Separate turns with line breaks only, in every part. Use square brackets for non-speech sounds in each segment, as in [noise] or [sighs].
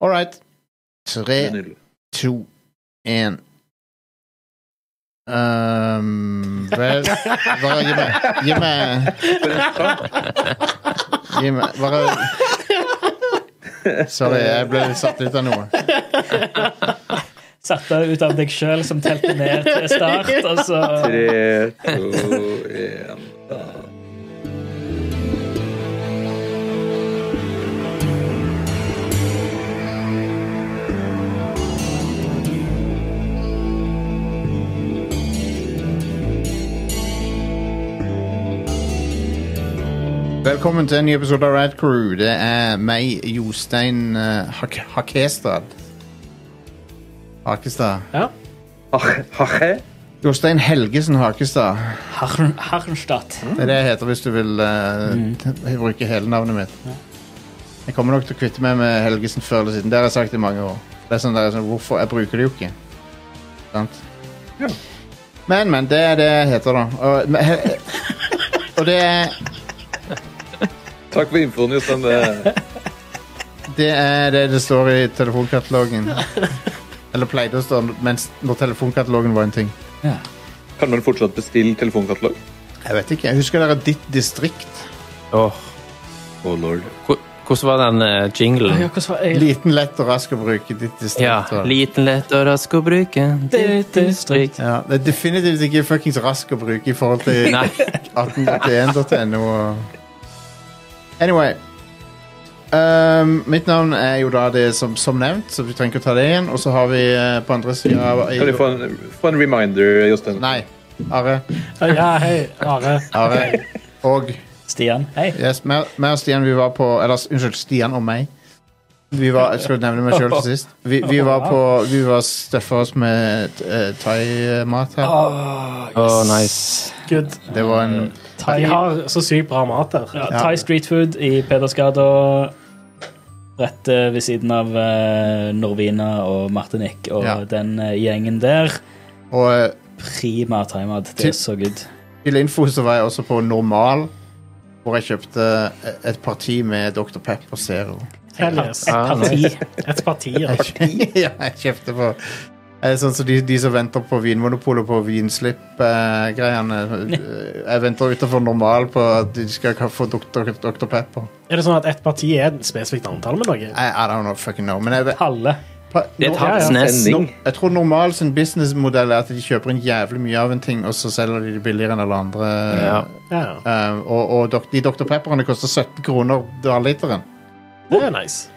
All right. Tre,
Det er nydelig.
to, én. Um, vel Bare gi meg Gi meg Gi meg Bare Sorry, jeg ble satt ut av noe.
Satt deg ut av deg sjøl som telte ned til start, og så
Tre, to, én
Velkommen til en ny episode av Rad Crew. Det er meg, Jostein eh, Hak Hakestad. Hakestad.
ja.
Hache?
Jostein Helgesen Hakestad.
Harn- Harnstadt.
Det er det jeg heter hvis du vil eh, t- bruke hele navnet mitt. Jeg kommer nok til å kvitte meg med Helgesen før eller siden. Det har jeg sagt i mange år. Det er sånn, det er sånn hvorfor Jeg bruker det jo ikke. Sant?
Ja.
Men, men. Det er det jeg heter, da. Og, men, he, [laughs] og det er
Takk for infoen, Jostein. Det-
Det er det det står i telefonkatalogen. Eller pleide å stå mens, når telefonkatalogen var en ting.
Ja.
Kan man fortsatt bestille telefonkatalog?
Jeg vet ikke. Jeg husker dere Ditt distrikt?
Åh,
Oh lord.
hvor- hvordan var den eh, jinglen?
Ja, hvordan var jeg?
Liten, lett og rask å bruke Ditt distrikt.
Ja,
og-
liten, lett og rask å bruke. Ditt distrikt.
ja, det er definitivt ikke fuckings rask å bruke i forhold til
Nei.
1881.no. og- Anyway. Ehm, mitt navn er jo da det som, som nevnt, så vi trenger ikke å ta det igjen. Og så har vi eh, på andre sida av-
Kan jeg få en, få en reminder, Jostein?
Nei. Are.
Ja, hei, Are.
Are. Og
Stian. Hei.
Yes, meg meg og Stian vi var på Eller unnskyld, Stian og meg. Vi var, jeg skulle nevne meg sjøl til sist. Vi, vi var på Vi var støffa oss med eh, thaimat her.
Åh, nice.
Good.
Det var en
De har så sykt bra mat der.
Ja, Thai Street Food i Pedersgata. Rett eh, ved siden av eh, Norvina og Martinic og
Ja.
den eh, gjengen der.
Og eh,
Prima thaimat. Det er så good.
til info så var jeg også på Normal, hvor jeg kjøpte et- et parti med Dr. Pepper Zero.
Hell yes.
Ah,
Parti.
nice.
Et parti. ja.
Jeg kjøpte, [laughs] ja, jeg kjøpte på eh, Sånn som de, de som venter på Vinmonopolet på vinslipp-greiene. jeg venter utenfor normal på at de skal få Dr. Dr. Pepper.
Er det sånn at et parti er et spesifikt antall med noe?
I, I don't know, fucking know. Men jeg, vet-
Alle.
pa-
Det er
nå-
et
ja.
Hansnes.
Sending.
jeg tror normal sin businessmodell er at de kjøper inn jævlig mye av en ting, og så selger de det billigere enn alle andre.
Ja.
Ja,
Eh, og og dok, de Dr. Pepperene koster 17 kroner literen.
Det er nice.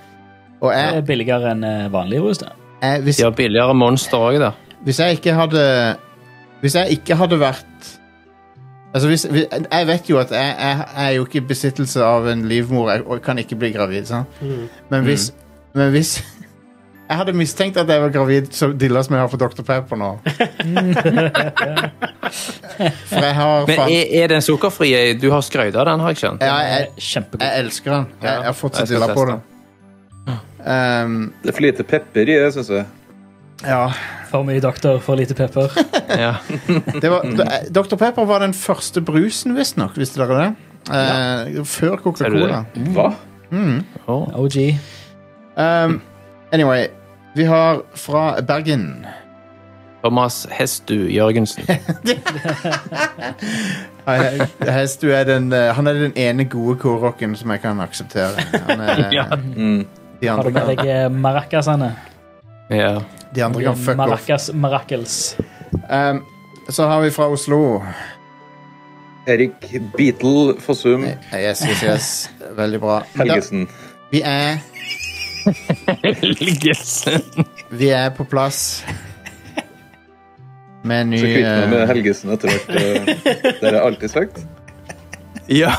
Og
Det
jeg,
er billigere enn eh, vanlig rus. da.
jeg, hvis,
De har billigere monster òg, da.
hvis jeg ikke hadde Hvis jeg ikke hadde vært Altså hvis, hvis, Jeg vet jo at jeg, jeg, jeg er jo ikke i besittelse av en livmor jeg, og kan ikke bli gravid. Sant? Men hvis, men hvis [laughs] Jeg hadde mistenkt at jeg var gravid, så dilla som jeg har for Dr. Pepper nå. For jeg har
Men
faen
er, er den sukkerfrie? Du har skrøyt av den, har jeg skjønt.
ja, jeg,
Kjempegod.
jeg elsker den. Jeg, jeg har
jeg
fortsatt
skal
dilla på
teste
den. Um,
Det er for lite pepper i det, syns jeg.
ja
For mye doktor, for lite pepper.
[laughs]
Ja.
det var, d- Dr. Pepper var den første brusen, visstnok. Visste dere det? Eh, Før Coca-Cola. Mm.
Hva?
Åh.
OG.
Um, anyway, vi har fra Bergen
Thomas Hestu Jørgensen.
Hei, hei, Hest, du er den, eh, Han er den ene gode korrocken som jeg kan akseptere. Han er,
Ja.
Mm.
de,
Har
andre
du med
kan,
deg eh, maracasene?
Ja.
de andre kan fuck off.
Maracas maracels.
Um, så har vi fra Oslo.
Erik Beatle Fossum
Yes, yes, yes. Veldig bra. Da,
Helgesen.
vi, er, vi er på plass med en ny
Så kvitt meg med
eh,
Helgesen etter hvert. eh, Det har jeg alltid sagt.
[laughs] ja.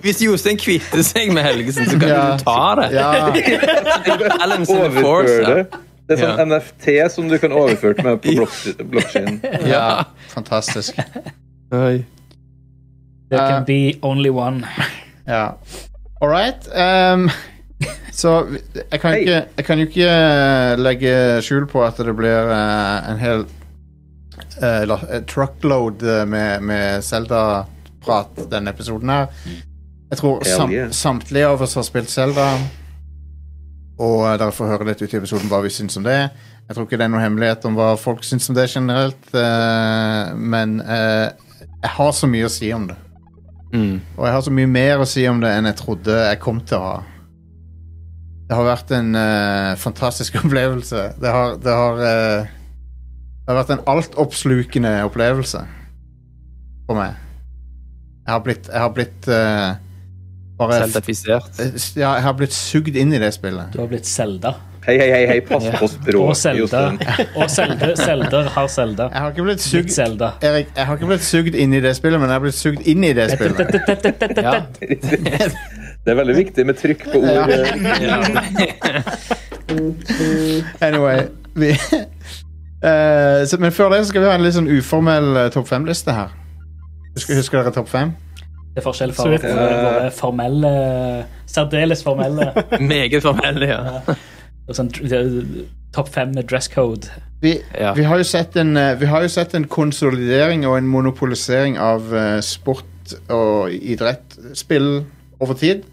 Hvis Jostein kvitter seg med Helgesen, så kan
Ja.
du ta det.
ja,
Alan Sinner Force,
Overfør
ja.
det. Det er sånn NFT som du kan overføre til meg på blok- blokkjeden.
ja, fantastisk.
Oi.
There
Eh.
can be only one.
Ja. All right. ehm, så vi- jeg kan, jo
Hei.
ikke, jeg kan jo ikke eh, legge skjul på at det blir eh, en hel eh, la- eh, truckload eh, med, med Zelda-prat denne episoden her. Jeg tror
Hell
sam,
yeah.
samtlige av oss har spilt Zelda. Og eh, dere får høre litt ut i episoden hva vi syns om det. Jeg tror ikke det er noen hemmelighet om hva folk syns om det generelt, eh, men eh, jeg har så mye å si om det.
Mm.
Og jeg har så mye mer å si om det enn jeg trodde jeg kom til å ha. Det har vært en eh, fantastisk [laughs] opplevelse. Det har Det har, eh, det har vært en altoppslukende opplevelse for meg. Jeg har blitt Jeg har blitt eh, bare eh,
Selfifisert.
ja, jeg har blitt sugd inn i det spillet.
Du har blitt Selda.
Hei, hei, hei, hei, pass på
Og
språket,
Selda.
Jostein.
Og Selda. Selder har Selda.
Jeg har ikke blitt
Blitt
sugd
Selda.
Erik, jeg har ikke blitt sugd inn i det spillet, men jeg har blitt sugd inn i det spillet.
Ja.
Det er veldig viktig med trykk på ordet.
Anyway vi, [laughs] Eh, så, Men før det så skal vi ha en litt sånn uformell eh, topp fem-liste her. Husker, husker dere topp fem?
Det er forskjell
Så
for
vidt.
for våre formelle Særdeles formelle.
[laughs]
[laughs]
Meget formell, ja.
og Sånn, eh, Topp fem med dress code.
Vi,
Ja.
vi, har jo sett en, eh, vi har jo sett en konsolidering og en monopolisering av eh, sport og idrett, spill, over tid.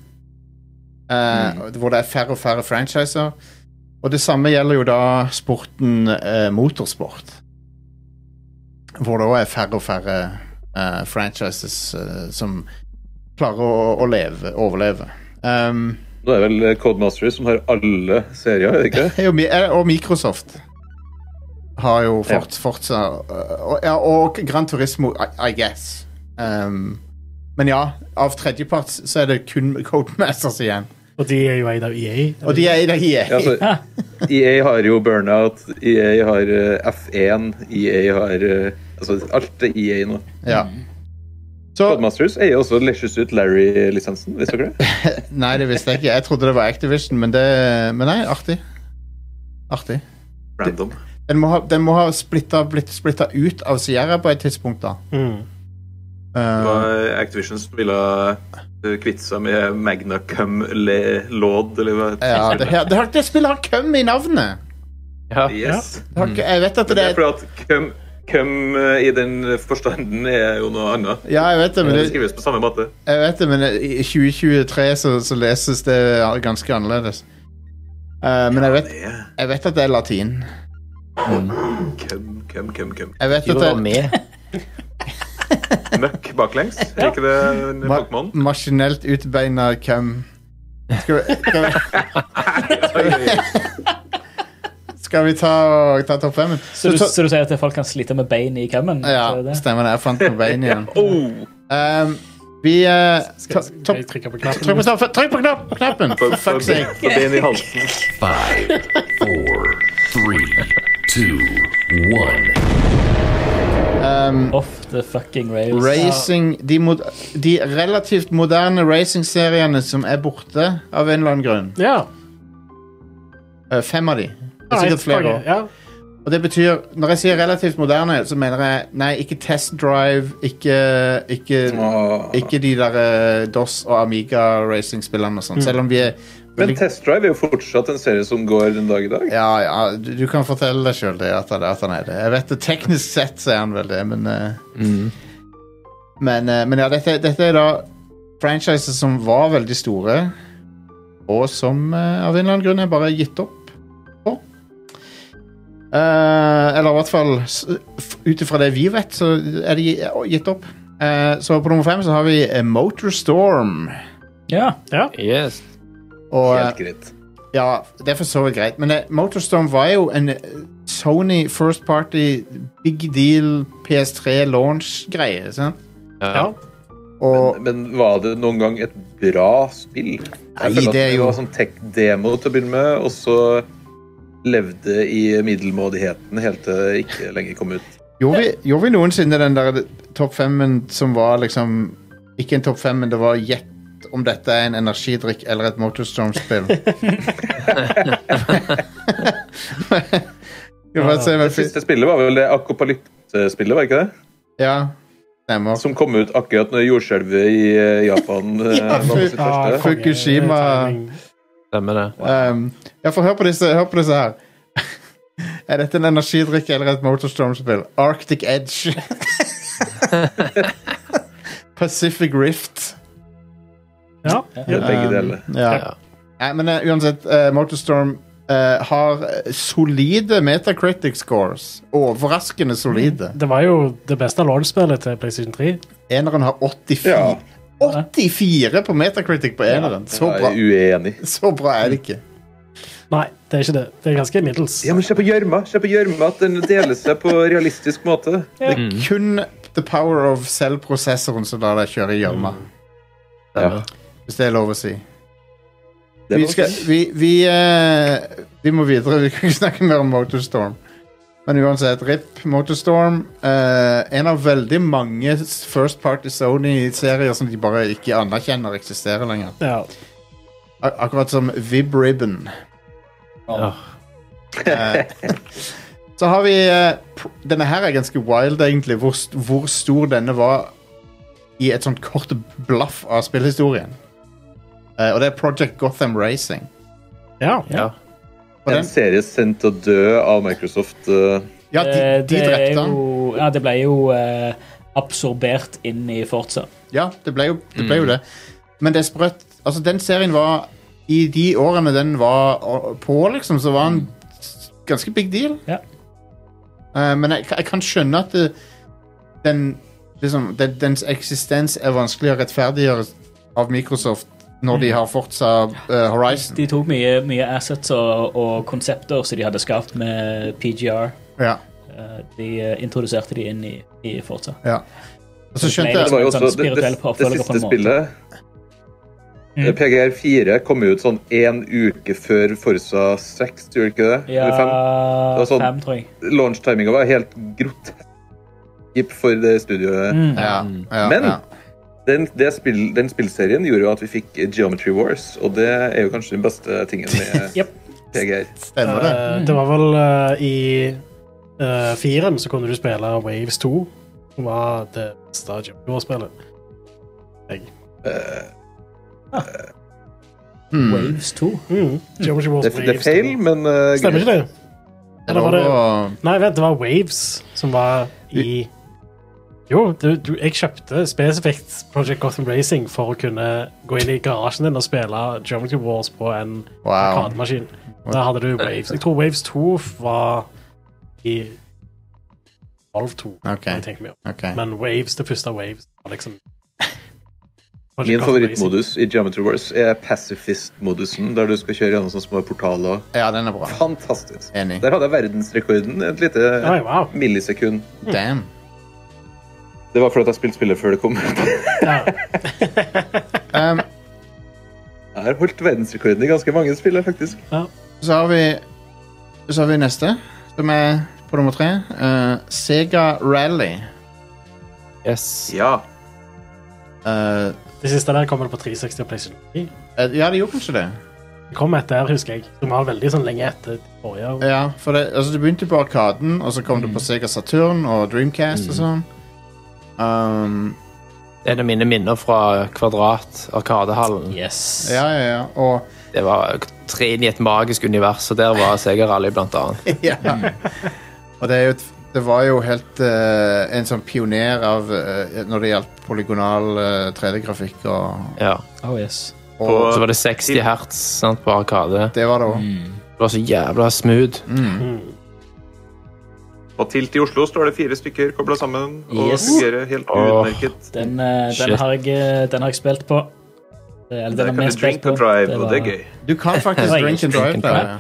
Eh, Hvor det er færre og færre franchiser. Og det samme gjelder jo da sporten eh, motorsport. Hvor det òg er færre og færre eh, franchises eh, som klarer å, å leve, overleve. Um,
Nå er det vel Codemasters som har alle serier, er det ikke det?
det er jo, mi- eh, og Microsoft har jo fort, fortsatt eh, og, ja, og Gran Turismo, I, I guess. Um, men ja, av tredjeparts så er det kun Codemasters igjen.
Og de er jo eid av E EA.
Og de er i det EA.
Ja, altså, EA har jo Burnout, EA har eh, F1, EA har eh, Altså, alt er EA nå.
Ja. Så
Codemasters eier også Leisure Suit Larry-lisensen, visste dere det?
Nei, det visste jeg ikke. Jeg trodde det var Activision, men det Men nei, artig. Artig.
Random.
Den må ha, den må ha splitta, blitt splitta ut av Sierra på et tidspunkt, da.
Mm.
Det
Uh,
var Activision som ville eh, kvitte seg med Magna Cum Le- Lord, eller hva heter
ja, det, her, det, har, det spillet har Cum i navnet!
Ja.
Yes.
Det har, ikke- jeg vet at
Mm. Men
det
det er
er
fordi at Cum, cum eh, i den forstanden er jo noe annet.
Ja, jeg vet det, men
Det
det,
skrives på samme måte.
jeg vet det, men i 2023 så, så leses det ganske annerledes. Uh, men jeg vet,
Det er
jeg vet at det er latin.
Cum, cum, cum, cum.
Jeg vet
Du
at
var
det
med.
Møkk
[laughs]
baklengs, er ikke det en
ma
Pokémon?
maskinelt utbeina Cum. Skal vi, skal vi
[laughs]
Skal vi ta, ta topp fem?
Så du, så du sier at folk kan slite med bein i kummen? Så er
Ja,
det det?
stemmer det. Jeg fant noen bein
[laughs]
igjen.
Oh,
Um, vi eh, to-
Skal, skal
topp-
jeg trykke på
Trykk på,
knappen?
stopp- trykk på knapp, knappen!
For,
For fuck's
ben-
sake.
for ben i
[laughs]
halsen.
Five, four, three, two, one.
Um,
Off the fucking rails.
racing de, mod de relativt moderne racingseriene som er borte av en eller annen grunn.
Ja.
Eh, fem av de. Det er
Ja,
sikkert flere
konge.
år.
Ja.
Og det betyr, når jeg sier relativt moderne, så mener jeg nei, ikke Test Drive, ikke, ikke,
Åh.
ikke de der eh, DOS og Amiga racingspillene og sånn. Selv om vi er
Men Test Drive er jo fortsatt en serie som går den dag i dag.
Ja, ja, du, du kan fortelle deg sjøl det at, han- at han er det. Jeg vet det, Teknisk sett så er han vel det, men eh, men, eh, men ja, dette, dette er da franchises som var veldig store, og som eh, av en eller annen grunn er bare gitt opp på. Eh, eller i hvert fall s- f- ut ifra det vi vet, så er de gi- gitt opp. Eh, så på nummer fem så har vi eh, Motorstorm.
Ja.
yes.
Og, eh,
Helt greit.
ja, det er for så vidt greit. Men det, Motorstorm var jo en eh, Sony first party big deal PS3 launch-greie. sant?
ja.
Og
Men eh, var det noen gang et bra spill?
Nei,
Jeg føler at
det er jo-
var sånn tech-demo til å begynne med, og så levde det i middelmådigheten helt til det ikke lenger kom ut.
gjorde vi, gjorde vi noensinne den der eh, topp femmen som var liksom Ikke en topp fem, men det var gjett om dette er en energidrikk eller et
[laughs]
Motorstorm-spill. [laughs] Vi får se hva
Det
fi-
siste spillet var vel det akopalypte-spillet, var ikke det?
Ja, stemmer.
Som kom ut akkurat når jordskjelvet i eh, Japan eh,
Ja,
var på sitt
fy-
Ja,
første.
fuck. Fukushima.
timing.
Stemmer det.
Um, ja, for hør på disse, hør på disse her. [laughs] er dette en energidrikk eller et Motorstorm-spill? Arctic Edge. [laughs] Pacific Rift.
Ja.
Det er begge deler.
Ja. Nei, men eh, uansett, eh, Motorstorm eh, har eh, solide metacritic scores. Overraskende solide.
Det var jo det beste launch-spillet til PlayStation 3.
Eneren har 84.
Ja.
84 på metacritic på eneren. Så
Jeg
bra,
er uenig.
så bra er det ikke.
Nei, det er ikke det. Det er ganske middels.
Ja, men Se på gjørma! Se på gjørma, at den deler seg på realistisk måte.
Det er kun the power of cell-prosessoren som lar deg kjøre i gjørma.
Ja.
Hvis det er lov å si.
Det
Vi,
var
skal,
fint.
vi, vi, eh, vi må videre. Vi kan ikke snakke mer om Motorstorm. Men uansett, RIP Motorstorm. eh, en av veldig mange First Party Sony-serier som de bare ikke anerkjenner eksisterer lenger.
Ja.
Ak akkurat som Vib Ribbon.
Ja.
Eh, Så har vi eh, pr- Denne her er ganske wild, egentlig, hvor, st- hvor stor denne var i et sånt kort blaff av spillhistorien. Eh, og det er Project Gotham Racing.
ja.
Ja.
Og den,
En serie sendt til å dø av Microsoft. eh,
ja, de,
Det-
de
det er
drepte han.
jo- Ja, det ble jo eh, absorbert inn i Forza.
Ja, det ble jo det.
Mm.
Ble jo det. Men det er sprøtt. Altså, den serien var I de årene den var å- på, liksom, så var
Mm.
den s- ganske big deal.
Ja.
Eh, men jeg, jeg kan skjønne at det, den liksom, den, dens eksistens er vanskelig å rettferdiggjøre av Microsoft når de har Forza eh, Horizon.
De tok mye, mye assets og, og konsepter som de hadde skapt med PGR.
Ja,
Eh, De eh, introduserte de inn i, i Forza.
ja. Og så skjønte
Det
Det var
jeg
jo også
Sånn
det, det,
spirituell
det
påfølger på
siste
en måte.
spillet. Eh,
Mm.
PGR4 kom jo ut sånn én uke før Forsa 6, gjorde det ikke det?
Ja,
Eller fem? var sånn-
fem, tror jeg.
Launchtiminga var helt grotesk for det studioet.
Mm.
ja, ja,
Men
ja.
Den, det spill, den spillserien gjorde jo at vi fikk Geometry Wars, og det er jo kanskje den beste tingen
[laughs]
med
Jep.
PGR.
Stemmer det.
Eh, det var vel eh, i uh, firen så kunne du spille Waves 2, som var det beste Jumbo-spillet.
Hmm.
Waves 2.
Mm. Jumbo Jumbo
Det, det er
Waves 2.
feil, men eh,
Stemmer ikke det?
Det er lov å
Nei, vent, det var Waves som var i Jo, du, du, jeg kjøpte spesifikt Project Gotham Racing for å kunne gå inn i garasjen din og spille Geometry Wars på en
Wow.
arkademaskin. Der hadde du Waves. Jeg tror Waves 2 var i Valve 2.
Ok.
når jeg tenker meg om.
Ok.
Men Waves, det første Waves, var liksom Project
Min
Gotham Racing.
favorittmodus i Geometry Wars er pacifist-modusen, der du skal kjøre gjennom sånne små portaler.
Ja, den er bra.
Fantastisk.
Enig.
Der hadde jeg verdensrekorden et lite
Oi, wow.
millisekund.
Damn.
Det var fordi at jeg spilte spillet før det kom ut.
Ja.
Um,
[laughs] Jeg har holdt verdensrekorden i ganske mange spill, jeg, faktisk.
Så har vi Så har vi neste, som er på nummer tre. Eh, Sega Rally.
Yes.
Ja.
Eh,
Det siste der kom vel på 360 og PlayStation 3.
eh, ja, det gjorde kanskje det.
Det kom et der, husker jeg, som var veldig sånn lenge etter de forrige.
Ja, for det, altså, det begynte på Arkaden, og så kom det på Sega Saturn og Dreamcast og sånn. Um,
Det er en av mine minner fra Kvadrat, Arkadehallen.
Yes.
ja, ja, ja. Og
Det var tre inn i et magisk univers, og der var Sega Rally blant
[laughs]
annet.
[laughs] ja. Og det, er jo, et- det var jo helt eh, en sånn pioner av eh, når det gjaldt polygonal eh, 3D-grafikk og,
Ja.
Oh, yes.
og
Så var det 60 hertz sant, på Arkade.
Det var det Mm. òg.
Det var så jævla smooth.
På Tilt i Oslo står det fire stykker kobla sammen og
Yes.
fungerer helt
Åh.
utmerket.
Den, eh, den,
Shit.
har jeg, eh, den har jeg spilt på. Eh,
Der
Eller den har
kan
vi
du drink
spilt på.
and drive, og det er
var-
gøy.
Du kan faktisk
Det var
drink and
egentlig
drive
drink and
der.
drive.
ja.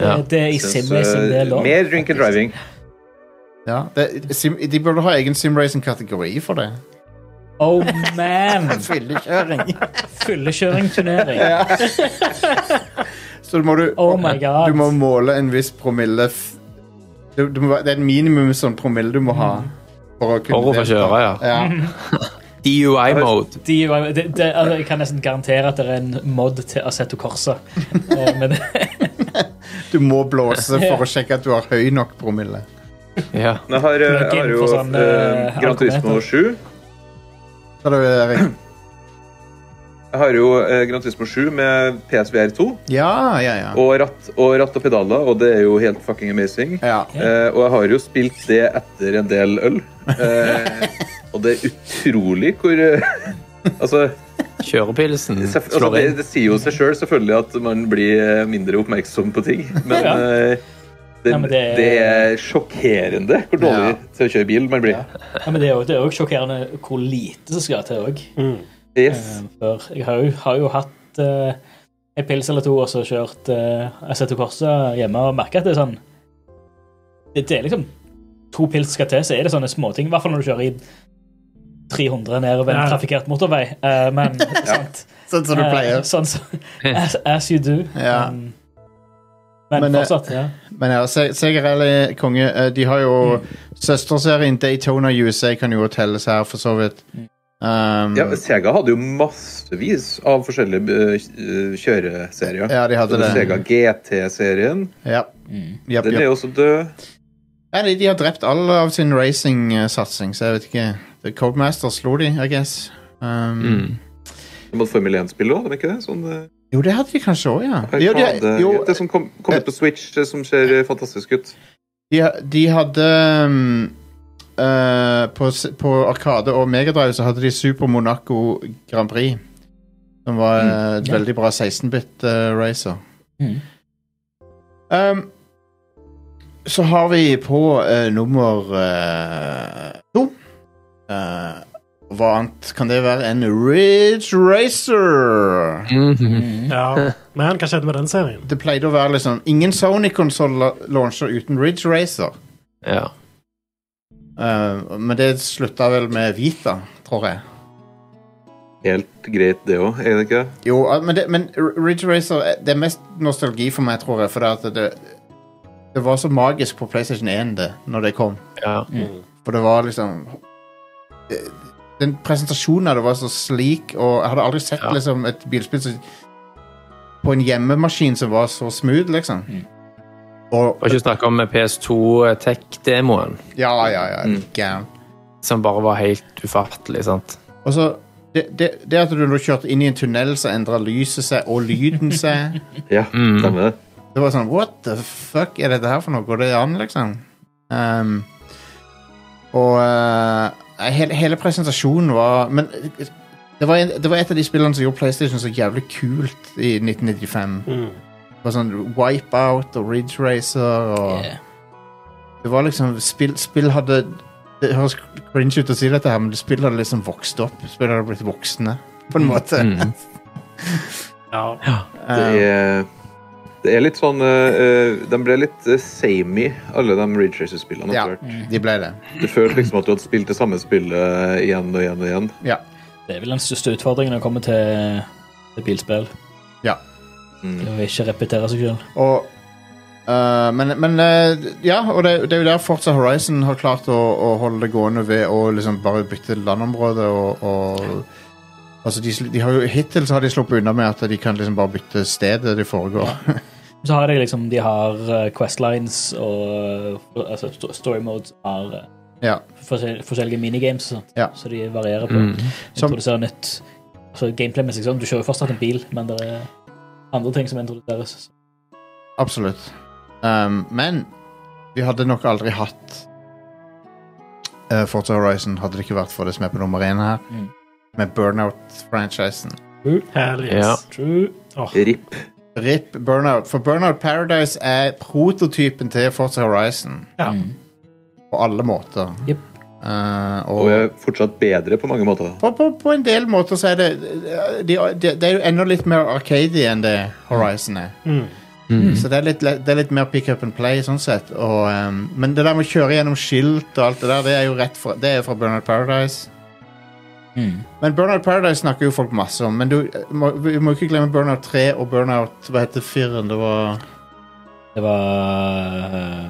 Ja.
Eh, Det, det er i
Synes,
simracing, det er
eh,
lov.
Mer drink and driving.
Ja, det, sim, de burde ha egen simracing-kategori for det.
Oh man!
Fyllekjøring.
Fyllekjøringturnering.
Så må du,
Oh my god.
du må måle en viss promille f- du, du må, Det er en minimum sånn promille du må ha
Mm.
for å kunne
For å få
delta.
kjøre, ja.
Ja.
DUI-mode.
De, det, det, altså, jeg kan nesten garantere at det er en mod til Assetto Corsa. Eh, Men [laughs]
Du må blåse for å sjekke at du har høy nok promille.
Ja.
Men Jeg har, eh,
Plug in
jeg har jo
for sånn,
eh,
eh,
Gran Turismo
alkometer.
7.
Så er det Erik.
Jeg har jo eh, Gran Turismo 7 med PSVR 2
Ja, ja, ja.
og ratt, og ratt og pedaler, og det er jo helt fucking amazing.
ja.
Eh, og jeg har jo spilt det etter en del øl. Eh, og det er utrolig hvor eh, [laughs] Altså,
Kjørepilsen
Selv- Altså,
slår
det,
Mm. inn.
det sier jo seg sjøl selv, selvfølgelig at man blir eh, mindre oppmerksom på ting, men
Ja.
eh, det,
Ja, men
det...
det-
er sjokkerende hvor dårlig
Ja.
til å kjøre bil man blir.
Ja, men det er jo- det er òg sjokkerende hvor lite som skal til òg.
Yes.
Før. Jeg har jo, har jo hatt eh, en pils eller to og så kjørt uh, Assetto Corsa hjemme og merka at det er sånn det, det er liksom To pils skal til, så er det sånne småting. I hvert fall når du kjører i 300 nedover en
Ja.
trafikkert motorvei. Eh, men
[laughs]
[laughs] sant.
Sånn som du
Eh,
pleier.
sånn som as, as you do.
Ja.
Um, men,
Men, eh,
fortsatt, ja.
Men ja, Se- Segerell er konge. Eh, De har jo
Mm.
søsterserien Daytona USA kan jo også telles her, for så vidt.
Mm.
Um,
Ja, Sega hadde jo massevis av forskjellige eh, kjøreserier.
ja, de hadde
Så
det.
Sega GT-serien.
Ja.
Mm.
Japp,
Den
japp.
er jo også død.
Ja, de, de har drept all av sin racing-satsing, så jeg vet ikke. The Codemaster slo de, I guess. Um,
Mm.
De hadde Formel 1-spill òg, hadde de ikke det? Sånn, eh,
Jo, det hadde de kanskje òg, ja. Jo, de,
Arkade,
jo,
det som kom, kom ut på Switch, det som ser eh, fantastisk ut.
de, de hadde um, eh, på, s- på Arkade og Megadrive så hadde de Super Monaco Grand Prix. Som var eh, et
Mm, ja.
veldig bra eh, 16-bit-racer.
Mm.
um, så har vi på eh, nummer eh, to Eh, Hva annet kan det være enn Ridge Racer?
[laughs]
Mm.
Mm.
Ja. Men hva skjedde med den serien?
Det pleide å være liksom Ingen Sony-konsoller launcher uten Ridge Racer.
Ja.
Eh, men det slutta vel med Vita, tror jeg.
Helt greit, det òg, er det ikke det?
Jo, eh, men, det, men R- Ridge Racer eh, Det er mest nostalgi for meg, tror jeg. For det, at det, det var så magisk på PlayStation 1 det, når det kom.
ja.
For det var liksom eh, Den presentasjonen av det var så slik, og jeg hadde aldri sett
Ja.
liksom, et bilspill som på en hjemmemaskin som var så smooth, liksom. Og
Og ikke snakke om PS2 eh, Tech-demoen,
Ja, ja, ja. Gæren.
som bare var helt ufattelig. sant?
[laughs]
Og så det, det, det at du nå kjørte inn i en tunnel, så endra lyset seg og lyden seg.
Ja, stemmer det.
Det var sånn What the fuck er dette her for noe? Går det an, liksom? Ehm, og eh, hele, hele presentasjonen var Men det var, en, det var et av de spillene som gjorde PlayStation så jævlig kult i 1995.
Mm.
Det var sånn Wipeout og Ridge Racer og
Yeah.
Det var liksom Spill, spill hadde Det høres cringe ut å si dette, her men spill hadde liksom vokst opp. Spill hadde blitt voksne, på en måte.
Mm.
Ja.
Det er, det er litt sånn eh, eh, De ble litt uh, samey, alle de Ridge Racer-spillene.
Ja,
etter hvert.
Um, de ble det.
Du følte liksom at du hadde spilt det samme spillet igjen og igjen og igjen.
Ja.
Det er vel den største utfordringen å komme til, til bilspill.
Ja.
Mm.
Det å ikke repetere seg sjøl.
Og øh, Men, men øh, ja, og det, det er jo der Forza Horizon har klart å, å holde det gående ved å liksom bare bytte landområde og, og Altså, de, sl- de har jo, Hittil så har de sluppet unna med at de kan liksom bare bytte stedet de foregår.
Så har de liksom De har eh, questlines og eh, altså, sto- story modes har eh,
Ja.
forskjell, forskjellige minigames og sånt.
Ja.
Så de varierer på.
Mm.
Som-
Introduserer nytt. Altså gameplay-messig sånn. Du kjører jo fortsatt en bil, men det er andre ting som introduseres.
Absolutt. Um, men vi hadde nok aldri hatt eh, Forza Horizon hadde det ikke vært for det som er på nummer én her,
Mm.
med Burnout-franchisen.
True. Hell yes.
Ja.
True. Åh,
RIP.
RIP Burnout. For Burnout Paradise er prototypen til Forza Horizon.
Ja.
Mm.
På alle måter.
Jep.
Eh, og
Og er fortsatt bedre på mange måter.
på, på, på en del måter så er det Det de, de er jo enda litt mer arcady enn det Horizon er.
Mm.
Så det er litt, le- det er litt mer pick up and play, sånn sett. Og, ehm, men det der med å kjøre gjennom skilt og alt det der, det er jo rett fra, det er fra Burnout Paradise.
Mm.
Men Burnout Paradise snakker jo folk masse om. Men du, må, vi må ikke glemme Burnout 3 og Burnout Hva heter fireren? Det var,
Det var eh,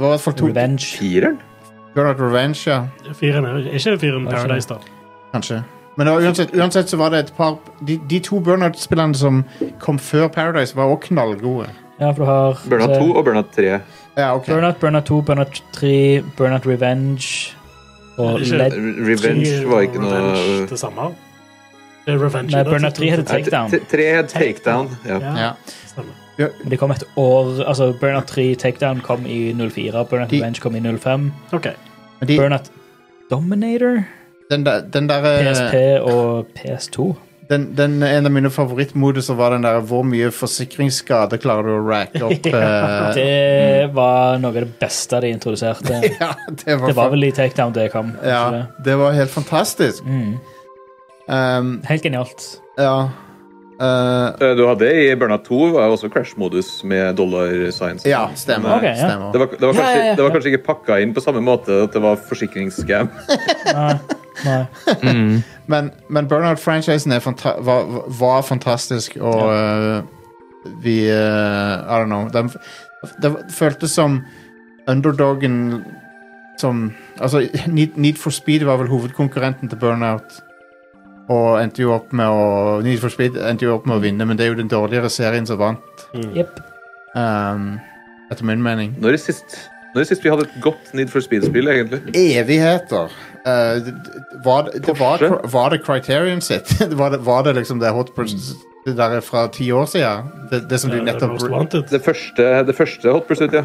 det var i hvert fall to
Revenge.
Fireren?
Burnout Revenge, ja.
Firen er er ikke Firen
Hva skjer?
Paradise, da.
Kanskje. Men det var uansett, uansett så var det et par De, de to Burnout-spillene som kom før Paradise, var også knallgode.
Ja, for du har
Burnout 2 og Burnout 3.
Ja, ok.
Burnout, Burnout 2, Burnout 3, Burnout Revenge og
Ikke-
Led
Re- Revenge
Tre
var ikke
og
noe
Revenge, Det samme. Det er Revenge.
Nei,
det er
Burnout
to-
3 heter
to-
Nei,
Takedown.
t- Tre het Takedown. Ja.
Ja,
Ja.
stemmer.
Men Det kom et år Altså, Burnout 3 Takedown kom i 04, Burnout
De-
Revenge kom i 05.
OK.
Men de,
Burnout Dominator?
Den der, den der eh,
PSP og PS2.
den, den, En av mine favorittmoduser var den der hvor mye forsikringsskade klarer du å
[laughs]
racke opp? eh, [laughs]
Det var noe av det beste de introduserte.
ja, det var,
Det var
fa-
vel Mm. i Takedown det kom. kanskje
ja,
det?
det var helt fantastisk. Um,
Helt genialt.
ja Eh,
Eh, Du hadde i Burnout 2 var jo også crash-modus med dollar signs.
Ja, stemmer.
Ok, ja.
stemmer.
Det var, det, var
Ja,
kanskje,
ja, ja.
det var kanskje ikke pakka inn på samme måte at det var forsikringsscam.
Nei, nei.
Men, men Burnout-franchisen er fanta var, var fantastisk, og øh, vi øh, I don't know. Den, det føltes som underdogen som Altså, Need, Need for Speed var vel hovedkonkurrenten til Burnout. Og endte jo opp med å Need for Speed endte jo opp med å vinne, men det er jo den dårligere serien som vant,
Jepp.
ehm, etter min mening.
[laughs] Når er sist, når er sist vi hadde et godt Need for Speed-spill, egentlig?
Evigheter. Eh, d- d- var, det- det var,
Porsche?
var det criterion sitt? [laughs] var, det, var det liksom det hot pursuit
Mm.
det der er fra ti år siden? Det, det som du nettopp
Most Wanted.
Det første, det første Hot Pursuit, ja.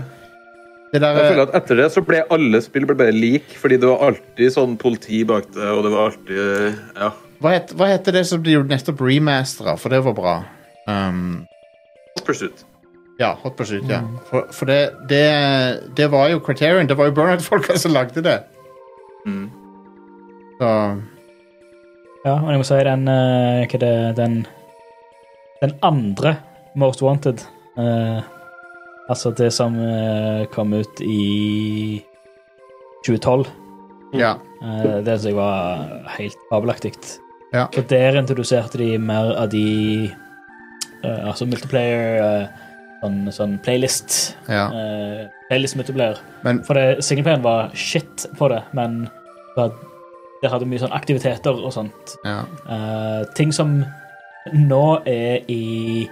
det der,
Jeg
eh,
føler at Etter det så ble alle spill ble bare lik, fordi det var alltid sånn politi bak det, og det var alltid eh, Ja.
hva, het, hva heter det som de gjorde nettopp remastera, for det var bra? Um,
Hot Pursuit.
ja, Hot Pursuit, ja.
Mm.
For, for det, det, det var jo criterion. Det var jo [laughs] Burnout-folka som lagde det.
Mm.
Så
Ja, men jeg må si den eh, Hva er det Den, den andre Most Wanted eh, Altså det som eh, kom ut i 2012.
ja.
eh, det syns jeg var helt fabelaktig.
Ja.
For der introduserte de mer av de eh, Altså multiplayer eh, Sånn, sånn playlist.
ja.
eh, playlist multiplayer.
Men-
For det, singleplayeren var shit på det, men det had- der hadde mye sånn aktiviteter og sånt.
ja.
Eh, ting som nå er i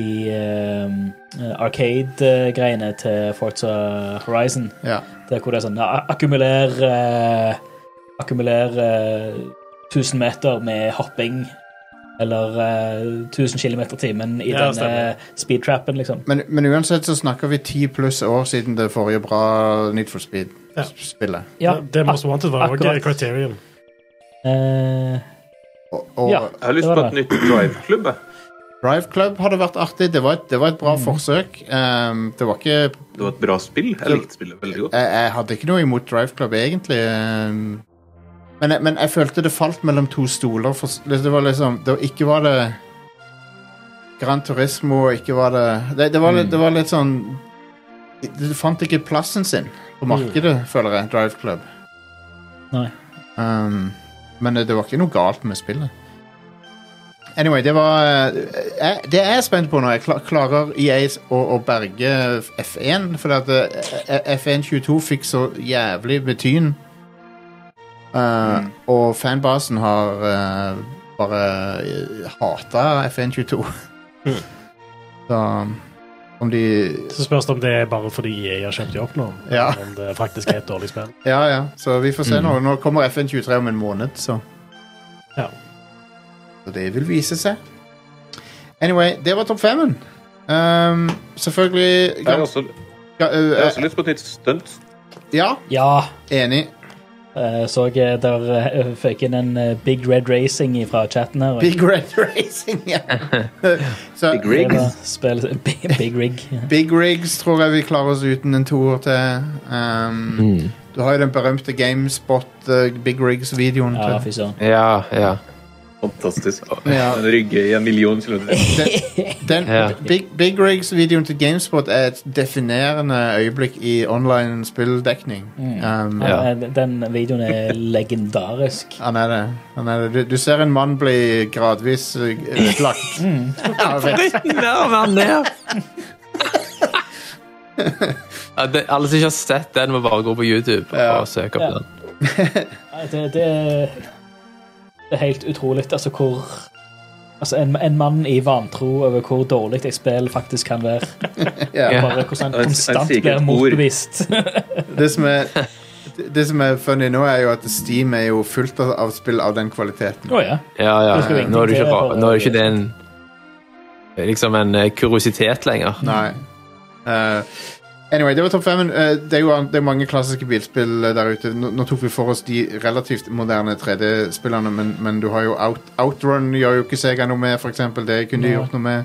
i ehm, eh, arcade-greiene til Forza Horizon.
ja.
Det er hvor det er sånn ja, Akkumuler eh, Akkumuler eh, 1000 meter med hopping. Eller eh, 1000 km i timen i
Ja,
denne
stemmer.
speedtrappen, liksom.
Men, men uansett så snakker vi ti pluss år siden det forrige bra Need for
Ja.
Speed-spillet.
Ja,
Det- Det Most Wanted var jo
akkurat.
også Criterion.
eh,
Og, og
Ja.
Jeg har lyst
Det var
på et nytt driveklubb. jeg.
Drive Club hadde vært artig. Det var et, det var et bra
Mhm.
forsøk. Ehm, det var ikke jeg,
Det var et bra spill. Jeg likte spillet veldig godt.
jeg hadde ikke noe imot Drive Club, egentlig. Ehm, men, jeg- men jeg følte det falt mellom to stoler. For, det var liksom det, var- Ikke var det Gran Turismo, ikke var det Det, det, var,
Mm.
litt, det var litt sånn det, det fant ikke plassen sin på markedet, føler jeg, Drive Club.
Mm. Nei.
Ehm, men det var ikke noe galt med spillet. Anyway, det var eh, Det jeg er spent på nå, er kla- klarer EA å, å berge F1? Fordi at eh, F1 22 fikk så jævlig med tyn. Eh, Og fanbasen har eh, bare uh, hata F1 22. Så om de
Så spørs det om det er bare fordi jeg har kjøpt de opp nå.
Ja.
eller Om det faktisk er et dårlig spill.
Ja, ja. Så vi får se nå. Nå kommer FN 23 om en måned, så
Ja.
Så det vil vise seg. Anyway, det var topp femmen. Um, selvfølgelig
Jeg har også,
Ja, øh,
jeg har også lyst på et nytt stunt.
ja,
ja.
enig.
Eh, Så jeg der eh, fikk inn en eh, Big Red Racing fra chatten her. og
Big Red [laughs] Racing, ja. Så
Big
det
Rig.
var spill- [laughs] Big, big Rig. ja.
Big Rigs tror jeg vi klarer oss uten en toer til. Um, Du har jo den berømte GameSpot eh, Big Rigs-videoen.
Ja,
til-
fy søren.
Ja, ja.
Fantastisk.
Ja.
En rygge i en million kilometer.
Den,
Ja.
Big, Big Rigs-videoen til GameSpot er et definerende øyeblikk i online spilldekning. Um,
Ja.
Eh, Den videoen er legendarisk.
Han er det. Han er det. Du, du ser en mann bli gradvis eh, ødelagt. Av et-
[laughs] Ja, det, alle som ikke har sett den, må bare gå på YouTube og,
Ja.
og søke opp
Ja.
den.
Nei, Det, det, det er helt utrolig, altså, hvor Altså, en, en mann i vantro over hvor dårlig et spill faktisk kan være.
ja.
Ja.
Bare hvordan
Han-
han
han
konstant
sier ikke
blir
et ord.
motbevist.
Det som er det som er funny nå, er jo at Steam er jo fullt av- av spill av den kvaliteten.
[laughs] Å ja.
Ja, ja.
Nå skal vi
Nå er det ikke,
ingenting
bare,
til
nå er det
for-
ikke det en
Mm.
liksom en eh, kuriositet lenger.
Nei. Eh, Anyway, det var topp fem. Eh, Det er jo an- det er mange klassiske bilspill eh, der ute. Nå, nå tok vi for oss de relativt moderne 3D-spillene, men, men du har jo Out, Outrun gjør jo ikke Sega noe med, for eksempel. Det kunne de
Nei.
gjort noe med.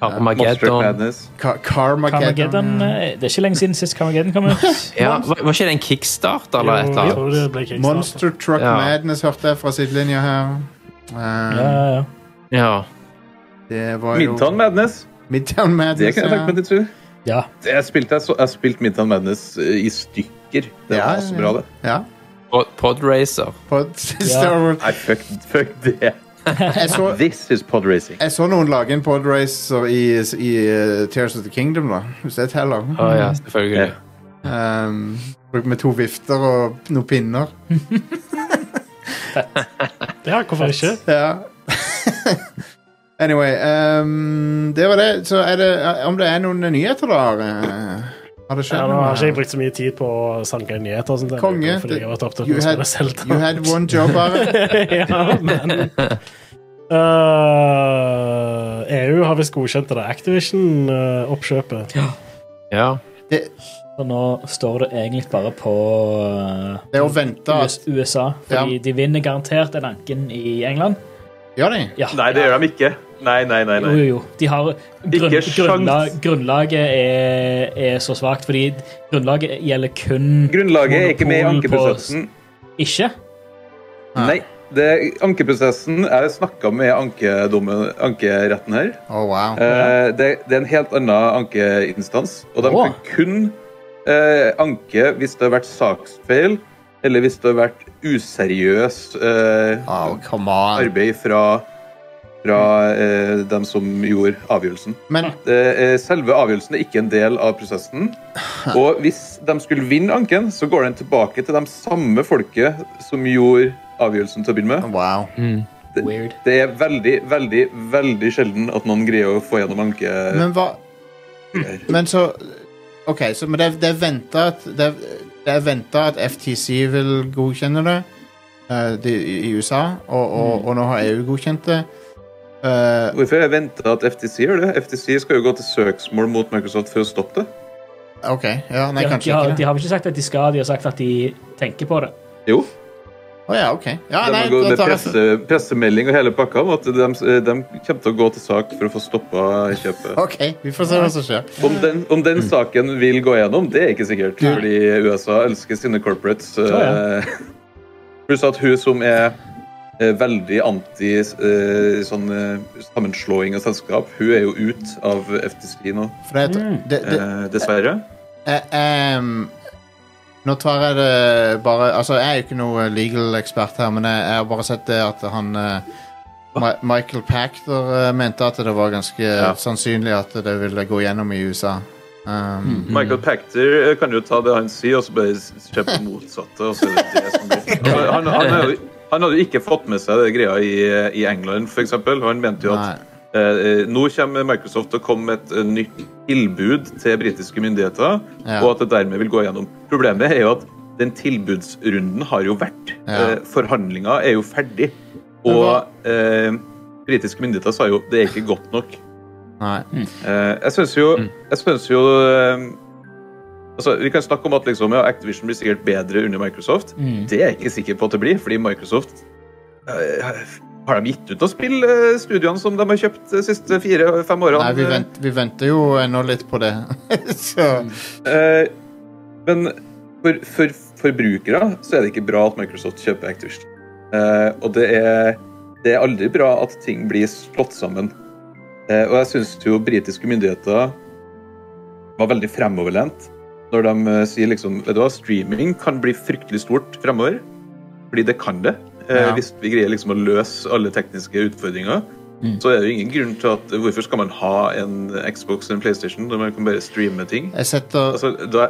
Monster
Armageddon.
Madness.
Ka Carmageddon.
[laughs] Carmageddon,
ja.
eh, Det er ikke lenge siden sist Carmageddon kom [laughs] ut.
Ja, var, var ikke det en kickstarter eller et eller
Jeg
annet?
tror det ble kickstart.
Monster Truck
Ja.
Madness hørte jeg fra sidelinja her. Eh,
Ja, ja, ja.
Ja.
Det var jo
Midtown Madness.
Midtown
Det
Madness.
kan jeg tenke meg til, tror jeg.
ja.
Det- Jeg spilte, jeg så- jeg spilte Midtown Madness eh, i stykker. Det
Ja,
var så bra, det.
Ja.
Pod- Podracer.
På [laughs] Star Wars.
Nei, fuck, fuck det.
Jeg så,
This is podracing.
jeg så noen lage en podracer i, i eh, Tears of the Kingdom, da. Hvis det teller.
Å ja, selvfølgelig.
Ja.
Um, med to vifter og noen pinner.
Ja, hvorfor ikke?
Ja. [laughs] anyway, um, det var det. Så er det eh, om det er noen nyheter, da? Are? Har det
Ja,
skjedd
nå har ikke jeg
noe?
brukt så mye tid på å sanke nyheter. og sånt, det er
Konge,
jo Fordi
det-
jeg har vært opptatt
you
med å
had-
spille Zelda.
You had one job, Are.
[laughs] ja, men Øh, EU har visst godkjent det eh, Activision-oppkjøpet.
Ja.
Så nå står det egentlig bare på eh,
Det er å vente at
US- USA, fordi de vinner garantert den anken i England.
Gjør de?
Ja.
Nei, det gjør de ikke. Nei, nei, nei.
Jo,
nei.
jo, jo. De har grunn,
Ikke sjans.
grunnlag, grunnlaget er, er så svakt, fordi grunnlaget gjelder kun
Grunnlaget er ikke med i
Monopol på-
ankeprosessen.
Ikke?
Ah.
Nei. Det, ankeprosessen Jeg snakka med ankedommen, ankeretten her.
Oh, wow.
Eh, det, det er en helt annen ankeinstans. Og de
Åh.
kan kun eh, anke hvis det har vært saksfeil, eller hvis det har vært useriøs eh,
Oh, come on.
arbeid fra, fra eh, dem som gjorde avgjørelsen.
Men
Det, eh, selve avgjørelsen er ikke en del av prosessen. Og hvis de skulle vinne anken, så går den tilbake til de samme folket som gjorde avgjørelsen til å begynne med.
wow.
Weird.
Det er veldig, veldig, veldig sjelden at noen greier å få gjennom anke...
Men hva Men så OK, så men det, er- det er venta at det, er- det er venta at FTC vil godkjenne det eh, de, i i USA, og, og, og nå har EU godkjent det. Eh,
Hvorfor har jeg venta at FTC gjør det? FTC skal jo gå til søksmål mot Microsoft for å stoppe det.
OK. Ja, nei,
de, har- de,
kanskje
har,
ikke
de
det.
har vel ikke sagt at de skal, de har sagt at de tenker på det.
Jo.
Å ja, OK. Ja,
De
nei,
har gått
da
med
tar jeg
presse, pressemelding og hele pakka om at de, eh, de kommer til å gå til sak for å få stoppa kjøpet.
OK, vi får se hva som skjer.
Om den, om den saken vil gå gjennom, det er ikke sikkert. Fordi USA elsker sine corporates.
ja.
eh, [laughs] Pluss at hun som er eh, veldig anti eh, sånn eh, sammenslåing av selskap, hun er jo ut av FTC nå,
For det,
Mm.
er- det, det,
eh, dessverre.
Eh, ehm, nå tar jeg det bare Altså, jeg er jo ikke noe legal ekspert her, men jeg, jeg har bare sett det at han eh, Mi- Michael Pachter eh, mente at det var ganske sannsynlig at det ville gå gjennom i USA. Um,
Michael Pactor eh, kan jo ta det han sier, og så bare se på motsatte. Og så er det det som blir.
[laughs]
Altså, Han, han, er jo- han hadde jo ikke fått med seg det greia i, eh, i England, f.eks. Han mente jo
nei.
at eh, nå kommer Microsoft til å komme med et eh, nytt tilbud til britiske myndigheter,
Ja.
og at det dermed vil gå gjennom. Problemet er jo at den tilbudsrunden har jo vært.
Ja.
Eh, Forhandlinga er jo ferdig. Og eh, britiske myndigheter sa jo det er ikke godt nok.
nei.
Eh, jeg syns jo,
Mm.
jeg synes jo eh, altså, Vi kan snakke om at liksom, ja, Activision blir sikkert bedre under Microsoft.
Mm.
Det er jeg ikke sikker på at det blir, fordi Microsoft eh, Har de gitt ut noen spill, eh, studiene som de har kjøpt de siste fire-fem årene?
nei vi, vent, vi venter jo ennå litt på det. [laughs] Så
Eh, men for, for forbrukere så er det ikke bra at Microsoft kjøper Activision. Eh, og det er, det er aldri bra at ting blir slått sammen. Eh, og jeg syns jo britiske myndigheter var veldig fremoverlent når de eh, sier liksom Vet du hva, streaming kan bli fryktelig stort fremover. Fordi det kan det. Eh,
Ja.
Hvis vi greier liksom å løse alle tekniske utfordringer. Så er det jo ingen grunn til at Hvorfor skal man ha en Xbox og en PlayStation når man kan bare streame ting?
jeg setter
Altså, da,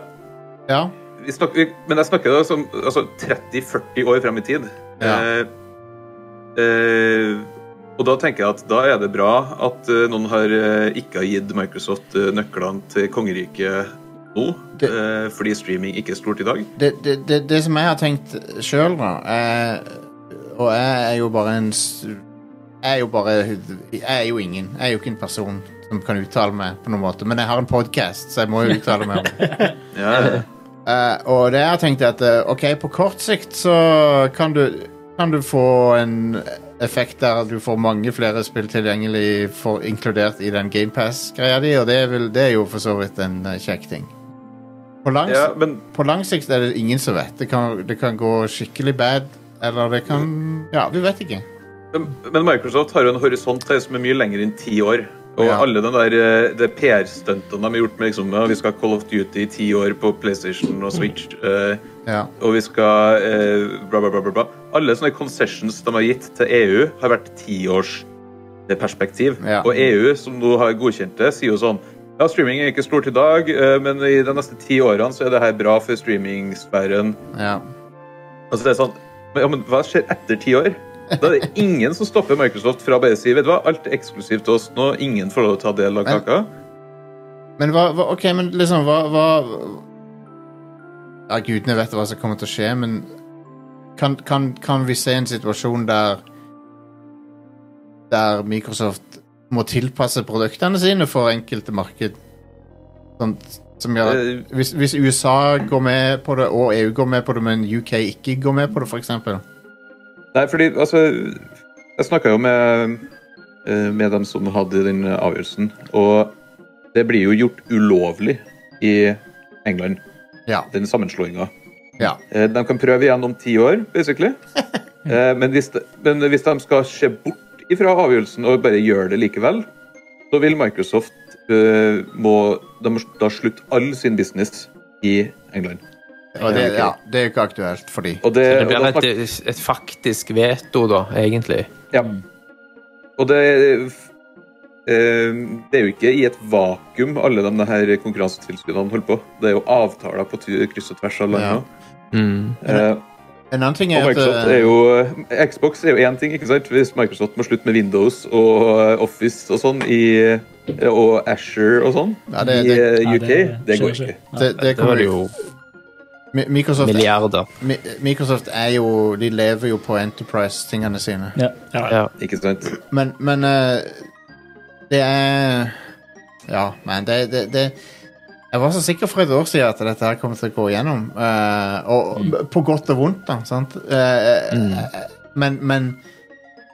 Ja.
vi snakker, vi- men jeg snakker da som altså, 30-40 år frem i tid.
Ja.
Eh, eh, og da tenker jeg at da er det bra at eh, noen har eh, ikke har gitt Microsoft eh, nøklene til kongeriket nå,
Det-
eh, fordi streaming ikke er stort i dag.
det, det, det, det som jeg har tenkt sjøl, da er, Og jeg er jo bare en s- Jeg er jo bare Jeg er jo ingen. Jeg er jo ikke en person. som kan uttale meg på noen måte, men jeg har en podkast, så jeg må jo uttale meg om det.
Ja, ja.
Eh, og det jeg tenkte at eh, ok, på kort sikt så kan du, kan du få en effekt der du får mange flere spill tilgjengelig for, inkludert i den GamePass-greia di, og det er, vel, det er jo for så vidt en eh, kjekk ting. På lang,
ja men
på lang sikt er det ingen som vet. Det kan, det kan gå skikkelig bad, eller det kan Ja, vi vet ikke.
Men men Microsoft har jo en horisont her som er mye lenger enn ti år. Og
Ja.
alle den der, eh, det PR-stuntene de har gjort med liksom, ja, vi skal ha Call of Duty i ti år på PlayStation og Switch, eh,
Ja.
og vi skal eh, bla, bla, bla, bla, bla. Alle sånne concessions de har gitt til EU, har vært tiårsperspektiv.
Ja.
Og EU, som nå har godkjent det, sier jo sånn ja, streaming er ikke stort i dag, eh, men i de neste ti årene så er det her bra for streamingsfæren.
ja.
Altså det er sånn, men, ja, men Hva skjer etter ti år? Da
[laughs]
er det ingen som stopper Microsoft fra å bare si vet du hva, alt er eksklusivt til oss nå. Ingen får lov til å ta del av
Men-
kaka.
Men hva, hva Ok, men liksom, hva, hva Ja, gudene vet hva som kommer til å skje, men kan, kan, kan vi se en situasjon der Der Microsoft må tilpasse produktene sine for enkelte marked? Sånn, som gjør at
Eh,
hvis, hvis USA går med på det, og EU går med på det, men UK ikke går med på det, for eksempel
Nei, fordi altså Jeg snakka jo med, eh, med dem som hadde den avgjørelsen, og det blir jo gjort ulovlig i England,
Ja.
den sammenslåinga.
Ja.
Eh, De kan prøve igjen om ti år, basically.
[laughs]
Eh, Men hvis, de, men hvis de skal se bort ifra avgjørelsen og bare gjøre det likevel, så vil Microsoft eh, må, de må da slutte all sin business i England.
Og det, ja, det er jo ikke aktuelt for de.
Og det,
Det
Eh, og
blir
da
et, et faktisk veto, da, egentlig.
Ja. Og det eh, Det er jo ikke i et vakuum alle de her konkurransetilskuddene holder på. Det er jo avtaler på tu- kryss og tvers av
Ja.
landet.
Mm.
Eh,
En annen ting
og
er at
Microsoft er jo eh, Xbox er jo én ting, ikke sant? Hvis Microsoft må slutte med Windows og eh, Office og sånn i og Asher og sånn
Ja, det-
i
det-
eh, UK, det, går
skjer
ikke.
eh, det, det
Da
kommer
er det jo
Mi- Microsoft er-
milliarder.
Mi- Microsoft er jo De lever jo på Enterprise-tingene sine.
Ja.
Ja.
Ja.
Ikke sant?
Men, men eh, det er Ja, men det, det, det Jeg var så sikker for et år siden at dette her kom til å gå igjennom. eh, og, På godt og vondt, da. Sant? Eh, eh, Men, men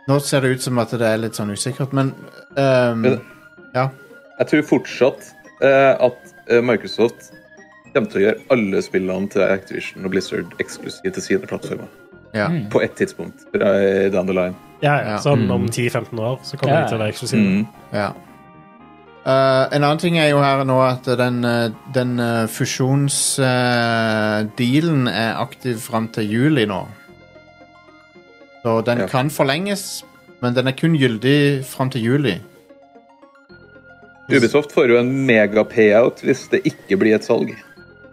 nå ser det ut som at det er litt sånn usikkert, men ehm,
Men-
Ja.
Jeg tror fortsatt eh, at eh, Microsoft kommer til å gjøre alle spillene til Activision og Blizzard eksklusive til sine plattformer.
ja.
På ett tidspunkt eh, down the line.
Ja,
Ja.
ja. Sånn om 10-15 år så kommer
Ja.
de til å være
Mm.
eksklusive.
Ja. Eh, en annen ting er jo her nå at den, eh, den fusjonsdealen er aktiv fram til juli nå. Så den
Ja.
kan forlenges, men den er kun gyldig fram til juli.
Ubisoft får jo en mega payout hvis det ikke blir et salg.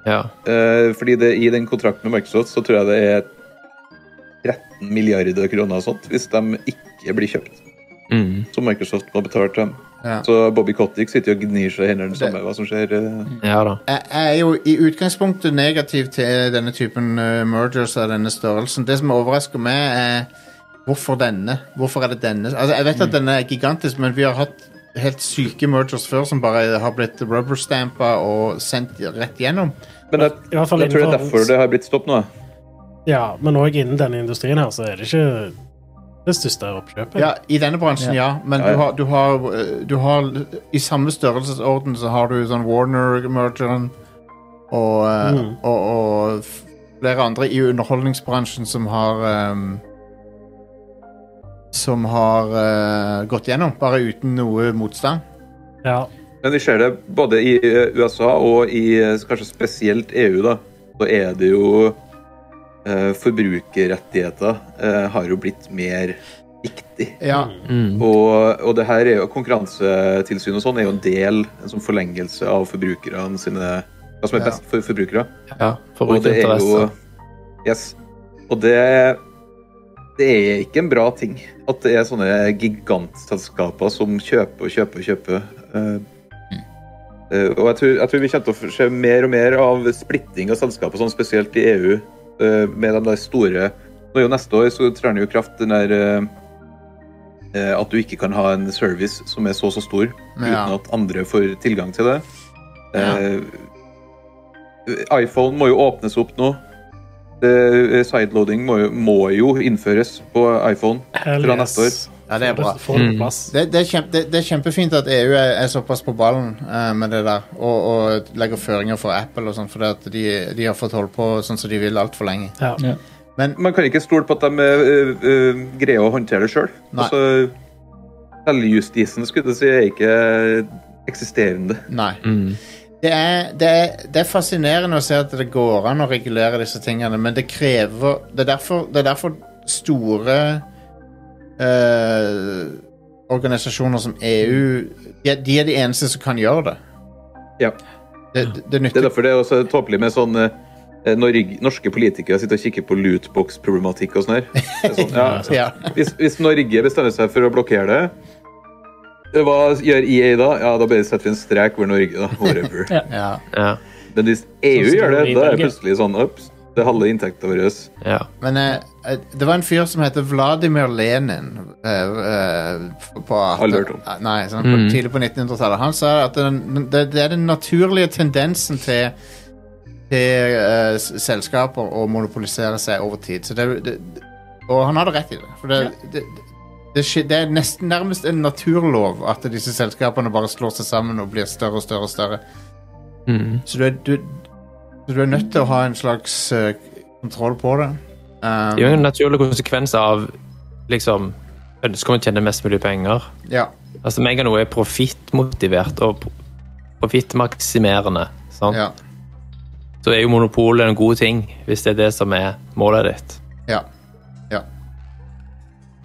ja.
Eh, fordi det, i den kontrakten med Microsoft så tror jeg det er 13 milliarder kroner og sånt hvis de ikke blir kjøpt.
Mm.
Som Microsoft må betale til dem.
Ja.
Så Bobby Cottick sitter jo og gnir seg i hendene samme hva som skjer. eh.
ja da.
Jeg jeg er jo i utgangspunktet negativ til denne typen eh, mergers av denne størrelsen. Det som overrasker meg, er hvorfor denne? Hvorfor er det denne? Altså, jeg vet at denne er gigantisk, men vi har hatt helt syke mergers før som bare har blitt rubberstampa og sendt rett gjennom.
Men jeg,
I hvert fall
jeg tror det er
innenfor-
derfor det har blitt stopp nå.
Ja, men òg innen denne industrien her, så er det ikke det største oppkjøpet.
Ja, I denne bransjen, ja. Men
Ja, ja.
Du, har, du, har, eh, du har I samme størrelsesorden så har du sånn Warner-mergeren og, eh,
Mm.
og, og f- flere andre i underholdningsbransjen som har ehm, Som har eh, gått gjennom, bare uten noe motstand.
Ja.
Men vi ser det både i eh, USA og i eh, kanskje spesielt EU, da. Så er det jo eh, Forbrukerrettigheter eh, har jo blitt mer viktig.
Ja,
Mm.
Og, og det her er jo konkurransetilsyn og sånn er jo en del, en sånn forlengelse av forbrukerne sine Hva som er
Ja.
best for forbrukere.
Ja.
Og det er jo
Forbrukerinteresser.
Yes. Og det det er ikke en bra ting at det er sånne gigantselskaper som kjøper og kjøper og kjøper. Eh, eh, og jeg tror, jeg tror vi kommer til å se mer og mer av splitting av selskaper, sånn spesielt i EU, eh, med de der store Nå er jo neste år så trær den jo i kraft den der eh, eh, at du ikke kan ha en service som er så så stor uten
Ja.
at andre får tilgang til det. Eh, iPhone må jo åpnes opp nå. Eh, sideloading må jo, må jo innføres på iPhone.
Hell
Fra neste
yes.
Ja, det er bra. Mm.
Får det på plass.
Det, det, er kjempe, det, det er kjempefint at EU er, er såpass på ballen eh, med det der, og, og legger føringer for Apple og sånn, for at de, de har fått holde på sånn som de vil altfor lenge.
Ja.
Ja.
Man kan ikke stole på at de eh, eh, greier å håndtere det sjøl.
Nei.
Altså, Selvjustisen skulle jeg si, er ikke eksisterende.
Nei. Det, er, det, er, det er fascinerende å se at det går an å regulere disse tingene, men det krever Det er derfor, det er derfor store eh, organisasjoner som EU de, er- de er de eneste som kan gjøre det.
Ja.
Det, det, det
Det er
nytter
derfor det er også tåpelig med sånn eh, Norge, Norske politikere sitter og kikker på lootbox-problematikk og sånn her. Det er Sånn, [laughs] ja.
ja.
hvis, hvis Norge bestemmer seg for å blokkere det, eh, hva gjør EA da? Ja, da bare setter vi en strek over Norge, da.
[laughs]
Whatever.
ja.
Ja.
Men hvis EU
Sånn som
gjør det,
det blir i
da er
Belgia.
det plutselig sånn ups, Det er halve inntekta vår.
ja.
Men eh, eh, det var en fyr som heter Vladimir Lenin eh, eh, på,
Aldri hørt om.
Eh, Nei, sånn, på,
Mm.
tidlig på 1900-tallet. Han sa at den, det, det er den naturlige tendensen til til eh, s- selskaper å monopolisere seg over tid. Så det, det, og han hadde rett i det. For det, det, det, skje- det er nesten nærmest en naturlov at disse selskapene bare slår seg sammen og blir større og større og større.
Mm.
Så du er, du, så du er nødt til å ha en slags eh, kontroll på det. Um,
Det er jo en naturlig konsekvens av liksom ønsket om å tjene mest mulig penger.
Um, Ja,
Altså, Med en gang noe er profittmotivert og pro- profittmaksimerende, sant?
ja,
så er jo monopolet en god ting, hvis det er det som er målet ditt.
ja.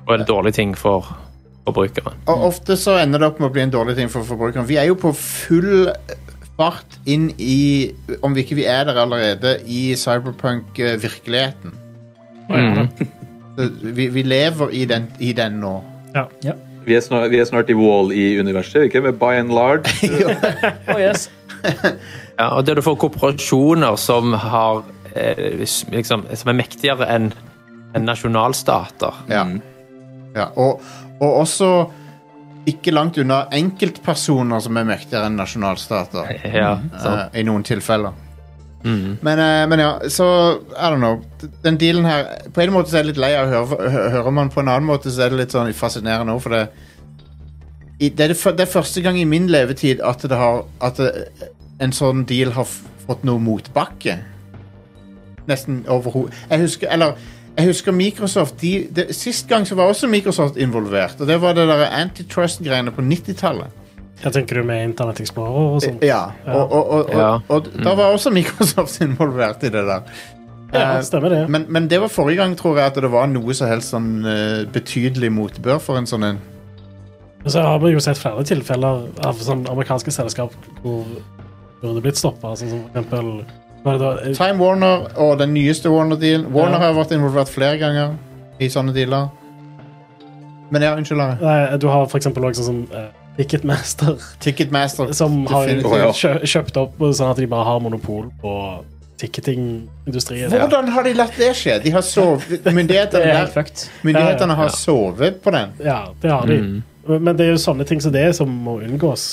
Og en dårlig ting for forbrukeren.
Og ofte så ender det opp med å bli en dårlig ting for forbrukeren. Vi er jo på full fart inn i, om vi ikke vi er der allerede, i cyberpunk-virkeligheten. [laughs] Vi, vi lever i den, i den nå.
Vi er snart, vi er snart i Wall-E-universet, ikke med by and large.
Oh, yes.
Ja, og det du får korporasjoner som har eh, s- liksom, som er mektigere enn enn nasjonalstater.
Ja. ja og, og også ikke langt unna enkeltpersoner som er mektigere enn nasjonalstater.
Ja,
Mm.
sant?
Eh, I noen tilfeller. Men, eh, men ja, så I don't know. Den dealen her På en måte så er jeg litt lei av å høre, hø- hører man på en annen måte, så er det litt sånn fascinerende òg, for det i, det, er det, fyr- det er første gang i min levetid at, det har, at det, en sånn deal har f- fått noe motbakke. Nesten overhodet Jeg husker Eller jeg husker Microsoft de, de, Sist gang så var også Microsoft involvert, og det var det der antitrust-greiene på 90-tallet.
Jeg tenker du med Internett Explorer og sånn.
Ja, og, og, og,
Ja.
og, og da var også Microsoft [laughs] involvert i det der.
Ja, stemmer det.
Men, men det var forrige gang, tror jeg, at det var noe som helst sånn eh, betydelig motbør for en sånn en.
Men så har vi jo sett flere tilfeller av sånn amerikanske selskap hvor burde blitt stoppa. Sånn som for eksempel hva er det da?
Time Warner og den nyeste Warner-dealen. Warner
Ja.
har vært involvert flere ganger i sånne dealer. Men ja, unnskyld, Are.
Nei, du har for eksempel også sånn som Ticketmaster,
Ticketmaster.
som har
definitivt.
Å, ja.
kjø kjøpt opp sånn at de bare har monopol på ticketingindustrien.
Hvordan har de latt det skje? De har sovet,
Det er
myndighetene,
helt fucked.
myndighetene har sovet på den.
Ja, det har de. Men det er jo sånne ting som det er som må unngås.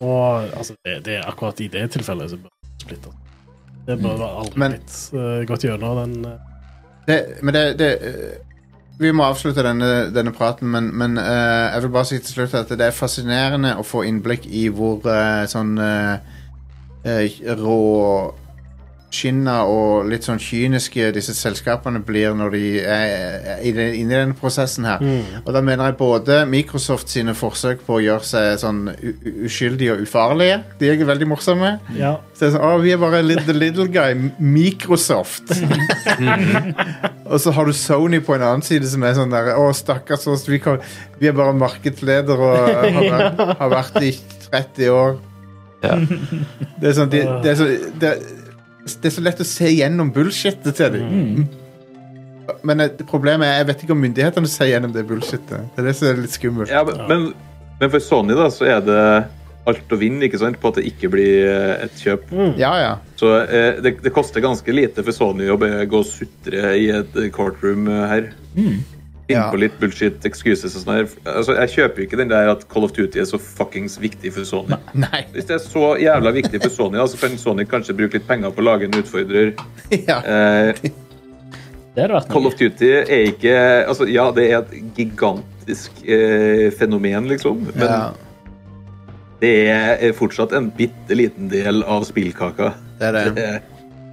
Og altså, det, det er akkurat i det tilfellet som bør det splittes. Det bør aldri
Men-
blitt eh, gått gjennom den eh,
det, men det, det øh, Vi må avslutte denne, denne praten, men, men øh, jeg vil bare si til slutt at det er fascinerende å få innblikk i hvor øh, sånn øh, øh, rå skinna og litt sånn kyniske disse selskapene blir når de er, er i den- inne i denne prosessen her. Og da mener jeg både Microsoft sine forsøk på å gjøre seg sånn u u- uskyldige og ufarlige. De er veldig morsomme.
Ja.
Så det er sånn, «Å, vi er bare li- the little guy, M- Microsoft. [laughs] og så har du Sony på en annen side som er sånn der, å stakkars oss, vi, kan, vi er bare markedsleder og har, vært- har vært i 30 år.
Ja.
Det er sånn, de, det, er så, det, er, det er så lett å se gjennom bullshitet til dem. Men eh, problemet er, jeg vet ikke om myndighetene ser gjennom det bullshitet. Det er det som er litt skummelt.
Ja, men, men, men for Sony da, så er det alt å vinne ikke sant, på at det ikke blir eh, et kjøp.
Ja, ja.
Så eh, det, det koster ganske lite for Sony å bare gå og sutre i et eh, courtroom eh, her. Finn
Ja.
på litt bullshit excuses og sånn her. Altså, jeg kjøper jo ikke den der at Call of Duty er så fuckings viktig for Sony.
Nei. [laughs]
Hvis det er så jævla viktig for Sony, da, så kan Sony kanskje bruke litt penger på å lage en utfordrer.
Ja.
Eh,
Det hadde vært
Call of
noe.
Duty er ikke Altså, ja, det er et gigantisk eh, fenomen, liksom, men
ja.
det er fortsatt en bitte liten del av spillkaka.
Det er det.
Eh,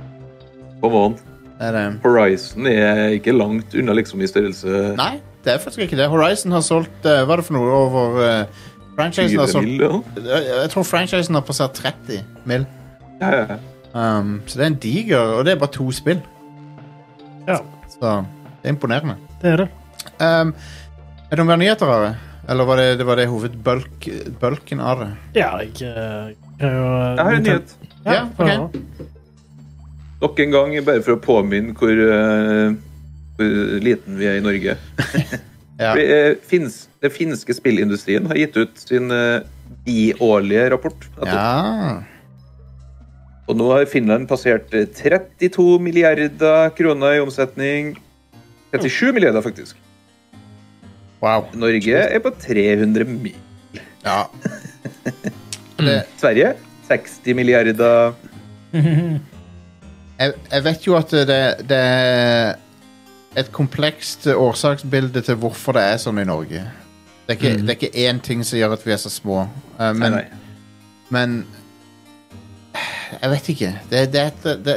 Come on.
det, er det.
Horizon er ikke langt unna liksom i størrelse
Nei, det er faktisk ikke det. Horizon har solgt eh, Hva er det for noe over eh, Franchisen har
20
solgt
mil. Ja.
Jeg jeg tror franchisen har passert 30 mil.
Ja, ja, ja.
Um, så det er en diger, og det er bare to spill.
Ja.
Så det er imponerende.
Det er det.
Um, er det noen mer nyheter av det? Eller var det, det, var det hovedbølken av det?
Ja, jeg eh, kan jo
Jeg har en nyhet.
Ja, ok.
Nok en gang, bare for å påminne hvor, eh, hvor liten vi er i Norge.
Ja.
Fordi, eh, finnes- den finske spillindustrien har gitt ut sin eh, biårlige rapport. nettopp.
Ja.
Og nå har Finland passert eh, 32 milliarder kroner i omsetning. 37 milliarder, faktisk.
Wow.
Norge er på 300 mil.
Ja. Det,
Sverige 60 milliarder.
jeg, jeg vet jo at det, det er et komplekst årsaksbilde til hvorfor det er sånn i Norge. Det er ikke, det er ikke én ting som gjør at vi er så små. Uh, men,
Mm. nei, nei.
men Jeg vet ikke. Det, det, er et- det,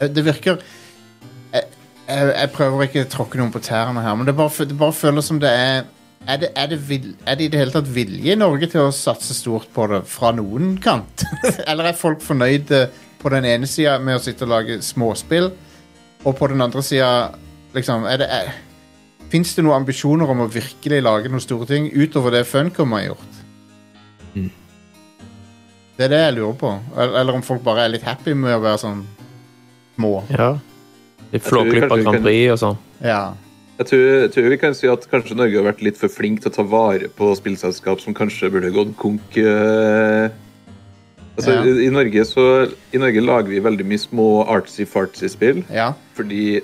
det, det virker jeg, jeg, jeg prøver ikke å tråkke noen på tærne her, men det bare, fø- det bare føles som det er er det, er, det vil, er det i det hele tatt vilje i Norge til å satse stort på det fra noen kant? [laughs] Eller er folk fornøyde på den ene sida med å sitte og lage småspill, og på den andre sida liksom, er det, er, Fins det noen ambisjoner om å virkelig lage noen store ting utover det Funcom har gjort? Det er det jeg lurer på. Eller, eller om folk bare er litt happy med å være sånn små.
Ja. De
tror kanskje
flåklipper
vi
Grand
kan-
Prix og sånn.
Ja.
Jeg tror, jeg tror vi kan si at kanskje Norge har vært litt for flink til å ta vare på spillselskap som kanskje burde gått konk. eh. altså,
Ja.
i, i, Norge så, I Norge lager vi veldig mye små artsy-fartsy spill.
Ja.
Fordi,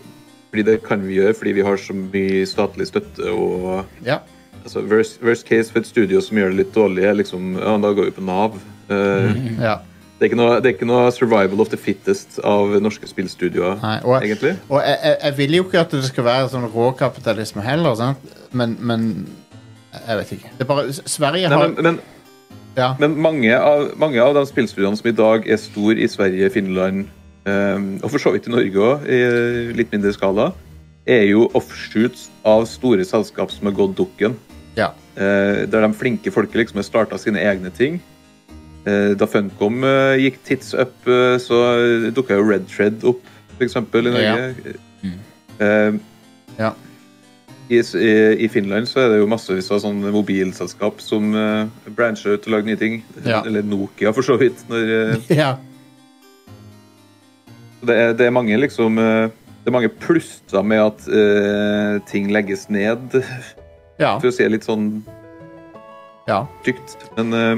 fordi det kan vi gjøre fordi vi har så mye statlig støtte. og
ja.
altså, worst, worst case for et studio som gjør det litt dårlig, er liksom ja, da går vi på Nav. Eh,
ja.
det, er ikke noe, det er ikke noe survival of the fittest av norske spillstudioer,
Nei, og-
egentlig.
Og jeg, jeg, jeg vil jo ikke at det skal være sånn råkapitalisme heller, sant? Men, men Jeg vet ikke. Det er bare S- Sverige
Nei,
har
men, men
ja.
Men mange av, mange av de spillstudiene som i dag er store i Sverige, Finland eh, og for så vidt i Norge òg, i litt mindre skala, er jo offshoots av store selskap som har gått dukken.
ja.
Eh, der de flinke folket liksom har starta sine egne ting. Eh, da Funcom eh, gikk tits up, eh, så dukka jo Red Thread opp, f.eks. i Norge. Eh,
Ja.
i, i, I Finland så er det jo massevis av sånne mobilselskap som eh, brancher ut og lager nye ting.
Ja.
Eller Nokia, for så vidt. Når, eh,
ja.
så det, er, det er mange liksom eh, Det er mange plusser med at eh, ting legges ned,
Ja.
for å si det litt sånn
ja.
stygt. Men eh,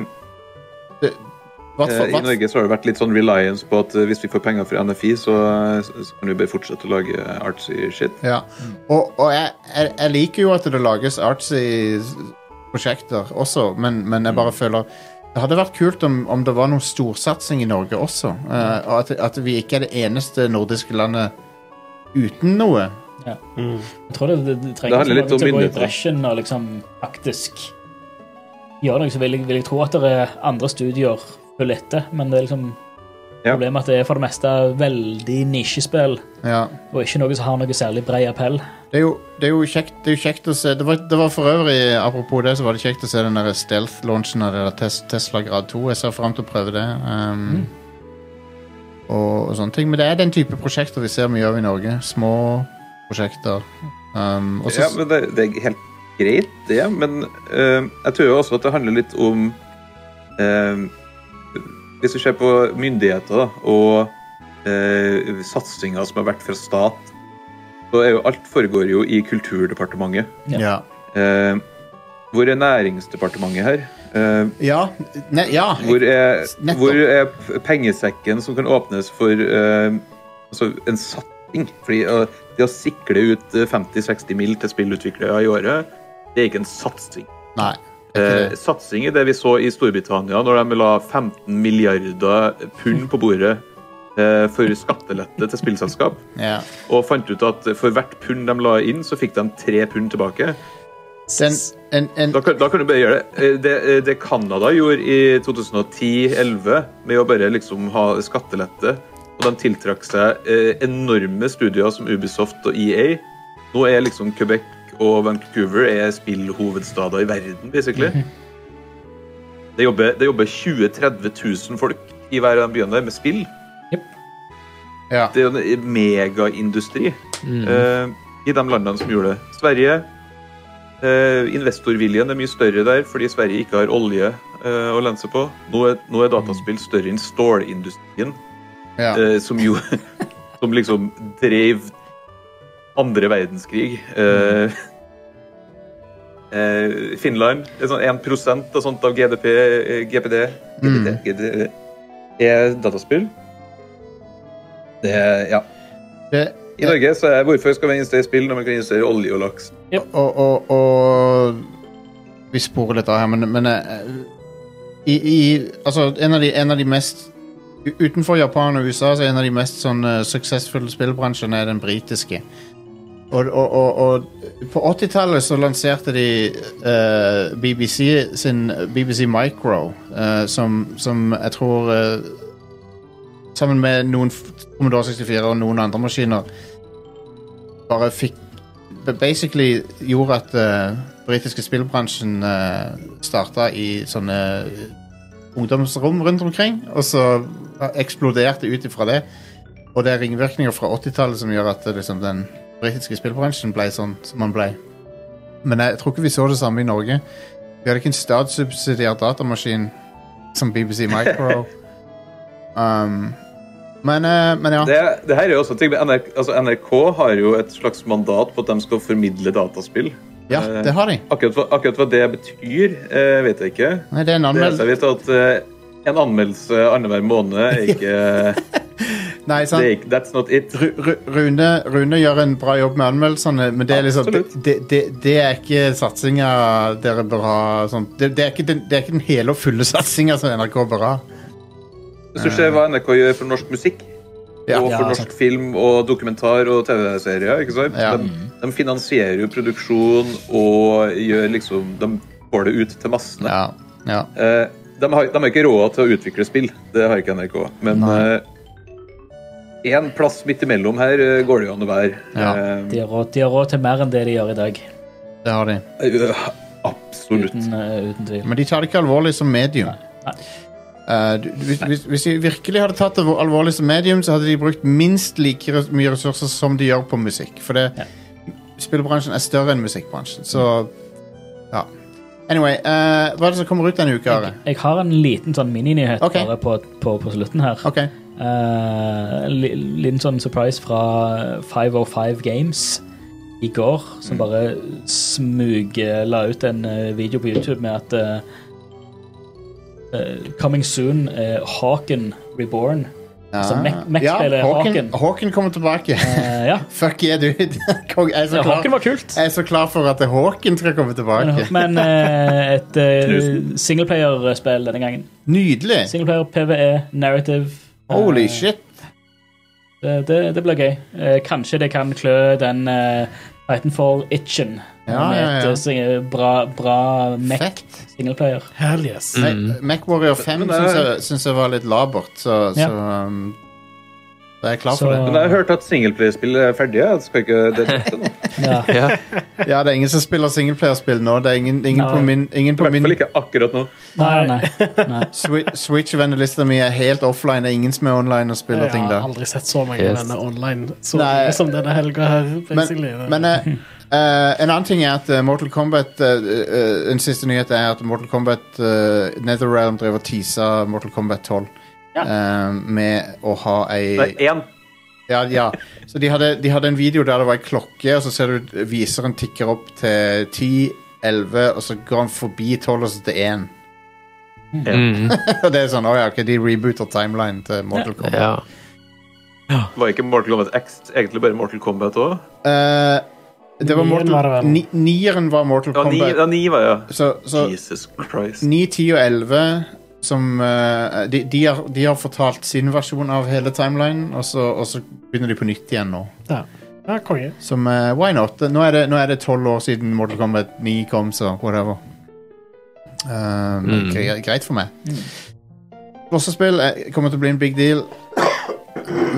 Hva,
Eh, I Norge så har det vært litt sånn reliance på at eh, hvis vi får penger fra NFI, så, eh, så kan vi bare fortsette å lage artsy shit.
Ja. Og, og jeg, jeg, jeg liker jo at det lages artsy prosjekter også, men, men jeg bare føler det hadde vært kult om, om det var noen storsatsing i Norge også. eh, og at, at vi ikke er det eneste nordiske landet uten noe.
Jeg tror det, det, det
Det
trenger
handler
ikke
litt
noen til å
om
gå i
myndigheter.
bresjen og liksom faktisk gjøre noe, så vil jeg, vil jeg tro at det er andre studier følger etter, men det er liksom
Ja.
problemet at det er for det meste veldig nisjespill,
Ja.
og ikke noe som har noe særlig brei appell.
Det er jo, det er jo, kjekt, det er jo kjekt å se det var, det var for øvrig, apropos det, så var det kjekt å se den der stealth-launchen av det der Tes Tesla Grad 2. Jeg ser fram til å prøve det. Um, og, og sånne ting. Men det er den type prosjekter vi ser mye av i Norge. Små prosjekter. Um, og så-
Ja, men det, det er helt greit, det, men eh, jeg tror jo også at det handler litt om eh, Hvis du ser på myndigheter da, og uh, satsinga som har vært fra stat, så er jo alt foregår jo i Kulturdepartementet.
ja.
Eh, hvor er Næringsdepartementet her? Eh,
Ja, ne, ja.
Hvor er,
Nettopp.
hvor er p- pengesekken som kan åpnes for eh, altså en ting. Fordi eh, det å sikle ut eh, 50-60 mil til spillutviklere i året, det er ikke en satsing.
Nei. det er ikke
Eh,
det.
satsing er det vi så i Storbritannia, når de la 15 milliarder pund på bordet eh, for skattelette til spillselskap,
Ja.
og fant ut at for hvert pund de la inn, så fikk de tre pund tilbake.
Den, en, en,
Da kan, da kan du bare gjøre det. Eh, Det, eh, det Canada gjorde i 2010-11, med å bare liksom ha skattelette, og de tiltrakk seg eh, enorme studier som Ubisoft og EA. Nå er liksom Quebec og Vancouver er spillhovedstader i verden, basically. Det jobber, det jobber 20 000-30 000 folk i hver av de byene der med spill.
ja.
Det er jo en megaindustri eh, i de landene som gjorde det. Sverige eh, Investorviljen er mye større der fordi Sverige ikke har olje eh, å lene seg på. Nå er, nå er dataspill større enn stålindustrien,
ja.
eh, som jo [laughs] Som liksom drev andre verdenskrig. Eh, [laughs] eh, Finland det er sånn 1 av, sånt av GDP, eh, GPD, GDD, GDD er dataspill. Det er- Ja.
Det,
I Norge så er hvorfor skal vi investere i spill når man kan investere i olje og laks?
og, og, og Vi sporer litt av her, men, men eh, i, i, altså, en, av de, en av de mest u- Utenfor Japan og USA så er en av de mest sånn, eh, suksessfulle spillbransjene er den britiske. Og, og, og, og på 80-tallet så lanserte de eh, BBC sin BBC Micro, eh, som, som jeg tror eh, Sammen med noen f- Commodore 64 og noen andre maskiner bare fikk det basically gjorde at uh, britiske spillbransjen uh, starta i sånne eh, ungdomsrom rundt omkring, og så eh, eksploderte ut ifra det. Og det er ringvirkninger fra 80-tallet som gjør at uh, liksom, den britiske spillbransjen ble sånn som den ble. Men jeg tror ikke vi så det samme i Norge. Vi hadde ikke en statssubsidiert datamaskin som BBC
[laughs]
Micro. um, men, uh, men ja.
Det, det her er jo også ting med NRK, altså NRK har jo et slags mandat på at de skal formidle dataspill.
ja, det har de.
Akkurat hva, akkurat hva det betyr, eh, vet jeg ikke.
Nei, det er en
Det eneste
anmeldelse.
jeg vet, er at eh, en anmeldelse annenhver måned er ikke,
[laughs] Nei,
det
sant.
er ikke That's not it.
Ru- Ru- Rune, Rune gjør en bra jobb med anmeldelsene, men det er liksom det,
Absolutt.
det, det, det er ikke satsinga dere bør ha. Sånn. Det, det, er ikke den, det er ikke den hele og fulle satsinga som NRK bør ha.
Hvis du ser hva NRK gjør for norsk musikk,
Ja.
og for
Ja,
norsk film og dokumentar og TV-serier, ikke sant?
Ja.
De, de finansierer jo produksjon og gjør liksom De får det ut til massene.
Ja. ja.
Eh, de, har, de har ikke råd til å utvikle spill, det har ikke NRK. Men
Nei.
én plass midt imellom her eh, går det jo an å være. Eh,
Ja.
De har, råd, de har råd til mer enn det de gjør i dag.
Det har de.
Eh, øh, absolutt.
Uten, eh, uten tvil.
Men de tar det ikke alvorlig som medium.
Nei.
Eh, du- hvis, hvis, hvis de virkelig hadde tatt det hvor- alvorlig som medium, så hadde de brukt minst like res- mye ressurser som de gjør på musikk. For det,
Ja.
spillbransjen er større enn musikkbransjen. Så ja. Anyway, eh, hva er det som kommer ut denne uka? Are?
Jeg har en liten sånn mininyhet
Ok.
bare på, på, på slutten her.
Ok,
Eh, li- liten sånn surprise fra 505 Games i går,
Mm.
som bare smug eh, la ut en eh, video på YouTube med at eh, eh, Coming soon, eh, Hawken Reborn. Altså
Ah.
Mac- Mac-spillet Hawken.
Hawken kommer tilbake.
Eh, ja.
[laughs] Fuck yeah, dude. Kong, jeg, er så
ja,
klar,
Hawken var kult.
jeg er så klar for at Hawken skal komme tilbake.
Men eh, et uh, singleplayerspill denne gangen.
Nydelig.
Singleplayer, PVE, narrative. eh,
Holy shit.
Det, det, det blir gøy. Eh, kanskje det kan klø den uh, Titanfall-itchen.
Ja,
med
ja, ja.
et, eh, bra, bra Mac
Fett.
singleplayer.
Hell yes.
Mac- MacWarrior 5
Men det er-
syns jeg, syns jeg var litt labert, så,
Ja.
så um, da er jeg klar
Så-
for det.
Men jeg har hørt at singelplayerspill er ferdig. Jeg skal
[laughs]
ikke det, det, nå.
Ja.
Ja.
Ja, det er ingen som spiller singleplayerspill nå. Det er ingen, ingen
Nei.
på min, ingen
I
på
hvert fall
min
ikke akkurat nå.
Nei, nei.
Swi- Switch-vennelista mi er helt offline. Det er ingen som er online og spiller
Jeg
ting
har
der.
aldri sett så mange
Yes.
venner online så
Nei.
mye som denne helga her. basically.
Men, men eh, eh, en annen ting er at eh, Mortal Kombat eh, eh, En siste nyhet er at Mortal Kombat eh, Netherrealm driver og teaser Mortal Kombat 12 eh, med å ha
Nei,
ei
én.
ja, ja. Så de hadde, de hadde en video der det var ei klokke, og så ser du viseren tikker opp til 10, 11, og så går han forbi 12 og så til 1. [laughs]
Mm.
Og det er sånn, å ja, ok, de rebooter timelinen til Mortal Kombat.
ja.
Var ikke Mortal Kombat X egentlig bare Mortal Kombat òg?
Eh, det var
Nieren var det
Mortal,
vel?
ni, nieren var Mortal
Ja, ni,
Kombat.
ja, ni var ja.
Så, så
Jesus Christ.
9, 10 og 11 som eh, de, de, har, de har fortalt sin versjon av hele timelinen, og så, og så begynner de på nytt igjen nå.
Ja, ja konge.
Som eh, Why not? Nå er, det, nå er det 12 år siden Mortal Kombat 9 kom, så whatever. Eh,
Mm.
gre greit for meg. Slåssespill eh, kommer til å bli en big deal.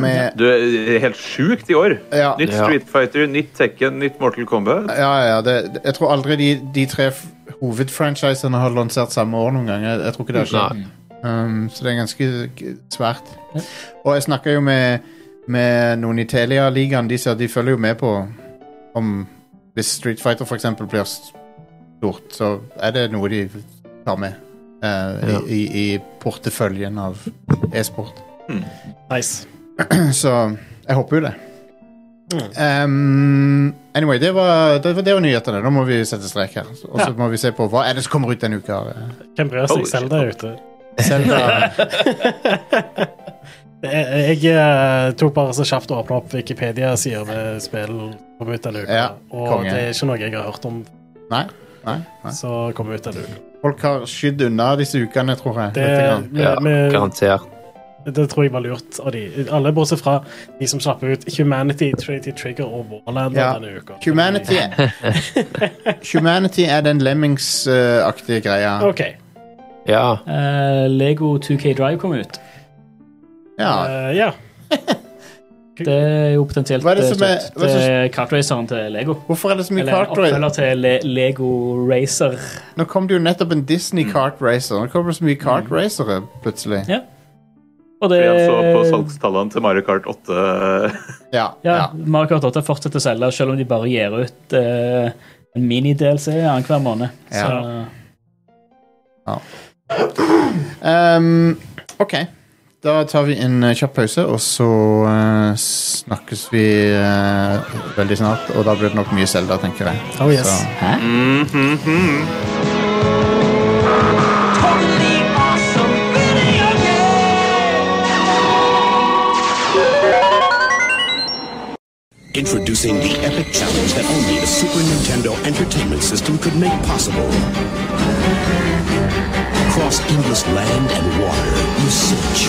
Med
Du det er eh, helt sjukt i år.
Ja,
Nytt
Ja.
Street Fighter, nytt Tekken, nytt Mortal Kombat.
ja, ja det, jeg tror aldri de, de tre f- hovedfranchisene har lansert samme år noen gang. Jeg, jeg tror ikke det har skjedd.
Nei.
Um, så det er ganske g- svært.
Ja.
Og jeg snakker jo med, med noen i Telia-ligaen. De sier at de følger jo med på om Hvis Street Fighter for eksempel blir stort, så er det noe de tar med eh,
Ja.
i, i, i porteføljen av e-sport.
Nice.
Så jeg håper jo det. Um, anyway, det var, det var, det var nyhetene. Nå må vi sette strek her. Og så
Ja.
må vi se på hva er det som kommer ut denne uka.
Hvem bryr
Holy
seg? Selda er ute.
Oh, Zelda.
[laughs] Jeg, jeg eh, tok bare så kjapt og åpna opp Wikipedia-sider med spill kom ut denne uka.
Ja,
og
konge.
det er ikke noe jeg har hørt om
Nei? Nei? Nei?
som kom ut denne uka.
Folk har skydd unna disse ukene, tror jeg.
Det,
lite grann.
vi-
Ja,
vi-
garantert.
det tror jeg var lurt av de. Alle bortsett fra de som slapp ut Humanity, Trinity Trigger og Warlander
Ja.
denne uka.
Humanity
[laughs]
Humanity er den Lemmings-aktige greia.
OK.
Ja.
Eh, Lego 2K Drive kom ut.
Ja.
Eh, ja.
Det er jo potensielt
Hva er det som er-
stort.
hva er det som-
Det er kartraceren til Lego.
Hvorfor er det så mye
Eller en
kart
oppfølger
race?
til Le Lego Racer.
Nå kom det jo nettopp en Disney kart racer. Nå kommer det så mye kart racere plutselig.
Ja. Og det
Vi så
altså
på
Eh.
salgstallene til Mario Kart eh, 8.
Ja.
Ja,
ja.
Mario Kart 8 fortsetter å selge, selv om de bare gir ut eh, en mini-DLC annenhver måned. Så eh,
Um, OK. Da tar vi en eh, kjapp pause, og så eh, snakkes vi eh, veldig snart. Og da blir det nok mye Selda, tenker jeg.
Oh, yes.
Så-
Totally awesome video
Introducing the epic challenge that only the Super Nintendo Entertainment System could make possible. Across endless land and water, you search.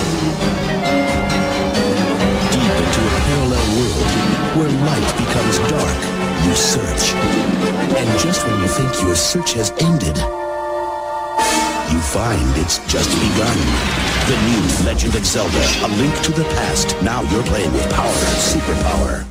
Deep into a parallel world where light becomes dark, you search. And just when you think your search has ended, you find it's just begun. The new Legend of Zelda, A Link to the Past. Now you're playing with power, superpower.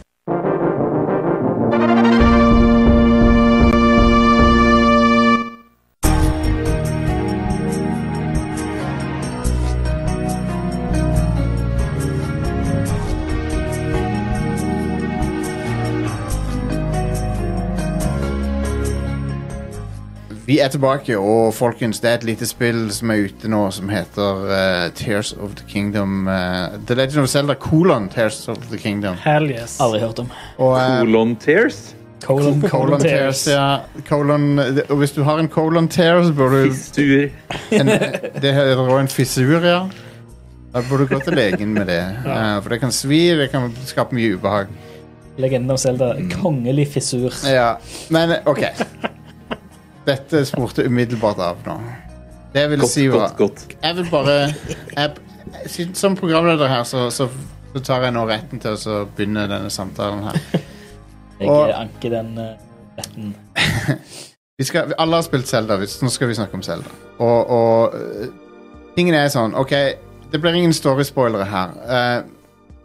Vi er tilbake, og folkens, det er et lite spill som er ute nå som heter eh, Tears of the Kingdom. eh, the Legend of Zelda colon Tears of the Kingdom.
Hell yes.
aldri hørt om.
Og, eh,
Colon Tears?
[laughs]
Colon,
colon Tears, ja. Colon, og hvis du har en colon tear, så bør [laughs] du
Fistur.
en, Det hører også en fissur, ja. Da bør du gå til legen med det. eh, for det kan svi, det kan skape mye ubehag.
Legenden om Zelda.
Mm.
Kongelig fissur.
Ja, men OK. Dette spurte umiddelbart av nå. Det jeg ville
Godt,
si var
godt, godt.
jeg vil bare jeg, siden- Som programleder her, så, så, så tar jeg nå retten til å så begynne denne samtalen her.
Jeg
Og-
anker den eh, retten.
Vi skal, alle har spilt Zelda, vi- så nå skal vi snakke om Zelda. Og, og øh, tingene er sånn OK, det blir ingen story-spoilere her. Eh,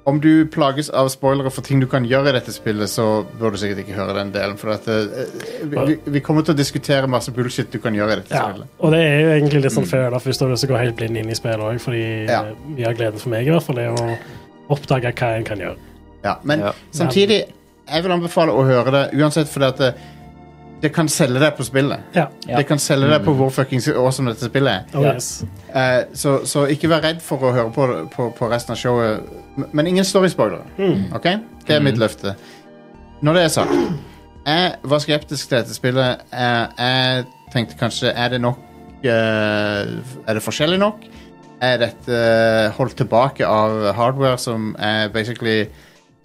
om du plages av spoilere for ting du kan gjøre i dette spillet, så bør du sikkert ikke høre den delen, for at, eh, vi, vi- vi kommer til å diskutere masse bullshit du kan gjøre i dette
Ja,
spillet.
og det er jo egentlig litt sånn fair enough hvis du har lyst til å gå helt blind inn i spillet òg, fordi
Mm. Ja.
eh, mye av gleden for meg i hvert fall er å oppdage hva en kan gjøre.
Ja, men
Ja.
samtidig Jeg vil anbefale å høre det uansett fordi at det, det kan selge deg på spillet.
Ja.
Ja.
Det kan selge deg på hvor fuckings awesome dette spillet er.
Oh,
Ja.
yes.
Eh, så, så ikke vær redd for å høre på, det- på, på resten av showet. M- Men ingen storyspoilere. Ok? Det er mitt løfte. Når det er sagt Jeg var skeptisk til dette spillet. Jeg, jeg tenkte kanskje Er det nok eh, Er det eh, forskjellig nok? er dette holdt tilbake av hardware som er basically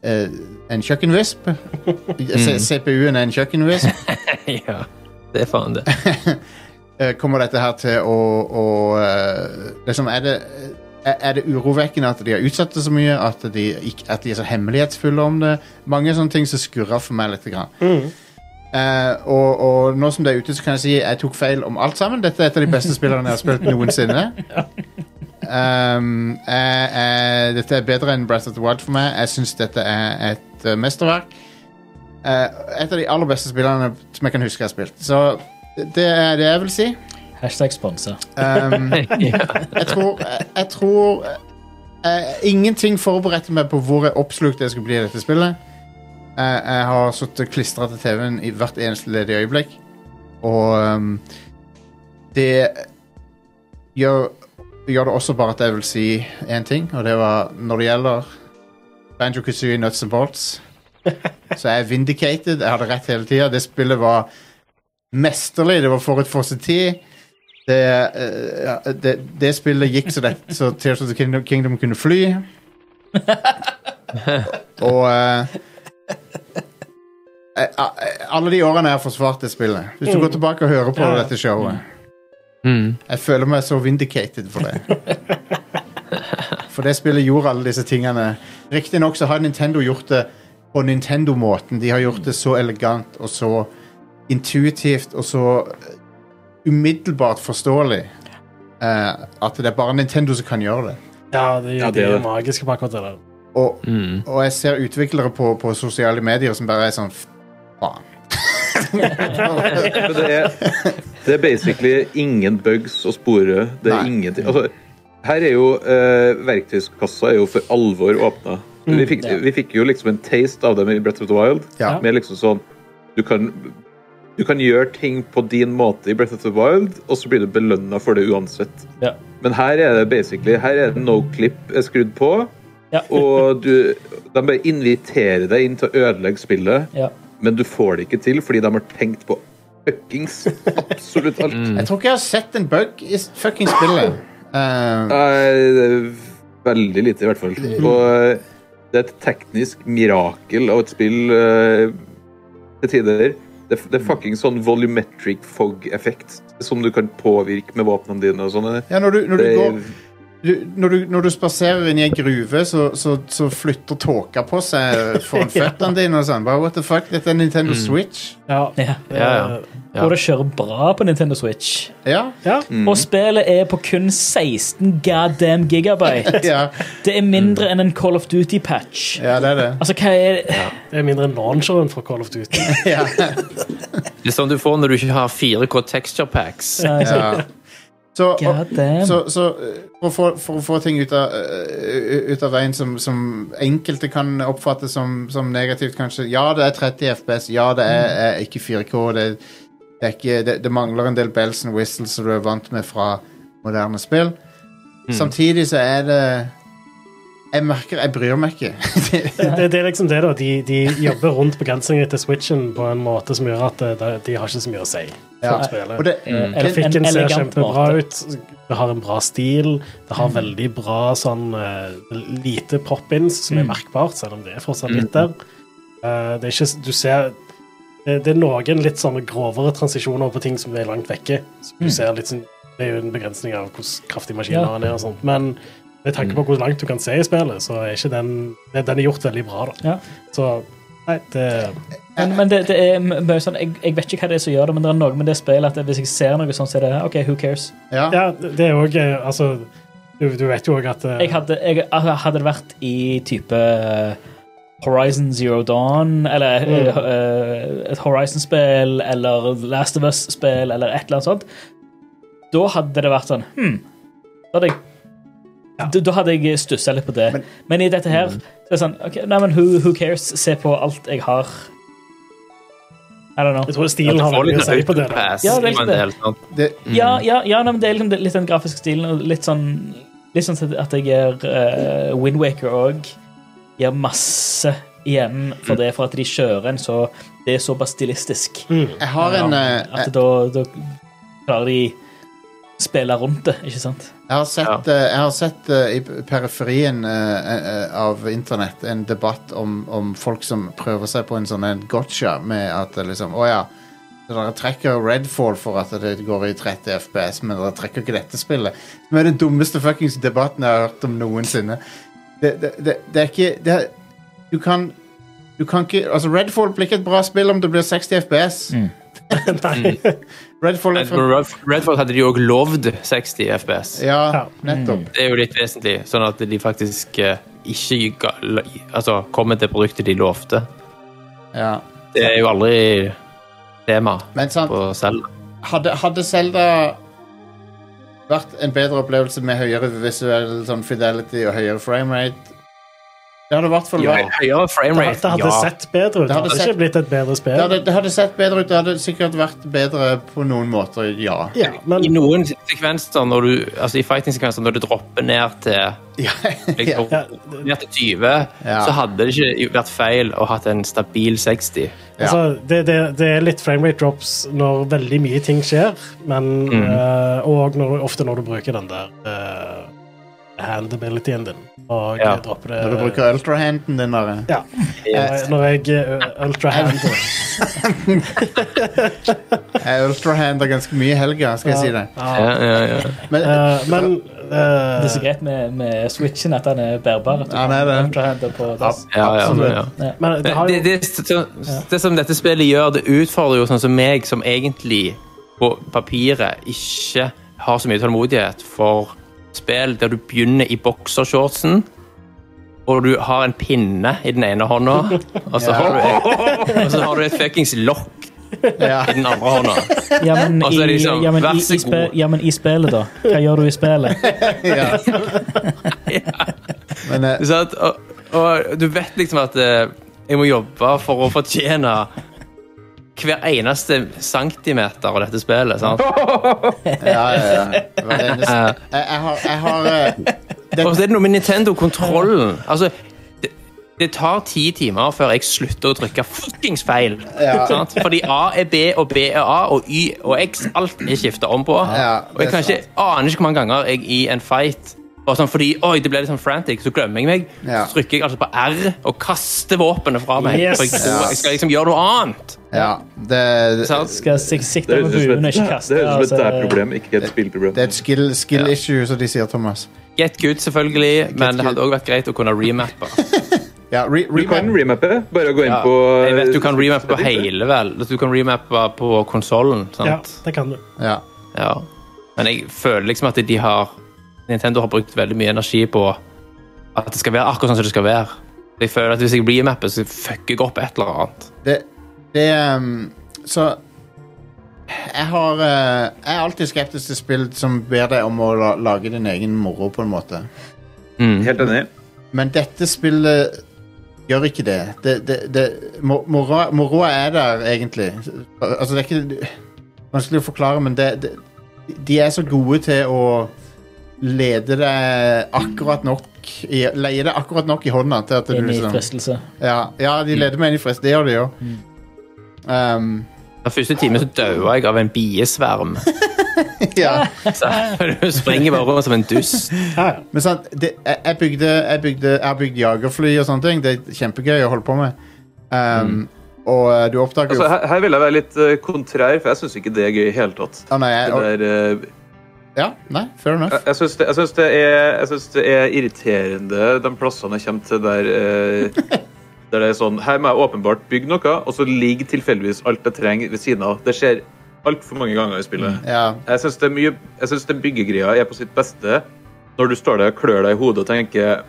eh, en kjøkkenvisp. C- CPU-en er en kjøkkenvisp.
ja, det er faen det.
Eh, Kommer dette her til å, å eh, liksom er, det, er er det urovekkende at de har utsatt det så mye? At de, ikk- at de er så hemmelighetsfulle om det? Mange sånne ting som skurrer for meg litt. Grann. Eh, og, og nå som det er ute, så kan jeg si jeg tok feil om alt sammen. Dette er et av de beste spillerne jeg har spilt noensinne. Um, jeg- jeg- dette er bedre enn Breath of the Wild for meg. Jeg syns dette er et uh, mesterverk. Eh, et av de aller beste spillerne som jeg kan huske jeg har spilt. Så det er det jeg vil si.
Hashtag sponsa.
Um, jeg tror, jeg, jeg tror eh, Ingenting forberedte meg på hvor jeg oppslukt jeg skulle bli i dette spillet. Jeg, jeg har sittet klistra til TV-en i hvert eneste ledige øyeblikk. Og ehm, det gjør, gjør det også bare at jeg vil si én ting, og det var når det gjelder Banjo Kazooie Nuts and Bolts, så jeg er vindicated. Jeg hadde rett hele tida. Det spillet var mesterlig. Det var forut for sin tid det, eh, ja, det, det spillet gikk så, det, så Tears of the Kingdom, Kingdom kunne fly. Og eh, eh, eh, Alle de årene jeg har forsvart det spillet. Hvis du går tilbake og hører på
Ja, ja.
dette showet
Mm.
Jeg føler meg så vindicated for det. For det spillet gjorde alle disse tingene. Riktignok så har Nintendo gjort det på Nintendo-måten. De har gjort det så elegant og så intuitivt og så eh, umiddelbart forståelig eh, at det er bare Nintendo som kan gjøre det.
Ja, det,
Ja, det
det
er
er
det.
magiske på akkurat det der.
Og,
Mm.
og jeg ser utviklere på, på sosiale medier som bare er sånn faen.
Men det er, det er basically ingen bugs å spore. Det er
Nei.
ingenting. Altså, her er jo eh, Verktøyskassa er jo for alvor åpna. Vi, fikk-
ja.
vi fikk jo liksom en taste av dem i Breath of the Wild.
Ja.
Med liksom sånn du kan, du kan gjøre ting på din måte i Breath of the Wild, og så blir du belønna for det uansett.
Ja.
Men her er det basically Her er det no clip er skrudd på,
Ja.
og du, de bare inviterer deg inn til å ødelegge spillet
ja.
men du får det ikke til fordi de har tenkt på fuckings absolutt alt.
Jeg tror ikke jeg har sett en bug i s- fucking spillet. Eh,
Nei, det er veldig lite, i hvert fall. Og eh, det er et teknisk mirakel av et spill eh, til tider. Det, det er fuckings sånn volumetric fog-effekt som du kan påvirke med våpnene dine og sånne.
ja, når du, når du
Det
går du, når, du, når du spaserer inn i en gruve, så, så, så flytter tåka på seg foran føttene dine. og sånn. Bare, what the fuck, Dette er Nintendo Switch.
Ja.
ja.
Ja, ja. Ja.
Og det kjører bra på Nintendo Switch.
Ja,
Ja.
Mm.
Og spillet er på kun 16 goddamn gigabyte.
ja,
Det er mindre
Mhm.
enn en Call of Duty-patch.
ja det er det.
Altså, hva er det?
Det er mindre enn launcheren fra Call of Duty.
Ja,
Det er sånn du får når du ikke har 4K texture packs.
Altså,
ja. Så, og,
God damn.
Så, så eh, for, å få, for å få ting ut av, eh, ut av veien som, som enkelte kan oppfatte som, som negativt, kanskje Ja, det er 30 FPS. Ja, det er, er ikke 4K. Det, det, er ikke, det, det mangler en del bells and whistles som du er vant med fra moderne spill. Samtidig så er det Jeg merker Jeg bryr meg ikke. [laughs] Det-
Det, det er liksom det, da. De, de jobber rundt begrensninger etter Switchen på en måte som gjør at eh, de, de har ikke så mye å si.
ja.
for spillet.
Og det,
En- en
Grafikken ser
elegant måte.
kjempebra
Mhm.
ut. Det har en bra stil. Det har veldig bra sånn eh, lite pop-ins som
Mhm.
er merkbart, selv om det er fortsatt litt der. Eh, det er ikke Du ser det, det er noen litt sånne grovere transisjoner på ting som er langt vekke. Så du ser litt sånn Det er jo en begrensning av hvor kraftig
Mhm. Ja. Mhm.
maskinene er og sånt, men med tanke på hvor langt du kan se i spillet, så er ikke den Den den er gjort veldig bra, da.
Ja.
Så Nei, det
Men, men det, det er m- mye sånn, jeg, jeg vet ikke hva det er som gjør det, men det er noe med det spillet at hvis jeg ser noe sånn, så er det OK, who cares?
ja.
Ja, det det er òg Altså, du, du vet jo òg at eh,
Jeg hadde, jeg, jeg hadde det vært i type eh, Horizon Zero Dawn, eller eh, et Horizon-spill, eller Last of Us-spill, eller et eller annet sånt, da hadde det vært sånn hmm, da, hadde jeg, da, da hadde jeg stussa litt på det. Men, i dette her så er det sånn ok, Nei, men who, who cares? Se på alt jeg har. I don't know.
Jeg tror stilen har veldig mye å si på det. da.
Ja, det er
liksom
litt det.
det. sant?
Det,
Ja, ja, ja nei, men det er liksom litt den grafiske stilen, og litt sånn, litt sånn at jeg gjør eh, Wind Windwaker òg. Gjør masse igjen for det, for at de kjører en så Det er såpass stilistisk.
jeg har en eh,
at da, da klarer de spille rundt det, ikke sant?
Jeg har sett, eh, jeg har sett eh, i periferien eh, eh, av internett en debatt om, om folk som prøver seg på en sånn en gotcha med at det liksom Å ja, så dere trekker Redfall for at det går i 30 FPS, men dere trekker ikke dette spillet. Som er den dummeste fuckings debatten jeg har hørt om noensinne. Det, det, det, det er ikke det, er- Du kan Du kan ikke Altså, Redfall blir ikke et bra spill om det blir 60 FPS.
[laughs] Nei.
Mm.
Redfall er
Men
for,
Red- Redfall hadde de jo òg lovd 60 FPS.
Ja, nettopp.
Det er jo litt vesentlig, sånn at de faktisk eh, ikke ga, la- altså, kommer til produktet de lovte.
Ja.
Det er jo aldri tema
Men sant.
på selv.
Hadde, hadde Zelda vært en bedre opplevelse med høyere visuell sånn fidelity og høyere framerate Det hadde i hvert fall vært
Høyere frame
Det,
rate,
det hadde sett bedre ut.
Det
Det
hadde
hadde
sett-
ikke blitt et bedre
det
spill.
hadde, det hadde sett bedre ut. Det hadde sikkert vært bedre på noen måter, ja.
Ja,
I
men
noen sekvenser, når du, altså i fighting-sekvenser, når du dropper ned til
Ja,
liksom,
Ja.
ned til 20,
Ja.
så hadde det ikke vært feil å hatt en stabil 60.
altså, det, det, det er litt framerate drops når veldig mye ting skjer, men
Mm.
eh, Og når, ofte når du bruker den der eh, handabilityen din og
Ja.
dropper det
Når du bruker ultrahanden din, Are.
Ja. Når- Når jeg eh,
[laughs]
ultrahand
Jeg ultrahander ganske mye i helga, skal jeg si det.
Ja, ja, ja.
Men
Eh, men eh,
Det er så greit med, med switchen at den er bærbar. At du
Han er
kan
det.
ultrahande på dass.
ja, ja,
Absolutt.
ja.
men det
Det,
har jo
det, det, så- det som dette spillet gjør, det utfordrer jo sånn som meg, som egentlig på papiret ikke har så mye tålmodighet for spill der du begynner i boksershortsen, og du har en pinne i den ene hånda, og så har du et, og så har du et fuckings lokk
ja.
i den andre [laughs] hånda.
Ja, men,
Altså,
i,
liksom,
ja, men,
vær
i,
så
i spe,
god.
ja, men i spillet, da? Hva gjør du i spillet?
ja. Men eh,
Så at, og, og du vet liksom at eh, jeg må jobbe for å fortjene hver eneste centimeter av dette spillet. sant?
Ja, ja, ja. Hver eneste Jeg, jeg har, jeg har eh,
Og så er det noe med Nintendo-kontrollen. Altså, det, det tar ti timer før jeg slutter å trykke fuckings feil.
Ja.
Sant? Fordi A er B, og B er A, og Y og X. Alt er skifta om på.
Ja,
og jeg
det er
kan ikke, aner ikke hvor mange ganger jeg i en fight og sånn, fordi oi, det ble litt sånn frantic, så glemmer jeg meg.
Ja.
Så trykker jeg altså på R og kaster våpenet fra meg.
Yes.
For jeg, tror
Ja.
jeg skal liksom gjøre noe annet.
Ja. Det,
Sant?
Skal sik- sikte
Det
på
høres ut som
buen og
et-
ikke
det
kaste?
høres ut
altså,
som et deg-problem, ikke et spillproblem.
det er et skill, skill issue, som de sier, Thomas.
Get good, selvfølgelig, men det
good.
hadde òg vært greit å kunne remappe.
Ja, re,
Du kan
remap-
remappe. Bare gå inn
Ja.
på eh,
Jeg vet du kan remappe på hele, vel. Du kan remappe på konsollen.
Ja,
sant?
det kan du.
ja.
Ja. Men jeg føler liksom at de har Nintendo har brukt veldig mye energi på at det skal være akkurat sånn som det skal være. Jeg føler at Hvis jeg remappet, så fucker jeg opp et eller annet.
Det, det um, Så jeg har eh, Jeg er alltid skeptisk til spill som ber deg om å la, lage din egen moro, på en måte.
Helt enig.
Men dette spillet gjør ikke det. det, det, det mo- mora- Moroa er der, egentlig. Altså, det er ikke vanskelig å forklare, men det, det, de er så gode til å lede deg akkurat nok i, Leie deg akkurat nok i hånda til at du
Inn i
liksom
fristelse.
Ja, ja de leder meg inn i frist. Det gjør de jo. Um,
Den første timen så daua jeg av en biesverm. [laughs]
ja.
Så Du springer bare rundt som en dust.
Ja, ja.
[laughs] Men sant, det, jeg, jeg bygde Jeg, bygde, jeg har bygd jagerfly og sånne ting. Det er kjempegøy å holde på med. Um, Og eh, du oppdager jo
Altså, her, her vil jeg være litt eh, kontrær, for jeg syns ikke det er gøy i hele tatt.
Å, nei, jeg,
Det er, eh,
Ja, nei, fair enough.
Jeg- Jeg syns det, jeg synes det, er- jeg synes det er irriterende de plassene jeg kommer til der eh, Der det er sånn Her må jeg åpenbart bygge noe, og så ligger tilfeldigvis alt jeg trenger ved siden av. Det skjer altfor mange ganger i spillet.
Mm, Ja,
Jeg syns det er mye Jeg synes den byggegreia er på sitt beste når du står der og klør deg i hodet og tenker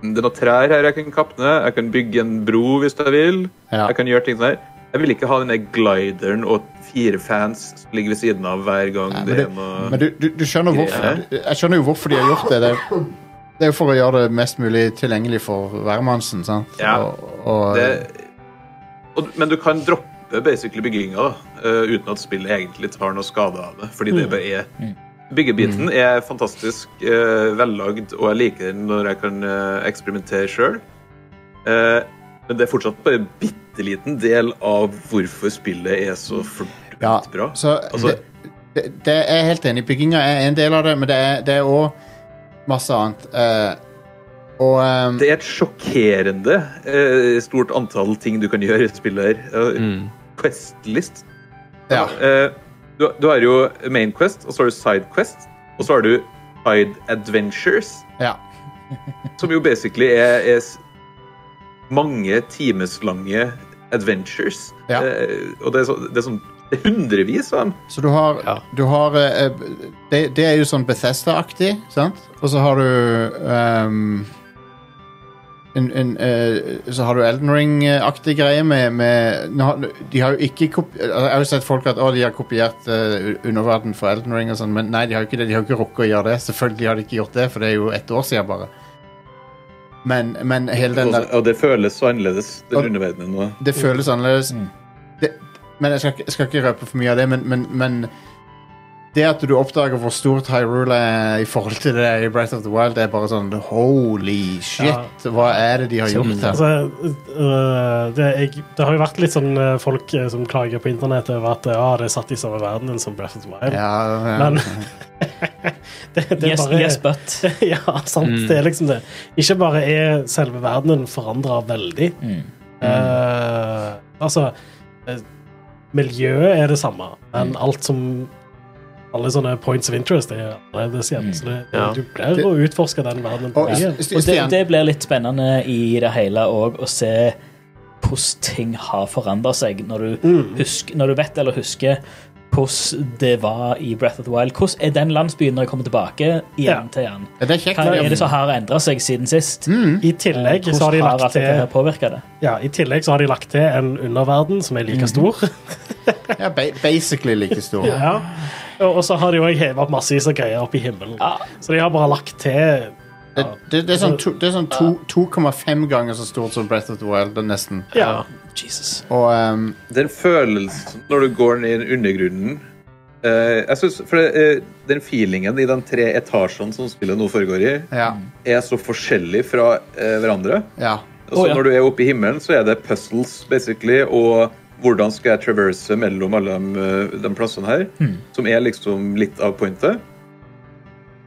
"Mm, Det er noen trær her jeg kan kappe ned. Jeg kan bygge en bro hvis jeg vil.
Ja.
Jeg kan gjøre ting der. Jeg vil ikke ha den der glideren og fire fans som ligger ved siden av hver gang
Nei,
det
men
er noe
men du, du, du skjønner hvorfor Jeg skjønner jo hvorfor de har gjort det. Det er, det er jo for å gjøre det mest mulig tilgjengelig for hvermannsen. sant?
Ja.
Og, og,
det, og, Men du kan droppe basically bygginga da, eh, uten at spillet egentlig tar noe skade av det. Fordi
Mm.
det bare er Byggebiten er fantastisk eh, vellagd, og jeg liker den når jeg kan eh, eksperimentere sjøl. men det er fortsatt bare en bitte liten del av hvorfor spillet er så fort
ja,
bra.
så
Altså-
det, det, det er jeg helt enig. i. Bygginga er en del av det, men det er- det er òg masse annet. Eh, og ehm,
Det er et sjokkerende eh, stort antall ting du kan gjøre i et spill her. Eh, Questlist.
ja.
Eh, du, du har jo Main Quest, og så har du Side Quest, og så har du Side Adventures,
ja.
som jo basically er, er s- mange times lange adventures.
Ja.
Eh, og det er, så, det er sånn det er hundrevis av dem.
Så du har,
Ja.
du har eh, eh, det, det er jo sånn Bethesda-aktig, sant? Og så har du ehm, en, en, eh, Så har du Elden Ring-aktig greie med, med nå, har- De har jo ikke kopi altså, Jeg har jo sett folk at å, de har kopiert eh, underverden for Elden Ring og sånn, men nei, de har jo ikke det. De har jo ikke rukket å gjøre det. Selvfølgelig har de ikke gjort det, for det er jo ett år siden bare. Men, men hele den
Og,
der
og det føles så annerledes,
Og-
den underverdenen nå.
Mm.
det føles annerledes. Det, men jeg skal, ikke- jeg skal ikke røpe for mye av det, men, men, men det at du oppdager hvor stort Hyrule er i forhold til det i Breath of the Wild, det er bare sånn holy shit, hva er det de har gjort her?
Altså, øh, det, jeg, det har jo vært litt sånn øh, folk øh, som klager på internett over at øh, ja, det er satt i samme verden som Breath of the Wild.
Ja, ja. [laughs]
Men det, det er
Yes,
bare
yes, but.
[laughs] Ja, sant.
Mm.
Det er liksom det. Ikke bare er selve verdenen forandra veldig.
Mm.
Eh, altså eh, Miljøet er det samme, men
Mm.
alt som alle sånne points of interest er annerledes igjen. Så det,
Ja.
du blir å utforske den verdenen på
Mm. Og
ny.
St-
Og det,
Stian,
det blir litt spennende i det hele òg å se hvordan ting har forandra seg når du,
Mm.
husker, når du vet eller husker hvordan det var i Breath of the Wild. Hvordan er den landsbyen når jeg kommer tilbake igjen
Ja.
til den?
det er kjekt.
Hva er det
det-
som har endra seg siden sist?
Mm.
I tillegg så har de
Hvordan har
lagt
alt dette
til
her påvirka det?
Ja, I tillegg så har de lagt til en underverden som er like stor. [laughs]
Ja, ba- basically like stor.
ja. Og og så har de òg heva opp massevis av greier opp i himmelen.
Ja.
Så de har bare lagt til
Det, det, det er sånn, to, det er sånn to- 2,5 ganger så stort som Breath of the Wild, det er nesten.
Ja,
Jesus.
Og ehm,
Den følelsen når du går ned i undergrunnen eh, jeg synes, for eh, Den feelingen i de tre etasjene som spillet nå foregår i,
ja,
er så forskjellig fra eh, hverandre.
ja.
Altså,
Å, ja.
Når du er oppe i himmelen, så er det puzzles, basically, og hvordan skal jeg traverse mellom alle de, eh, de plassene her, som er liksom litt av pointet.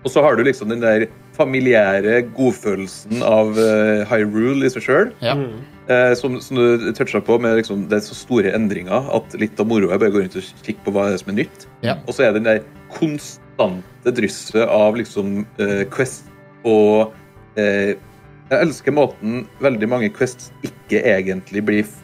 Og så har du liksom den der familiære godfølelsen av eh, Hyrule i seg sjøl.
ja.
Eh, som, som du toucha på, med liksom, det er så store endringer at litt av moroa er bare å gå rundt og kikke på hva er det som er nytt.
Ja.
Og så er det den der konstante drysset av liksom eh, Quest og eh, Jeg elsker måten veldig mange Quests ikke egentlig blir f-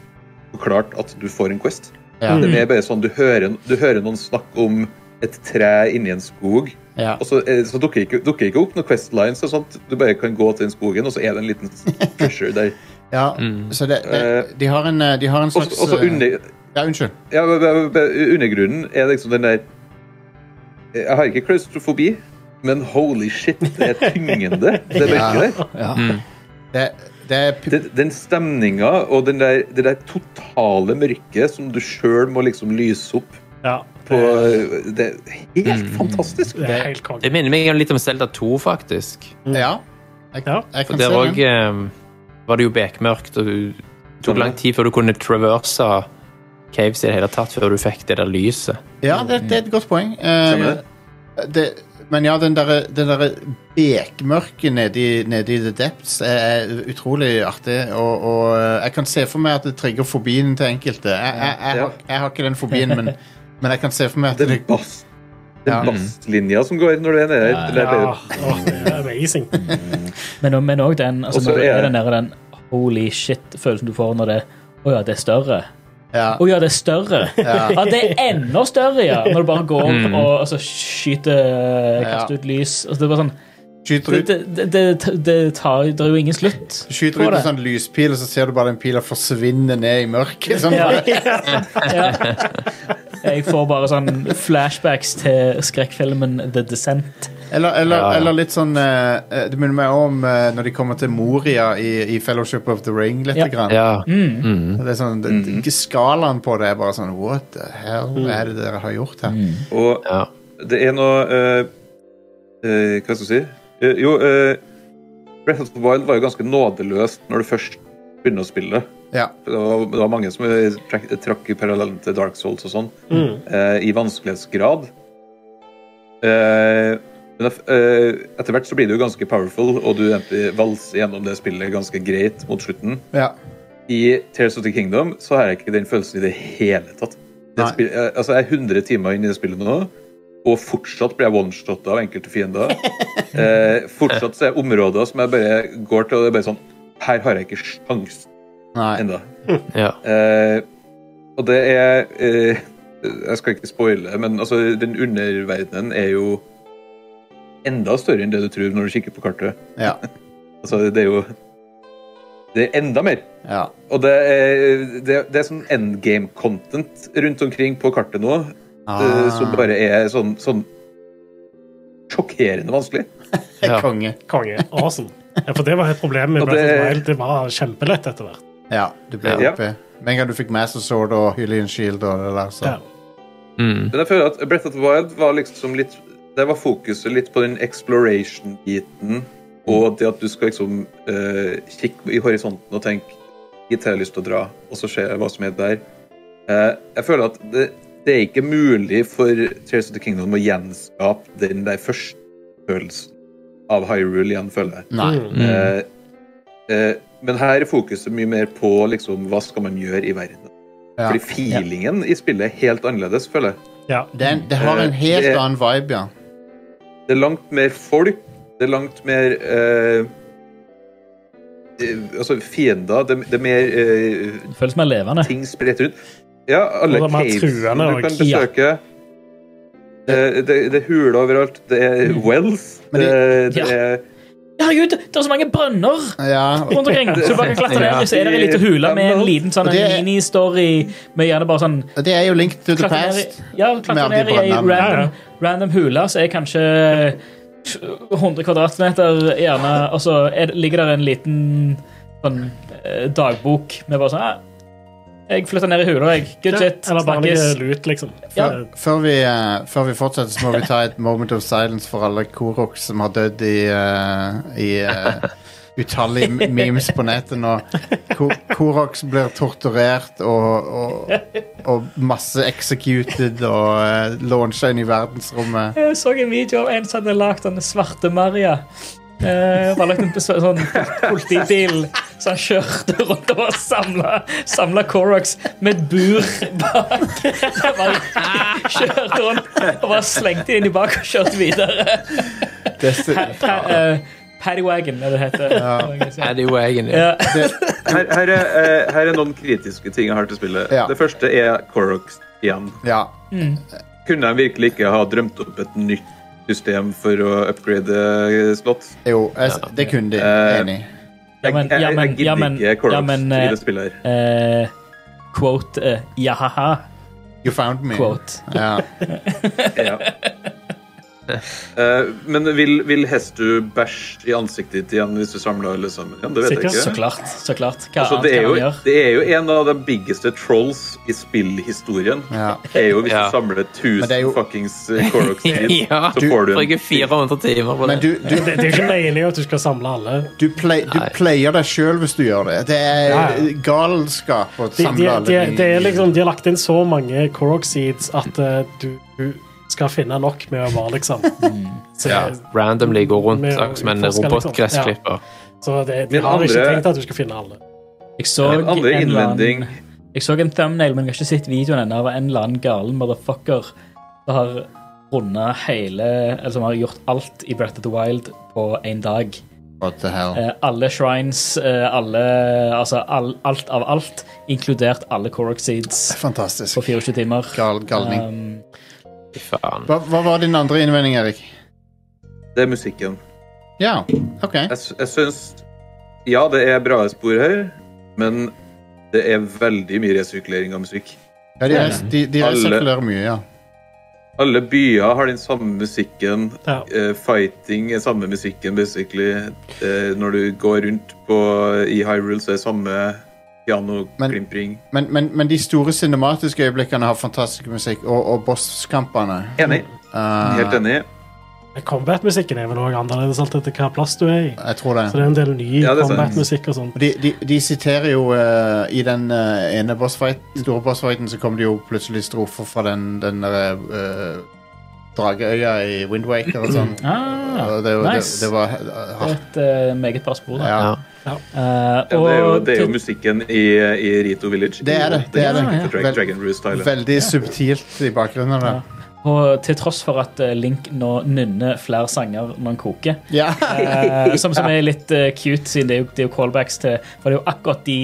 forklart at du får en Quest.
Ja.
Mm.
Det er bare sånn du hører, du hører noen snakke om et tre inni en skog,
ja.
og så, eh, så dukker ikke, dukker ikke opp noen Quest lines. og sånt. Du bare kan gå til den skogen, og så er det en liten pusher
[laughs]
der.
ja. Så det, det, de, har en, eh, de har en
Mm. Og så-
slags
og så
eh,
under,
Ja, unnskyld.
Ja, men- men- men undergrunnen er liksom den der eh, Jeg har ikke klaustrofobi, men holy shit, det er tyngende,
[laughs]
det mørket der.
Det, det er p-
Den, den stemninga og den der, det der totale mørket som du sjøl må liksom lyse opp
ja. Mm.
på Det er helt fantastisk.
Det er helt konge.
Det minner meg litt om Zelda 2, faktisk.
Ja. Jeg,
Ja.
jeg
For
kan
der
se
òg
den.
var det jo bekmørkt, og det tok lang tid før du kunne traverse caves i det hele tatt, før du fikk det der lyset.
Ja, det, det er et godt poeng. Eh,
Stemmer det?
det, men ja, den derre der bekmørket nedi, nedi the depths er, er utrolig artig, og, og eh, jeg kan se for meg at det trigger fobien til enkelte. Jeg, jeg, jeg, har, jeg har ikke den fobien, men, men jeg kan se for meg at
Den
det
bass
Ja.
den basslinja som går når du er nede der. det er
Ja,
bare-
åh, det er amazing. [laughs]
Men men òg den, altså,
Og så
når det
er-
er den, der, den holy shit-følelsen du får når det Å ja, det er større.
ja,
Å ja, det er større. [laughs] Ja, det er enda større, ja! Når du bare går opp og altså, skyter, eh, kaster ut lys. Altså, det er bare sånn
skyter
Det,
ut,
det, det, det, det, tar, det er jo ingen slutt.
skyter
på
ut
det.
en sånn lyspil, og så ser du bare den pila forsvinne ned i mørket. Sånn, [laughs]
Ja.
bare,
Ja. Jeg får bare sånn flashbacks til skrekkfilmen The Descent.
Eller, eller,
Ja, ja.
eller litt sånn eh, eh, Det minner meg om eh, når de kommer til Moria i, i Fellowship of the Ring. Litt
Ja.
grann.
Ja.
Det er sånn, det, det- Skalaen på det er bare sånn What the hell er det dere har gjort her?
Og
Ja.
det er noe eh, eh, Hva skal jeg si? Eh, jo, eh, Breath of the Wild var jo ganske nådeløst når du først begynner å spille.
Ja.
For Det var, det var mange
Mm.
som eh, trakk, trakk i parallellen til Dark Souls og sånn, eh, i vanskelighetsgrad. Eh, men ef- eh, etter hvert så blir du jo ganske powerful, og du egentlig valser gjennom det spillet ganske greit mot slutten.
Ja.
I Tears of the Kingdom så har jeg ikke den følelsen i det hele tatt. Det
Nei.
spill, eh, altså Jeg er 100 timer inn i det spillet nå, og fortsatt blir jeg one-shotta av enkelte fiender.
[laughs]
Eh, fortsatt så er det områder som jeg bare går til, og det er bare sånn Her har jeg ikke sjans
Nei.
ennå.
Ja.
Eh, og det er eh, Jeg skal ikke spoile, men altså, den underverdenen er jo enda større enn det du tror når du kikker på kartet.
Ja.
Altså, det er jo Det er enda mer.
ja.
Og det er, det, det er sånn endgame-content rundt omkring på kartet nå eh, som bare er sånn, sånn sjokkerende vanskelig.
Ja.
Konge.
Konge. Awesome. Ja, for det var et problem med
Og
Breath of
det-
the Wild. Det var kjempelett etter hvert.
Ja, du ble
Ja.
oppe. Med en gang du fikk Master Sword og Hylian Shield og det der, så
Ja.
Mm.
Men jeg føler at Breath of the Wild var liksom litt Der var fokuset litt på den exploration-biten. Og det at du skal liksom eh, kikke i horisonten og tenke Hit har jeg lyst til å dra, og så ser jeg hva som er der. Eh, jeg føler at det, det er ikke mulig for Tears of the Kingdom å gjenskape den der første følelsen av Hyrule igjen, føler jeg.
Nei.
Mm.
Mm.
Eh, eh, men her er fokuset mye mer på liksom, hva skal man gjøre i verden.
Ja.
Fordi feelingen i spillet er helt annerledes, føler jeg.
Ja.
Det, er en- det har en
Eh,
helt
det-
annen vibe, ja.
Det er langt mer folk. Det er langt mer eh, eh, Altså fiender. Det, det er mer eh,
Det føles mer levende.
ting spredt rundt. Ja, alle
Og det er mer
cavesene
truende
du
og-
kan
ja.
besøke. Eh, det, det er huler overalt. Det er wells.
Men
Det, det
Mm. Ja.
er
Herregud, det er så mange brønner
Ja,
rundt omkring! Så du bare kan klatre ned, så er det en liten hule med en liten sånn
Og det-
mini-story med gjerne bare sånn
og det er jo Link to the
klatre ned i-
Past.
Ja, klatre
Med de
ned i ei
brønnene.
Ja, ja.
random, random hule som er kanskje 100 kvadratmeter, gjerne, og så er, det- ligger der en liten sånn eh, dagbok med bare sånn «Ah, Jeg flytter ned i hula, jeg. Good shit.
Eller bare
Snakkes.
noe lut, liksom.
Ja.
For-
Før vi, eh, før vi fortsetter, så må vi ta et moment of silence for alle Korok som har dødd i, eh, i eh, utallige m- memes på nettet nå. Ko- Korok blir torturert og, og, og masse executed og uh, launcha inn i verdensrommet.
Jeg så en video av en som hadde lagd den svarte Maria. Eh, bare lagt en bes- sånn politibil Så han kjørte rundt og samla Samla Corox med et bur bak. Han bare kjørte rundt og bare slengte inn i bak og kjørte videre.
Det, er så-
Pa, eh, Paddywagon, er det det heter.
Er det jo egentlig
Ja.
her, her, er, eh, her er noen kritiske ting jeg har til spillet.
Ja.
Det første er Korox igjen.
ja.
Kunne jeg virkelig ikke ha drømt opp et nytt system for å upgrade eh, slott?
Jo, jeg, s- det kunne de.
Eh,
Enig.
Ja, men-
jeg,
ja,
jeg,
men-
jeg gidder
ja, men-
ikke Korox
ja, men,
i
eh,
det spillet her.
Eh, quote eh, jahaha.
You found me.
Quote.
Ja.
Ja. Eh, men vil, vil Hestu bæsje i ansiktet ditt igjen hvis du samler alle sammen? igjen? Det vet
Sikkert,
jeg
Så
ikke.
klart. så klart Hva
Altså,
annet
det, er
kan
jo,
man gjøre?
det er jo en av de biggeste trolls i spillhistorien.
Ja.
Det er jo Hvis
Ja.
du samler 1000
det er jo-
fuckings eh, Koroks dit,
[laughs] Ja,
så får du
bruker
en
400 timer på
Men
det.
du, du,
Det, det er jo ikke meningen at du skal samle alle.
du, play, du
Nei.
player deg sjøl hvis du gjør det. Det er
Ja, ja.
galskap å
De, de,
samle alle
de, det er
i-
liksom, de har lagt inn så mange Korok seeds at eh, du, du skal finne nok med å være, liksom. Så,
Randomly går rundt
Med å
akkurat som en
utforske, liksom.
robotgressklipper.
så det, de
Men
har ikke
andre-
tenkt at du skal finne alle.
Jeg så
En andre
en eller annen-
innvending
Jeg så en thumbnail, men jeg har ikke sett videoen ennå, av en eller annen galen motherfucker som har rundet hele Eller som har gjort alt i Breath of the Wild på én dag.
What the hell?
Eh, alle shrines, eh, alle Altså all, alt av alt, inkludert alle Korok Seeds
Fantastisk.
på 24 timer.
Gal, galning.
Um,
Fy faen.
Hva, hva var din andre innvending, Erik?
Det er musikken.
Ja, OK.
Jeg, s- jeg syns Ja, det er bra spor her, men det er veldig mye resirkulering av musikk.
Ja, de, res- de, de
Alle-
resirkulerer mye, ja.
Alle byer har den samme musikken.
Ja.
Eh, fighting er samme musikken, basically. Eh, når du går rundt på, i Hyrule, så er det samme
Men-
pianoklimpring.
Men, men, men de store cinematiske øyeblikkene har fantastisk musikk, og, og bosskampene.
Enig.
Eh,
Mm. Helt enig.
Combat-musikken er vel også annerledes alt etter hva plass du er i.
Jeg tror
Så
det.
det er en del ny
Ja, det er sant.
combat-musikk og sånt.
De, de, de siterer jo eh, I den eh, ene bossfight, store bossfighten så kom det jo plutselig strofer fra den, den der, eh, Drageøya i Windwaker og sånn.
Ah,
Og det, var-
nice.
det, det var hardt.
Et eh, meget bra spor. Da.
Ja.
Eh,
Ja, det, er jo,
og
det er jo
til-
musikken i, i Rito Village.
Det er det. det, er
Ja,
det.
ja.
Drag,
Vel-
Dragon Roost-stylen.
Veldig subtilt i bakgrunnen. Da.
Og til tross for at eh, Link nå nynner flere sanger når han koker,
Ja. [laughs]
eh, som, som er litt eh, cute, siden det er, jo, det er jo callbacks til For det er jo akkurat de,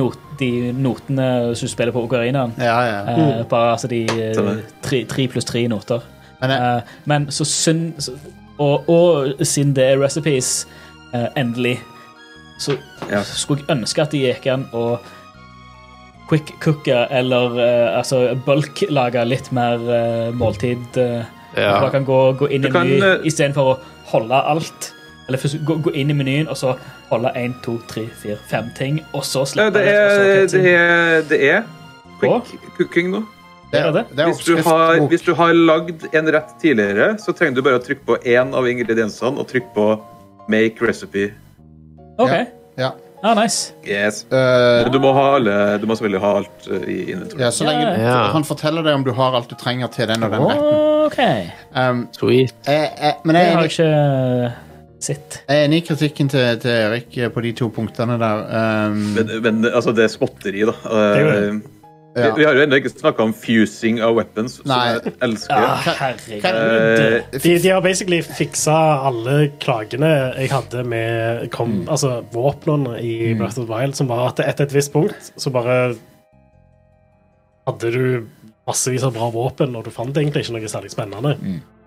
not, de notene som spiller på okarinaen.
ja, ja.
Eh, bare altså de eh,
Stemmer.
tre, tre pluss tre noter.
Men jeg,
Eh, men så synd så- og, og siden det er recipes, eh, endelig, så
Ja.
skulle jeg ønske at de gikk an å quick cooke eller eh, altså bulk-lage litt mer eh, måltid. eh,
Ja.
At man kan gå, gå inn
Du
i
kan,
menyen
eh,
istedenfor å holde alt. Eller først gå, gå inn i menyen og så holde én, to, tre, fire, fem ting, og så
Ja,
slippe
det er,
og så
det
cutscene.
er, det er quick cooking nå.
det,
er det.
det er Oh,
Hvis du, har,
oppskriftbok.
hvis du har lagd en rett tidligere, så trenger du bare å trykke på én av ingrediensene og trykke på make recipe.
OK.
Ja.
Ah, nice.
Yes.
Eh,
Men du må ha alle, du må selvfølgelig ha alt eh, i inventory.
ja, så lenge du,
Ja.
Han forteller deg om du har alt du trenger til den og den retten.
OK.
Um,
Sweet.
jeg, jeg, men
Det
jeg er
har
enig-
jeg ikke sett.
jeg er enig i kritikken til, til Erik eh, på de to punktene der. Um,
Men, men altså, det er småtteri, da.
er jo
Eh, vi,
ja.
vi har jo ennå ikke snakka om fusing av weapons, som
Nei.
jeg elsker.
herregud.
Eh,
De, de har basically fiksa alle klagene jeg hadde med kom, altså, våpnene i Breath of the Wild, som var at etter et visst punkt så bare hadde du massevis av bra våpen, og du fant egentlig ikke noe særlig spennende.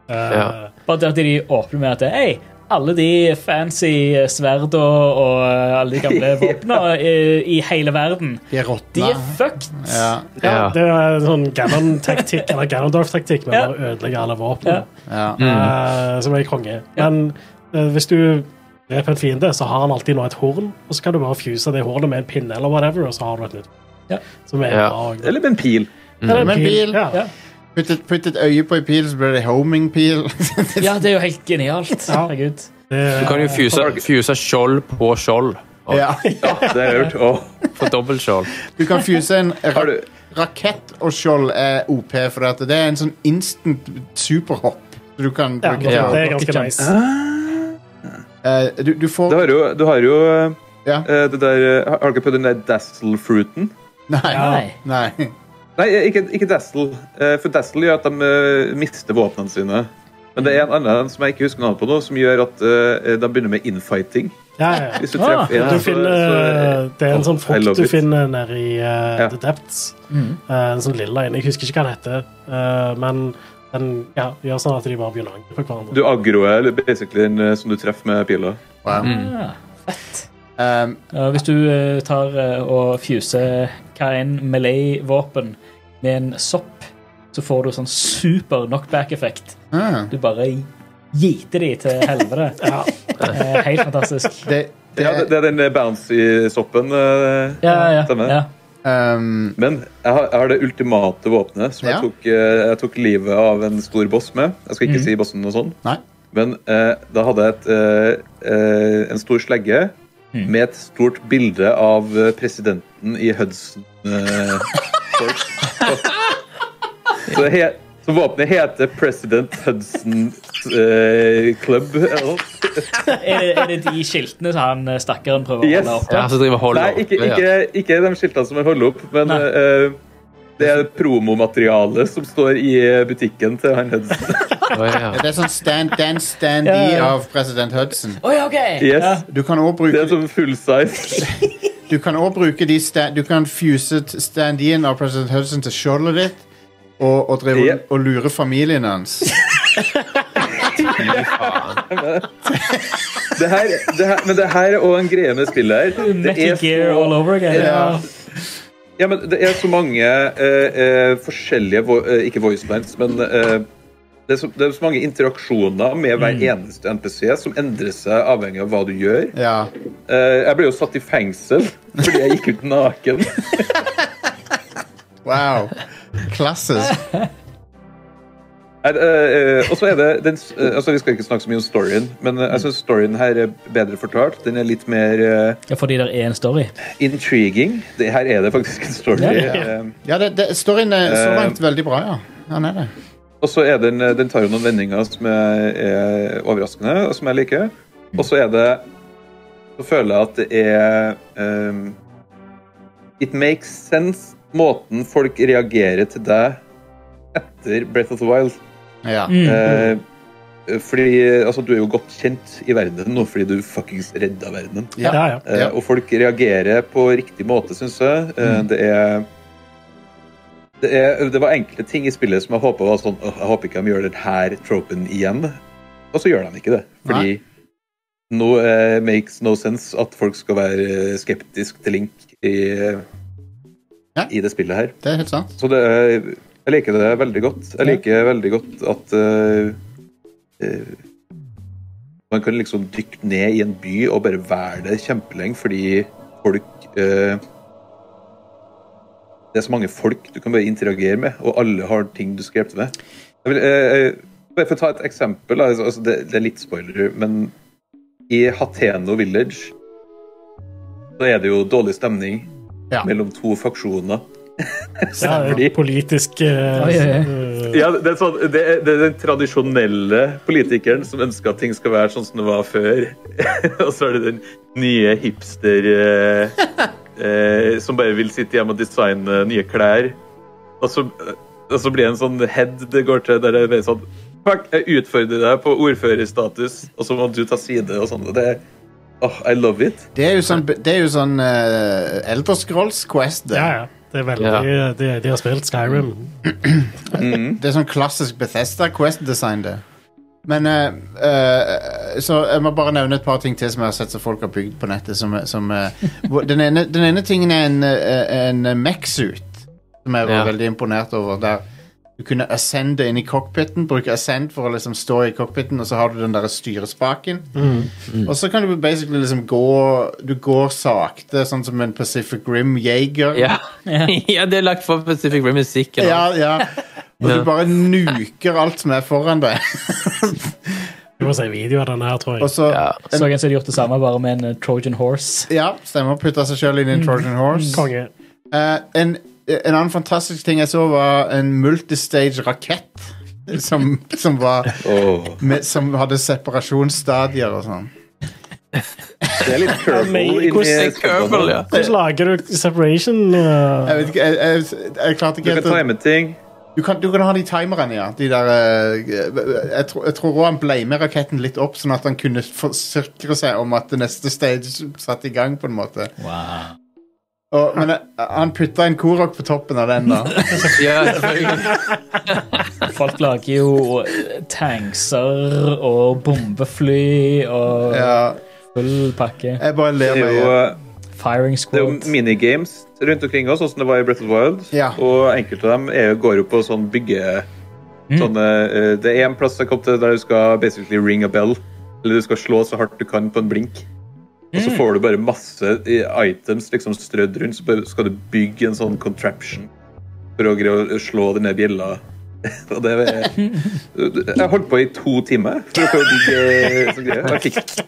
Eh,
Ja.
Bare det at de åpner med at Hei, alle de fancy sverd og, og eh, alle de
[laughs]
gamle våpnene eh, i, i hele verden,
de er
de
råtne.
er fucked.
Ja.
Ja.
Det er en sånn Ganon-taktikk, eller Ganondorf-taktikk, men
Ja.
bare ødelegge alle våpnene.
Ja.
Ja.
eh, som er konge.
Ja.
Men eh, hvis du dreper en fiende, så har han alltid nå et horn, og så kan du bare fuse det hornet med en pinne eller whatever, og så har du et nytt.
Ja.
Som er
Ja.
bra. og-
Eller med en pil.
Eller en
Med en
pil.
bil.
Ja.
Ja.
Putt, et, putt et øye på ei pil, så blir det homing-pil.
ja, det er jo helt genialt. [laughs]
Ja.
Herregud.
Du
Det,
kan jo fuse, fuse skjold på skjold. Og
[laughs] ja.
Ja, det har jeg hørt. Åh.
Få dobbeltskjold.
Du kan fuse en ra
Har du-
rakett og skjold er OP, for at det er en sånn instant superhopp. Du kan
ja,
bruke
Ja.
til å-
det er ganske
Ja.
nice.
Eh, du, du får
Du har jo, du har jo eh,
Ja.
eh, det der eh, Har har du ikke prøvd den der Dazzle-fruiten?
Nei.
Nei.
Nei.
Nei, eh, ikke, ikke Dazzle. eh, For Dazzle gjør at de eh, mister våpnene sine. Men det er en annen som jeg ikke husker navnet på nå, som gjør at eh, de begynner med infighting.
Ja, ja.
Hvis du
Ah,
treffer en,
Du
så-
finner,
så-
det er en sånn
I
frukt
love
du
it.
finner nede i eh,
Ja.
The Depths. Eh, en sånn lilla en. Jeg husker ikke hva den heter, eh, men den ja, gjør sånn at de bare begynner å angripe hverandre.
Du aggroer basically den eh, som du treffer med pila.
Wow.
Ja.
Um,
Ja, Hvis du eh, tar eh, og fuser hva er en melee-våpen med en sopp, så får du sånn super knockback-effekt.
ah.
Du bare giter de til [laughs] helvete.
Ja.
Eh, Helt fantastisk.
det, det,
Ja, det, det er den eh, bouncy-soppen. eh,
Ja, ja,
Stemmer.
ja.
um,
Men jeg har, jeg har det ultimate våpenet som
Ja.
jeg, tok, eh, jeg tok livet av en stor boss med. Jeg skal ikke si bossen og sånn,
Nei.
men eh, da hadde jeg et, eh, eh, en stor slegge med et stort bilde av eh, presidenten i Hudson. eh, Fork. så, så, he, så våpenet heter President Hudson eh, Club. Eller noe.
Er det, er det de skiltene som han eh, stakkaren prøver
Yes.
å holde opp?
Ja, så driver holder
Nei,
opp.
ikke, ikke, ikke de skiltene som jeg holder opp, men
Nei.
eh, det er promomaterialet som står i eh, butikken til han Hudson.
Å, ja.
det er sånn stand, Dan Standee
Ja, ja.
av president Hudson.
Oi, ok!
Yes.
[laughs] Ja.
Du kan også
Det
bruke
er som full size.
Du kan også bruke de sta Du kan fuse t- stand-in av President Hudson til skjoldet ditt og, og, drive,
Ja.
og lure familien hans.
Det her, det her, men det her og en greie med spillet her det
Metal
er,
Gear all
så,
over again.
Ja. ja, men det er så mange eh, eh, forskjellige vo eh, Ikke voice lines, men eh, det, er så, det er så mange interaksjoner med hver
Mm.
eneste NPC som endrer seg avhengig av hva du gjør.
Ja.
Eh, jeg ble jo satt i fengsel fordi jeg gikk ut naken.
Wow. Klassisk.
Er, eh, eh, og så er det den, s- eh, altså Vi skal ikke snakke så mye om storyen, men eh, jeg synes storyen her er bedre fortalt. Den er litt mer eh,
Ja, fordi det er en story.
intriguing. Det, her er det faktisk en story.
Ja, ja.
eh,
Ja, det, det, storyen er så
Eh.
langt veldig bra, ja. Han er det.
Og så er den, eh, den tar jo noen vendinger som er, er overraskende, og som jeg liker. Og så er det Så føler jeg at det er ehm, It makes sense, måten folk reagerer til deg etter Breath of the Wild.
Ja.
Eh, fordi altså, du er jo godt kjent i verden nå fordi du fuckings redda verdenen.
Ja.
Ja, ja.
Eh,
Ja. Mm.
Og folk reagerer på riktig måte, syns jeg. Eh, Det er det, er, det var enkelte ting i spillet som jeg håpa var sånn «Åh, Jeg håper ikke de gjør den her tropen igjen. Og så gjør de ikke det. Fordi nå eh, makes no sense at folk skal være eh, skeptisk til Link i,
Ja.
i det spillet her.
Det er helt sant.
Så det er, jeg liker det veldig godt. Jeg liker veldig godt at eh, eh, man kan liksom dykke ned i en by og bare være der kjempelenge, fordi folk eh, Det er så mange folk du kan bare interagere med, og alle har ting du skal hjelpe til med. Jeg vil, eh, eh, bare for å ta et eksempel, da, altså, altså, det, det er litt spoiler, men i Hateno Village så er det jo dårlig stemning
Ja.
mellom to faksjoner.
Ja, det er politisk eh,
Oi, oi, oi.
eh,
Ja, det er, sånn, det, er, det er den tradisjonelle politikeren som ønsker at ting skal være sånn som det var før. [laughs] og så er det den nye hipster eh, eh, som bare vil sitte hjemme og designe nye klær. Og så, og så blir det en sånn head det går til der det er bare sånn Fuck, jeg utfordrer deg på ordførerstatus, og så må du ta side og sånn. og Det Åh, I love it.
Det er jo sånn, det er jo sånn eh, Elder Scrolls Quest. Det.
ja, ja. Det er veldig de, de har spilt Skyrim.
Mm.
Det er sånn klassisk Bethesda Quest-design, det. Men eh, eh, Så jeg må bare nevne et par ting til som jeg har sett som folk har bygd på nettet. Som, som, eh, hvor- den, ene, den ene tingen er en, eh, en Mac-suit, som jeg var
Ja.
veldig imponert over. Der du kunne ascende inn i cockpiten, bruke ascend for å liksom stå i cockpiten, og så har du den der styrespaken.
Mm.
Og så kan du basically liksom gå Du går sakte, sånn som en Pacific Rim-jeger.
Ja. [laughs] ja, det er lagt for Pacific Rim musikken.
Ja, ja. Og du
Ja.
bare nuker alt som er foran deg. [laughs]
Du må se video av den her, tror
Og
jeg.
så
Ja.
Så en som hadde gjort det samme, bare med en eh, Trojan Horse.
Ja, stemmer. Putta seg sjøl inn i en Trojan Horse.
Mm. Konge.
Eh, en, en annen fantastisk ting jeg så, var en multistage rakett. Som, som, var,
Åh,
med, som hadde separasjonsstadier og sånn.
det er litt curveball
Amazing.
inni
Det er Curvel, ja.
Hvordan lager du separation? eh,
Jeg vet ikke, jeg, jeg, jeg klarte
Du
ikke helt
kan
å-
time ting.
du kan, du kan ha de timerne, ja. De der, eh, jeg, tror- jeg tror også han ble med raketten litt opp, sånn at han kunne forsikre seg om at det neste stage satt i gang, på en måte. Og, men eh, han putta en korok på toppen av den, da.
Ja, selvfølgelig.
Folk lager jo eh, tankser og bombefly og
Ja,
full pakke.
jeg bare ler
Det er
meg
jo,
i
Firing
det er jo
squad.
minigames rundt omkring oss, sånn som det var i Breath of the Wild.
Ja.
Og enkelte av dem er, jo- går jo på sånn bygge... Sånne, eh, det er en plass jeg kom til der du skal basically ring a bell. Eller du skal slå så hardt du kan på en blink. Og så får du bare masse i- items liksom strødd rundt, så bare skal du bygge en sånn contraption for å greie å slå denne bjella. [laughs] Og det er, jeg holdt på i to timer for å prøve å bygge sånn greier. og Jeg fikk det.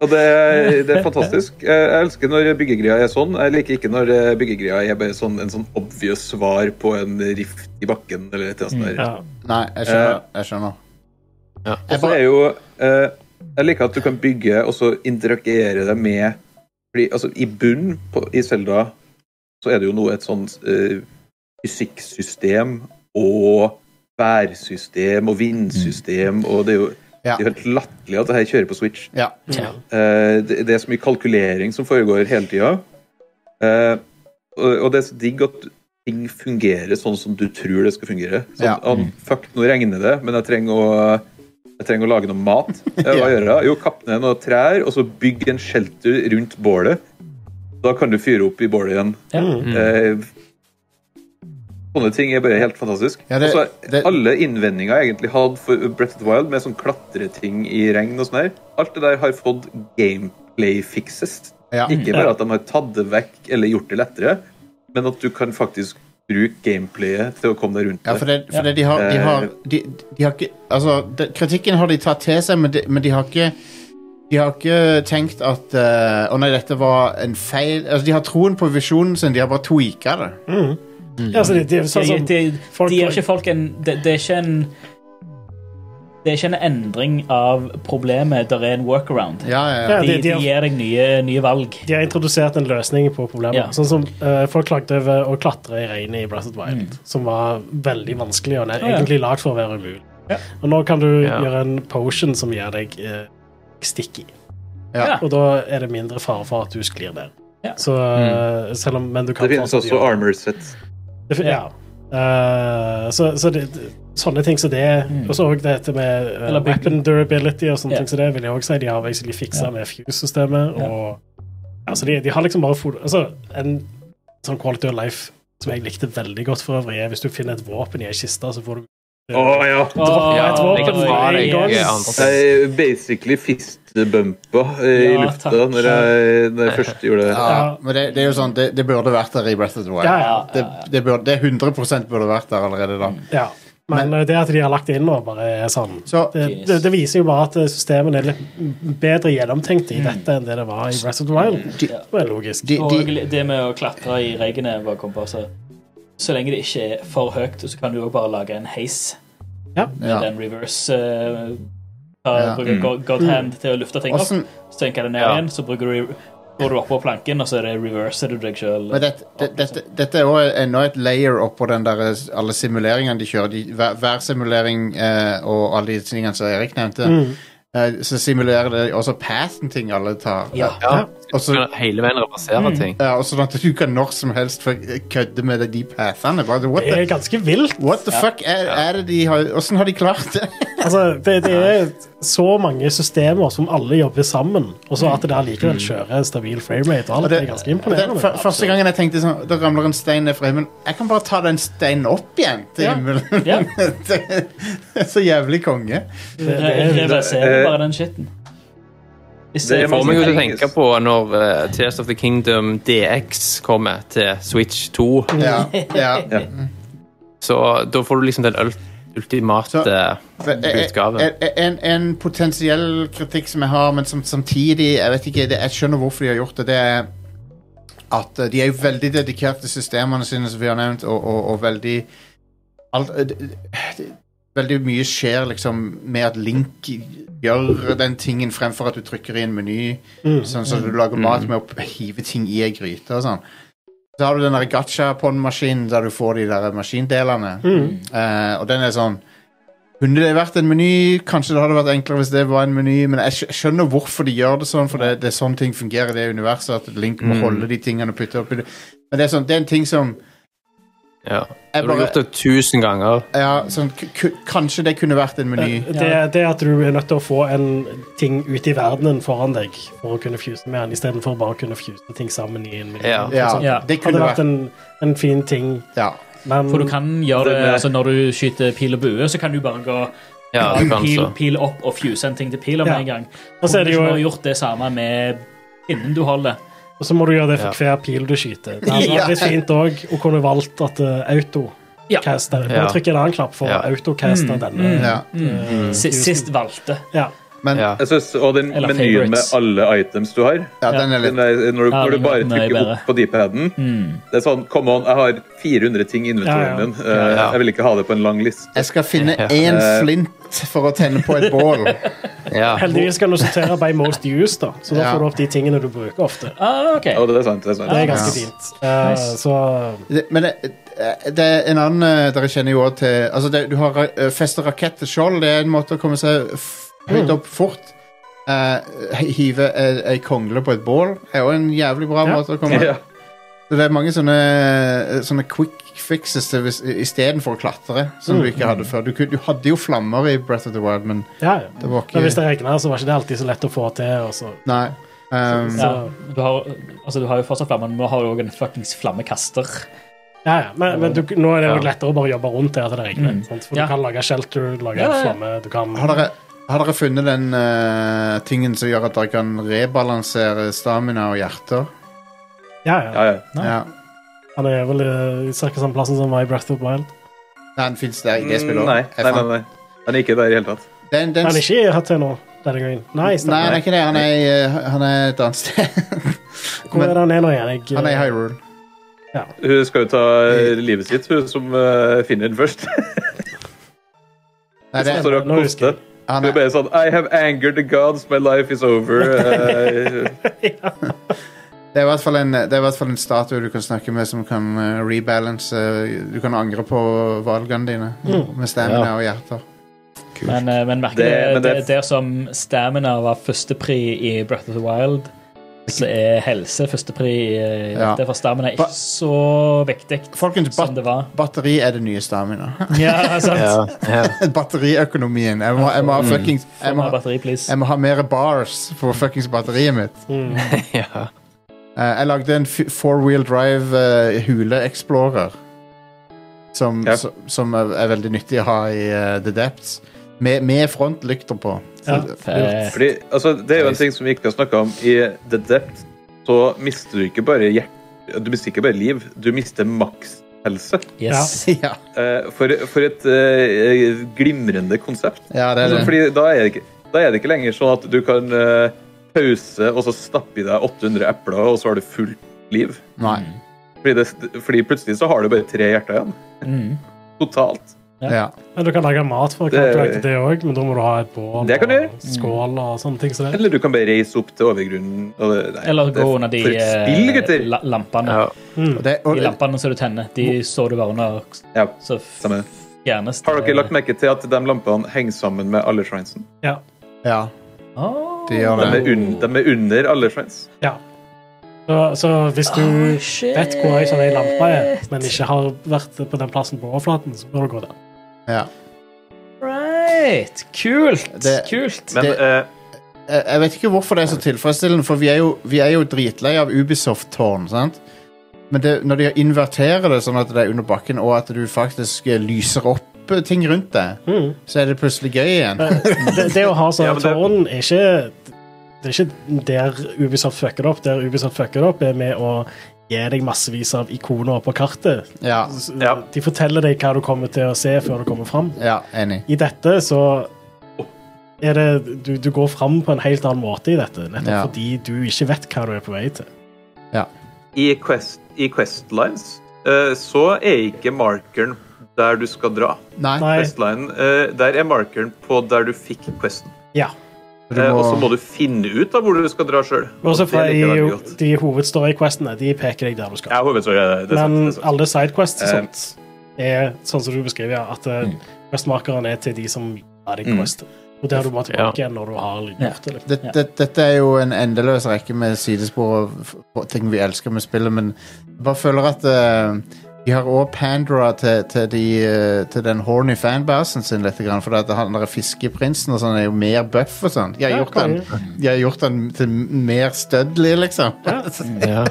Og det, er- det er fantastisk. Jeg- Jeg elsker når byggegreia er sånn. Jeg liker ikke når eh, byggegreia er bare sånn, en sånn obvious svar på en rift i bakken. eller et eller annet sånt der.
Ja.
Nei, jeg skjønner. Jeg skjønner.
Og så er jo eh, Jeg liker at du kan bygge og så interagere det med Fordi altså, i bunnen på, i Selda så er det jo noe et sånt eh, fysikksystem og værsystem og vindsystem, og det er jo
Ja.
det er jo helt latterlig at det her kjører på Switch.
Ja.
Eh, det, det er så mye kalkulering som foregår hele tida. Eh, og, og det er så digg at ting fungerer sånn som du tror det skal fungere. Sånn,
Ja.
«Ah, fuck, nå regner det, men jeg trenger å, jeg trenger å lage noe mat. Eh, Hva gjør jeg da? Jo, kapp ned noen trær, og så bygg en shelter rundt bålet. Da kan du fyre opp i bålet igjen.
Ja.
Mm.
Eh, sånne ting er bare helt fantastisk.
Ja, det-
altså,
det-
alle innvendinger jeg egentlig hadde for Breath of the Wild, med sånn klatreting i regn og sånn her, alt det der har fått gameplay fixes.
Ja.
Ikke bare at de har tatt det vekk eller gjort det lettere, men at du kan faktisk bruke gameplayet til å komme deg rundt
Ja, for det, for det de har, de har, de, de har ikke Altså, det- kritikken har de tatt til seg, men de, men de har ikke De har ikke tenkt at
Mm.
eh, Å nei, dette var en feil Altså, de har troen på visjonen sin, de har bare tweaka det.
Ja, så det, det er sånn
De,
som
de,
folk-
de gir ikke folk en Det, det er ikke en det er ikke en endring av problemet, der er en workaround.
Ja, ja, ja.
Ja,
De,
de- de
de
har-
gir deg nye, nye valg.
De har introdusert en løsning på problemet.
Ja.
Sånn som eh, Folk klagde over å klatre i regnet i Breath of the Wild, som var veldig vanskelig og er
Mm. Ja, ja.
egentlig lagd for å være umulig.
Ja.
Og nå kan du
Ja.
gjøre en potion som gir deg eh, stikk i,
Ja.
og da er det mindre fare for at du sklir der.
Ja. Mm.
Så, eh, selv om, men du kan
Det finnes
fortsatt
også
gjøre-
armor sets.
det fin- ja. Eh, så så det, det- sånne ting som det
Mm.
Og så òg dette med eh,
Eller bygge-
weapon durability og sånne
Ja.
ting som det, vil jeg òg si. De har egentlig fiksa
Ja.
med Fuse-systemet.
Ja.
Og altså, de, de har liksom bare fot- altså, En sånn quality of life som jeg likte veldig godt for øvrig, er hvis du finner et våpen i ei kiste, så får du
Å ja!
Droppe
Ja,
et våpen
jeg tar
med
deg,
en gang.
jeg antar.
Jeg basically fistbumpa eh, i
Ja,
lufta
takk.
når jeg, når jeg først gjorde det.
Ja, men det, det er jo sånn, det, det burde vært der i Breath of the Wild.
Ja, ja, Mm.
Det, det, burde, det 100 burde vært der allerede da.
Ja. Men eh, det at de har lagt det inn nå, bare er sånn
Så,
det, det, det viser jo bare at eh, systemene er litt bedre gjennomtenkt
Mm.
i dette enn det det var i Breath of the Wild.
De-
Det er logisk.
de,
Og
de,
det med å klatre i regnet var kompasset. Så lenge det ikke er for høyt, så kan du jo bare lage en heis med
ja.
den reverse eh, ta,
Ja.
Bruker god, god
Mm.
hand til å lufte ting opp,
Åssen-
så tenker det ned
Mm. Ja.
igjen, så bruker du går du oppå planken, og så er det reverser du deg sjøl.
Men dette, det-
altså.
dette, dette er også enda et layer oppå den der, eh, alle simuleringene de kjører. De, hver, hver simulering eh, og alle de tingene som Erik nevnte,
Mm.
eh, så simulerer det også pathen ting alle tar.
Ja.
Ja.
Og så-
Hele veien reversere ting.
ja, og sånn at du kan når som helst f- kødde med de pathene. Bare, what
Det
the,
er ganske vilt.
what the fuck er, er det de har Åssen har de klart
[laughs]
det?
Altså, det, det er så mange systemer som alle jobber sammen, og så at det allikevel kjører stabil framerate og
Og
alt, det er ganske
og det-
imponerende.
fyr- første gangen jeg tenkte sånn Det ramler en stein ned fra himmelen. Jeg kan bare ta den steinen opp igjen til
Ja.
himmelen.
Ja.
[laughs] det er så jævlig konge.
Det, det,
Re-
er-
Eh,
Reverserer bare den skitten.
Det er
får meg jo til å
Engelsk.
tenke på når eh, Tears of the Kingdom DX kommer til Switch 2.
Ja, ja.
Så da får du liksom den ul- ultimate
Men, eh, eh,
utgaven.
eh, En, en potensiell kritikk som jeg har, men som samtidig Jeg vet ikke, det, jeg skjønner hvorfor de har gjort det. Det er at eh, de er jo veldig dedikert til systemene sine, som vi har nevnt, og, og, og veldig alt, eh, det- det- Veldig mye skjer liksom med at Link gjør den tingen fremfor at du trykker i en meny. Sånn som du lager mat med å p- hive ting i ei gryte og sånn. Så har du den der gacha-pon-maskinen der du får de der maskindelene. Eh, og den er sånn kunne det vært en meny? Kanskje det hadde vært enklere hvis det var en meny, men jeg skj- skjønner hvorfor de gjør det sånn, for det, det er sånn ting fungerer i det universet, at Link må holde de tingene og putte opp i det. Men det er, sånn, det er en ting som
Ja.
jeg
Du har
bare-
gjort det tusen ganger.
ja, sånn, k- k- Kanskje det kunne vært en meny.
det, det at du er nødt til å få en ting ut i verdenen foran deg for å kunne fuse med den, istedenfor bare å kunne fuse ting sammen i en
Ja.
million.
Ja,
Ja.
det
Hadde
kunne
vært
vært
en, en fin ting,
ja.
men
For du kan gjøre det altså Når du skyter pil og bue, så kan du bare gå
Ja, du kan
pil,
så.
pil opp og fuse en ting til pila med
Ja.
en gang.
Og så
Kunne
er det
du ikke
jo-
bare gjort det samme med pinnen du holder?
Og så må du gjøre det for
Ja.
hver pil du skyter. Det hadde
Ja.
vært litt fint òg å kunne valgt at eh, auto
Ja.
caster.
Ja.
Bare trykk en annen knapp for
Ja.
å autocaste denne.
ja.
Mm-hmm.
Si- Sist valgte.
Ja.
Men ja.
Ja.
Jeg synes, og den
Eller
menyen med
favorites.
alle items du har
den er
den
litt
der, når, du,
Ja,
når du
den
bare
måten er
trykker
bedre. Mm.
opp på deepheaden Det er sånn Come on, jeg har 400 ting i
Ja, ja.
inventoren min. Eh,
ja.
Jeg vil ikke ha det på en lang liste.
Jeg skal finne én flint for å tenne på et bål.
Ja.
[laughs] Heldigvis kan du sortere by most used, da. så da
Ja. Ah.
får du opp de tingene du bruker ofte.
Ah, ok.
Ja, det er sant. Det er sant.
Det er ganske
Ja.
fint. Eh,
Nice.
Så
Det, men det, det er en annen eh, Dere kjenner jo også til altså det, Du har ra- eh, festet rakett til skjold. Det er en måte å komme seg f-
Mm.
høyt opp fort. Eh, [laughs] hive ei, ei kongle på et bål er jo en jævlig bra
[laughs] Ja.
måte å komme
Ja.
Så Det er mange sånne, eh, sånne quick fixes til hvis- istedenfor å klatre, som
Mm.
du ikke hadde før. Du, kunne- du hadde jo flammer i Breath of the Wild, men
ja, ja.
det var
Men hvis
ikke
det regner, så var ikke det alltid så lett å få til. Og så.
Nei. Um,
Ja, du, har, altså, du har jo fortsatt flammer, men nå har du òg en fuckings flammekaster.
Ja, ja. Men, men du, nå er det jo
Ja.
lettere å bare jobbe rundt det at det regner. Sant? For
Ja.
du kan lage shelter, du lager
Ja, ja, ja.
flamme, du kan
Har dere, har dere funnet den eh, tingen som gjør at dere kan rebalansere stamina og hjerter?
Ja,
Ja,
ja.
ja.
Nei.
Ja.
Han er vel eh, i cirka samme plassen som var i Breath of the Wild.
Nei, den fins der i det
Mm,
spillet
Nei,
Jeg
nei, nei,
fant-
nei. Den er ikke der i hele tatt.
Den, den,
Han er ikke i hatt til nå. Denne gangen. Nei,
nei, han
stemmer.
er ikke det. Han er, i, eh, han er et annet sted. [laughs]
Hvor er det han er nå igjen? Jeg,
Han er i Hyrule.
Ja.
Hun skal jo ta eh, livet sitt, hun som eh, finner den først.
Nei, det,
[laughs] Så det er
Nå husker jeg.
koste.
han
Hun er
er,
bare sånn I have angered the gods, my life is
[laughs]
over. Eh,
det er i hvert fall en, det er i hvert fall en statue du kan snakke med som kan eh, rebalance eh, Du kan angre på valgene dine med stamina og hjerter.
Men, eh, men merker
Det-
det,
men
det,
det-
der som stamina var førstepri i Breath of the Wild, så er helse førstepri i eh,
Ja.
dette, for stamina er
Ba-
ikke så viktig
Folkens,
som
bat
det
[laughs]
var.
batteri er det nye stamina. [laughs]
[laughs] Ja, sant?
Ja, ja.
Batteriøkonomien. Jeg må, jeg
Mm.
må ha fuckings
Få
jeg må,
mer batteri, please.
jeg må ha mer bars for fuckings batteriet mitt.
mm.
ja.
Eh, jeg lagde en f- four-wheel drive eh, hule-explorer. Som,
Ja.
som, som er, er veldig nyttig å ha i eh, The Depths. Med, med frontlykter på. Så,
Ja.
Eh,
Fordi, altså, det er jo en ting som vi ikke har snakka om. I The Depth så mister du ikke bare hjert... Du mister ikke bare liv, du mister maks helse.
yes.
[laughs] ja.
Eh, for, for et eh, glimrende konsept.
ja, det er
Altså,
det.
Fordi da er, det ikke, da er det ikke lenger sånn at du kan eh, pause og så stappe i deg 800 epler, og så har du fullt liv.
Nei.
Fordi, det, fordi plutselig så har du bare tre hjerter igjen.
Mm.
Totalt.
Ja.
Men du kan lage mat for å
Det-
kartlegge det òg, men da må du ha et bål
Det kan du
og skål og sånne ting. Så det.
Eller du kan bare reise opp til overgrunnen. Og det, nei,
Eller gå
det er
under de
for et spill,
eh,
gutter!
la- lampene.
Ja.
Mm.
Og det,
De
og,
lampene som du tenner, de så du bare under,
Ja,
så f- eh,
samme.
fjernes
Har dere lagt merke til at de lampene henger sammen med alle shrinesen?
Ja.
ja,
Ah,
de gjør
De
det.
er, un de er under alle shrines.
ja. Så, så hvis du
Oh, shit.
vet hvor ei sånn ei lampe er, men ikke har vært på den plassen på overflaten, så bør du gå der.
Ja.
Right. Kult.
Det-
Kult.
Men
Det-
eh,
Jeg jeg vet ikke hvorfor det er så tilfredsstillende, for vi er jo, vi er jo dritlei av Ubisoft-tårn. sant? Men det, når de inverterer det sånn at det er under bakken, og at du faktisk eh, lyser opp eh, ting rundt deg, så er det plutselig gøy igjen.
Eh, Det, det å ha sånne
Ja, men det-
tårn er ikke Det er ikke der Ubisoft fucker det opp. Der Ubisoft fucker det opp, er med å gi deg massevis av ikoner på kartet.
Ja,
S-
Ja.
De forteller deg hva du kommer til å se før du kommer fram.
ja enig.
I dette så er det du, du går fram på en helt annen måte i dette, nettopp
Ja.
fordi du ikke vet hva du er på vei til.
i, quest, i Questlines eh, så er ikke markeren der du skal dra.
Nei,
Nei.
Questlinen, eh, der er markeren på der du fikk questen.
Ja.
du
Eh, og så
må,
må du finne ut av hvor du skal dra sjøl.
Og så fra de, de hovedstory-questene, de peker deg der du skal.
Ja, hovedsorg er det. er sant,
Men
det er sant.
alle sidequests og
Eh.
sånt er sånn som du beskriver, ja, at eh,
Mm.
questmarkeren er til de som er deg quest. Og der du må tilbake igjen når du har gjort det. liksom.
det, det, dette er jo en endeløs rekke med sidespor og f- og ting vi elsker med spillet, men jeg bare føler at eh, de har òg pandra til, til, de, eh, til den horny fanbasen sin litt, grann, for at han der fiskeprinsen og sånn er jo mer buff og sånn. De har
Ja,
gjort han, de har gjort han til mer studly, liksom. [laughs]
Ja.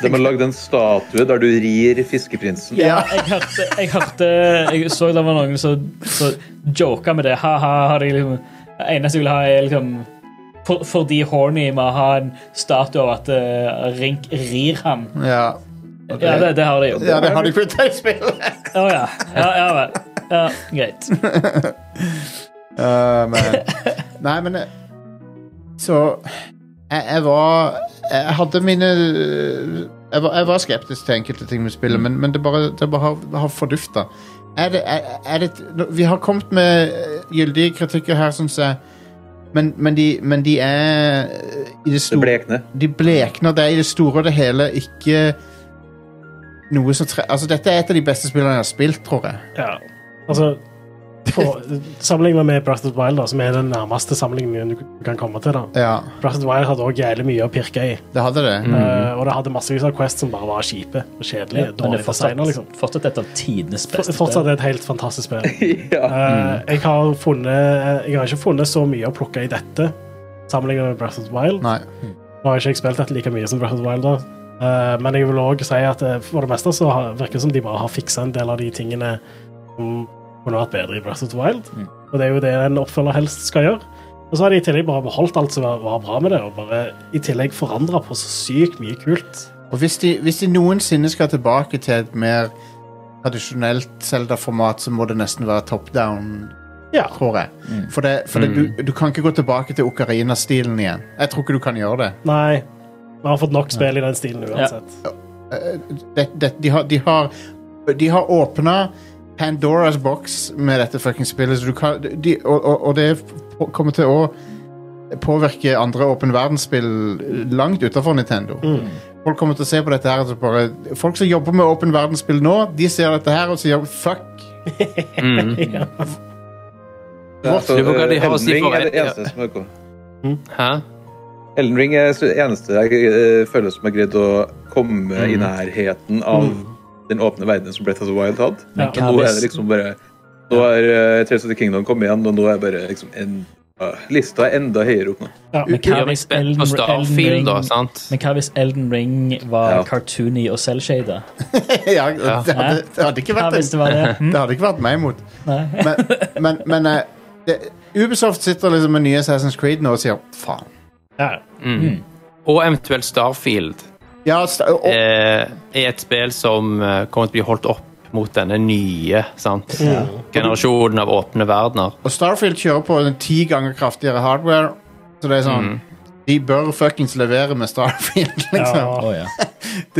De har lagd en statue der du rir fiskeprinsen.
Ja, jeg hørte, jeg hørte Jeg så det var noen som som joka med det. Ha-ha. har de Liksom, det eneste jeg vil ha, er liksom for, Fordi horny må ha en statue av at eh, Rink rir han.
Ja.
Ja, det, det har de jo. Å
ja, det har de putta i spillet!
ja. ja. Ja vel. Ja, greit.
Øh, men, nei, men eh, Så jeg, jeg var Jeg hadde mine øh, jeg var, jeg var skeptisk til enkelte ting med spillet, men, men det bare, det bare har, har fordufta. Er det, er, er det, nå- vi har kommet med øh, gyldige kritikker her, syns jeg, men, men, de, men de er øh, i det
Det
store
blekner. [laughs]
de blekner. Det er i det store og det hele ikke noe som tre... Altså, dette er et av de beste spillene jeg har spilt, tror jeg.
Ja. Altså, på- sammenlignet med Breath of the Wild, da, som er den nærmeste sammenligningen du kan komme til. da.
Ja,
Breath of the Wild hadde også jævlig mye å pirke i,
det hadde det.
eh, og det hadde massevis av quests som bare var kjipe og kjedelige.
Mm. Men det
dårlig
er
designer, liksom.
fortsatt, fortsatt et av tidenes beste.
F- Fortsatt et helt fantastisk spill.
Ja.
Eh, jeg, har funnet, eh, jeg har ikke funnet så mye å plukke i dette sammenlignet med Breath of the Wild.
Nei.
Nå har ikke jeg spilt dette like mye som Breath of the Wild, da. Eh, men jeg vil òg si at eh, for det meste så har, virker det som de bare har fiksa en del av de tingene som kunne vært bedre i Breath of the Wild. Og det er jo det en oppfølger helst skal gjøre. Og så har de i tillegg bare beholdt alt som var, var bra med det, og bare i tillegg forandra på så sykt mye kult.
Og hvis de, hvis de noensinne skal tilbake til et mer tradisjonelt Zelda-format, så må det nesten være top down,
Ja.
tror jeg. For, det, for det, du, du kan ikke gå tilbake til Ocarina-stilen igjen. Jeg tror ikke du kan gjøre det.
Nei. Vi har fått nok spill i den stilen uansett.
eh, det, det, de har, de har, de har åpna Pandoras box med dette fucking spillet, så du kan, de, og, og, og det på- kommer til å påvirke andre åpen verdensspill langt utenfor Nintendo. Folk kommer til å se på dette her og så bare, Folk som jobber med åpen verdensspill nå, de ser dette her og sier fuck.
Mm.
Altså,
Lurer på hva de har å
Elden
si
Ring
for-
er det eneste som er
Hæ?
Elden Ring er det eneste jeg eh, føler som har greid å komme i nærheten av den åpne verdenen som Breath of the Wild hadde.
Men
Og
hva
nå er
hvis-
det liksom bare Nå er uh, Tales of the Kingdom kommet igjen, og nå er bare liksom en, ja, Lista er enda høyere opp nå.
Ja.
Men hva
Gjør meg
hvis
spent
Elden-
på
Elden
Starfield, da.
Ring-
sant?
Men hva hvis Elden Ring var
Ja.
cartoony og selvshada?
[laughs] ja, det, hadde, det hadde ikke
Hva
vært
hvis det
[laughs]
var det?
Det hadde ikke vært meg imot.
Nei.
Men, men, men eh, det, Ubisoft sitter liksom med nye Assassin's Creed nå og sier faen.
Ja.
Og eventuelt Starfield
Ja, sta- og, og,
eh, er et spill som eh, kommer til å bli holdt opp mot denne nye sant? generasjonen av åpne verdener.
og Starfield kjører på en ti ganger kraftigere hardware, så det er sånn De bør fuckings levere med Starfield, liksom.
Ja.
Å, ja.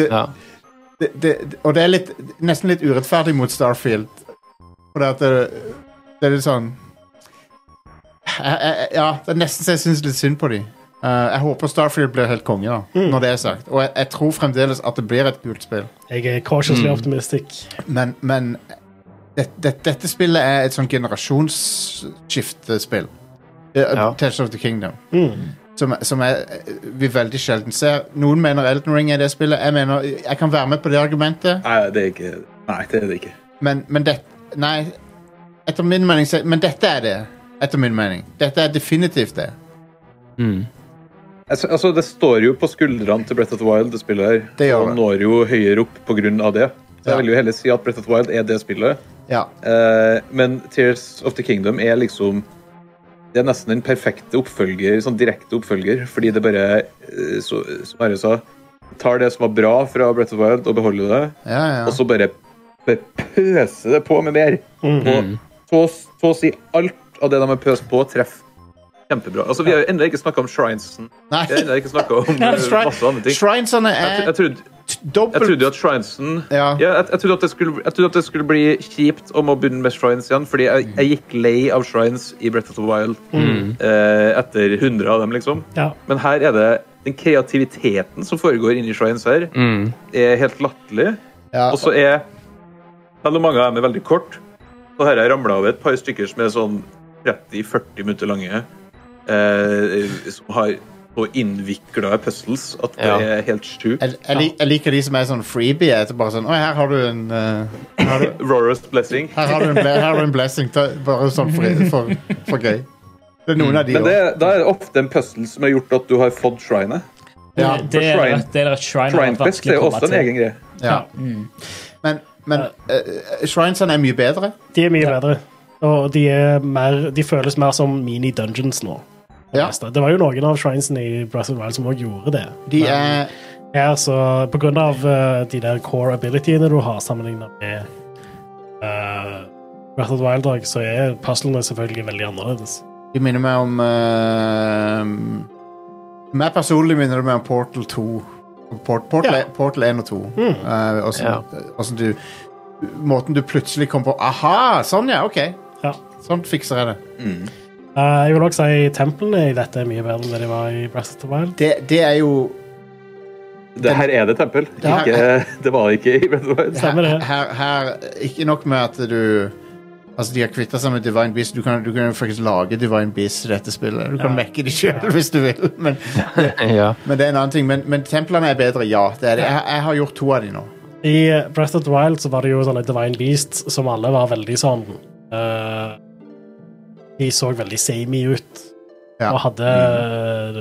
Ja.
Det, det, og det er litt, nesten litt urettferdig mot Starfield. For det at det, det er litt sånn jeg, jeg, Ja, det er nesten så jeg syns litt synd på dem. jeg håper Starfield blir helt konge, da, når det er sagt. Og jeg, jeg tror fremdeles at det blir et kult spill.
Jeg er cautiously optimistic.
Men, men det, det, dette spillet er et sånn generasjonsskiftespill. Ja.
Ja.
Tales of the Kingdom.
Mm.
Som, som jeg, vi veldig sjelden ser. Noen mener Elden Ring er det spillet. Jeg mener, jeg kan være med på det argumentet,
Nei, det er ikke Nei, det er det ikke.
men, men det, Nei, etter min mening så- Men dette er det, etter min mening. Dette er definitivt det.
Mm.
Altså, altså, det står jo på skuldrene til Breath of the Wild, det spillet her.
Det gjør
og
det.
når jo høyere opp på grunn av det. Så
Ja.
jeg vil jo heller si at Breath of the Wild er det spillet.
Ja.
Eh, men Tears of the Kingdom er liksom Det er nesten den perfekte oppfølger, sånn direkte oppfølger, fordi det bare, eh, så, som Are sa, tar det som var bra fra Breath of the Wild, og beholder det,
Ja, ja.
og så bare, bare pøser det på med mer. Og så så å si alt av det de har pøst på, treffer. Kjempebra. Altså, Vi har jo ennå ikke snakka om shrinesen.
Nei.
Vi har ennå ikke snakka
[laughs]
om eh,
Shrine-
masse andre ting.
Shrinesene
Jeg, tro-
er
jeg, trodde, jeg
dobbelt
trodde jo at Shrinesen
Ja.
ja, jeg, jeg, trodde at det skulle, jeg trodde at det skulle bli kjipt om å begynne med Shrines igjen, fordi jeg, jeg gikk lei av Shrines i Breath of the Wild
Mm.
eh, etter 100 av dem, liksom.
Ja.
Men her er det den kreativiteten som foregår inni Shrines her,
Mm.
er helt latterlig.
Ja.
Og så er Selv om mange av dem er veldig kort, så her har jeg ramla av et par stykker som er sånn 30-40 minutter lange, eh, som har så innvikla puzzles at det
Ja.
er helt sjukt.
Jeg, jeg, lik, jeg liker de som er sånn freebie. etter Bare sånn, Å, her har du en eh, her har du,
Rora's blessing.
Her har du en, ble her har du en blessing, ta, bare sånn for, for, for gøy. Mm. Det er noen av de
Men
òg.
det, da er det ofte en puzzle som har gjort at du har fått shrinet.
Ja,
Det- Det er
shrine-
det er et shrine, har vært
Shrinefest
vanskelig
er
å
jo
komme
også en
til.
egen greie.
ja. Mm. Men, men eh, shrinesene er mye bedre.
De er mye bedre. Og de, er mer, de føles mer som mini-dungeons nå.
Ja,
Det var jo noen av shrinesene i Breath of the Wild som også gjorde det.
de er
Her, så på grunn av eh, de der core abilityene du har sammenlignet med eh, Breath of the Wild, Dog, så er puzzlene selvfølgelig veldig annerledes.
De minner meg om eh, Meg personlig minner det meg om Portal 2. Port, Portal, e-
Ja.
Portal 1 og 2. Eh, hvordan, hvordan du Måten du plutselig kom på Aha! Sånn, ja. OK.
Ja.
Sånn fikser jeg det.
Eh, jeg vil også si templene i dette er mye bedre enn det de var i Breath of the Wild.
Det, det er jo
Det her er det tempel.
Ja.
Ikke, [laughs] det var det ikke i Breath of the Wild.
Stemmer det.
her, her, ikke nok med at du Altså, de har kvitta seg med Divine Beast. Du kan, du kan jo faktisk lage Divine Beast i dette spillet. Du kan mekke de sjøl hvis du vil, men,
Ja.
men det er en annen ting. Men, men templene er bedre, ja. Det er det. Jeg, jeg har gjort to av de nå.
I Breath of the Wild så var det jo sånne Divine Beasts som alle var veldig sånn eh, De så veldig samey ut
Ja. Mm.
og hadde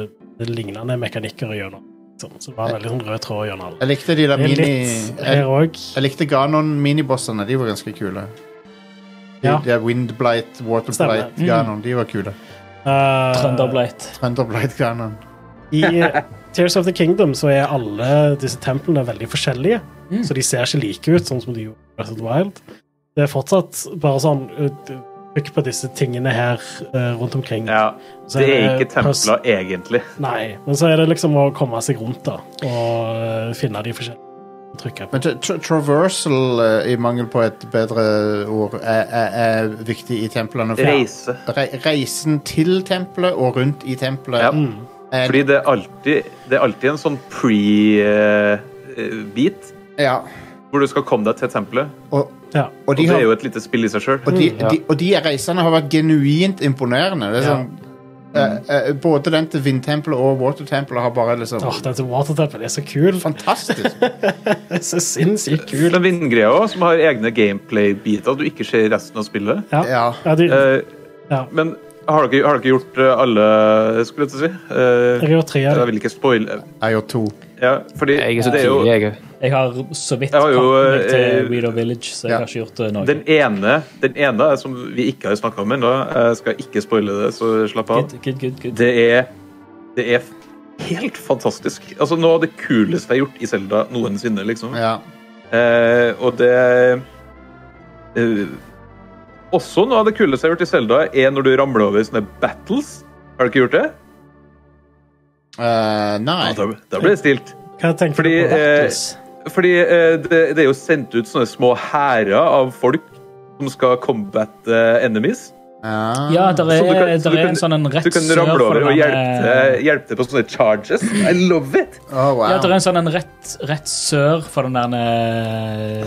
eh, lignende mekanikker gjennom. Sånn, så det var veldig sånn rød tråd gjennom alle.
Jeg likte de der
Det er
mini...
litt
Jeg,
her òg.
jeg likte Ganon-minibossene. De var ganske kule. De,
Ja.
de er Windblight, Waterblight,
Stemmer.
Mm.
Ganon. De var kule.
Trønderblight.
Thunderblight Ganon.
Eh, I Tears of the Kingdom så er alle disse templene veldig forskjellige, så de ser ikke like ut, sånn som de gjorde i Breath of the Wild. Det er fortsatt bare sånn uh, Trykk på disse tingene her uh, rundt omkring.
Ja,
Så
det er
det
ikke templer, egentlig.
Nei, men så er det liksom å komme seg rundt, da, og uh, eh, finne de forskjellige. trykke på.
Men tra tra traversal, eh, i mangel på et bedre ord, er, er, er viktig i templene. for-
Reise.
Re reisen til tempelet og rundt i tempelet.
Ja.
Er,
Fordi det er alltid, det er alltid en sånn pre-beat,
ja.
hvor du skal komme deg til tempelet.
Og,
Ja.
og,
Og
de
det er
har,
jo et lite spill i seg sjøl.
og, de, de, og de reisene har vært genuint imponerende. Det er
Ja.
sånn, eh, eh, både den til vindtempelet og watertempelet har bare liksom
Åh, den til Watertemple er så kul. Fan,
Fantastisk!
den er så sinnssykt kul.
Den vindgreia også, som har egne gameplay-beater du ikke ser i resten av spillet.
Ja.
Ja.
Ja, de, jeg
Eh,
Ja.
Men har dere, har dere gjort eh, alle, skulle jeg til å si? Eh,
har tre av
jeg
dem.
vil ikke spoile.
Jeg gjør to.
Ja, fordi
Jeg er så
det er jo
tidlig, jeg.
Jeg har så vidt
Jeg har jo,
kommet meg til
eh,
Reader Village, så jeg
ja.
har ikke gjort eh, noe.
den ene, den ene er som vi ikke har snakka om ennå. Jeg skal ikke spoile det, så slapp av.
Good, good, good, good.
Det er, det er helt fantastisk. Altså, Noe av det kuleste jeg har gjort i Selda noensinne. liksom.
Ja.
Eh, og det eh, Også noe av det kuleste jeg har gjort i Selda, er når du ramler over sånne battles. Har du ikke gjort det?
Eh, nei.
Ja, da, da ble det stilt.
Hva tenker
Fordi,
du på?
eh, fordi eh, det, det er jo sendt ut sånne små hærer av folk som skal combatte enemies.
Ja.
Ja, der
Så
er,
du kan- så
der
du
er
kan-
en sånn en rett
Du kan
sør
ramle
for
over og
den,
hjelpe
eh,
til, hjelpe til på sånne charges. I love it!
Å, Oh, wow.
Ja, det er en sånn en rett, rett sør for den der eh,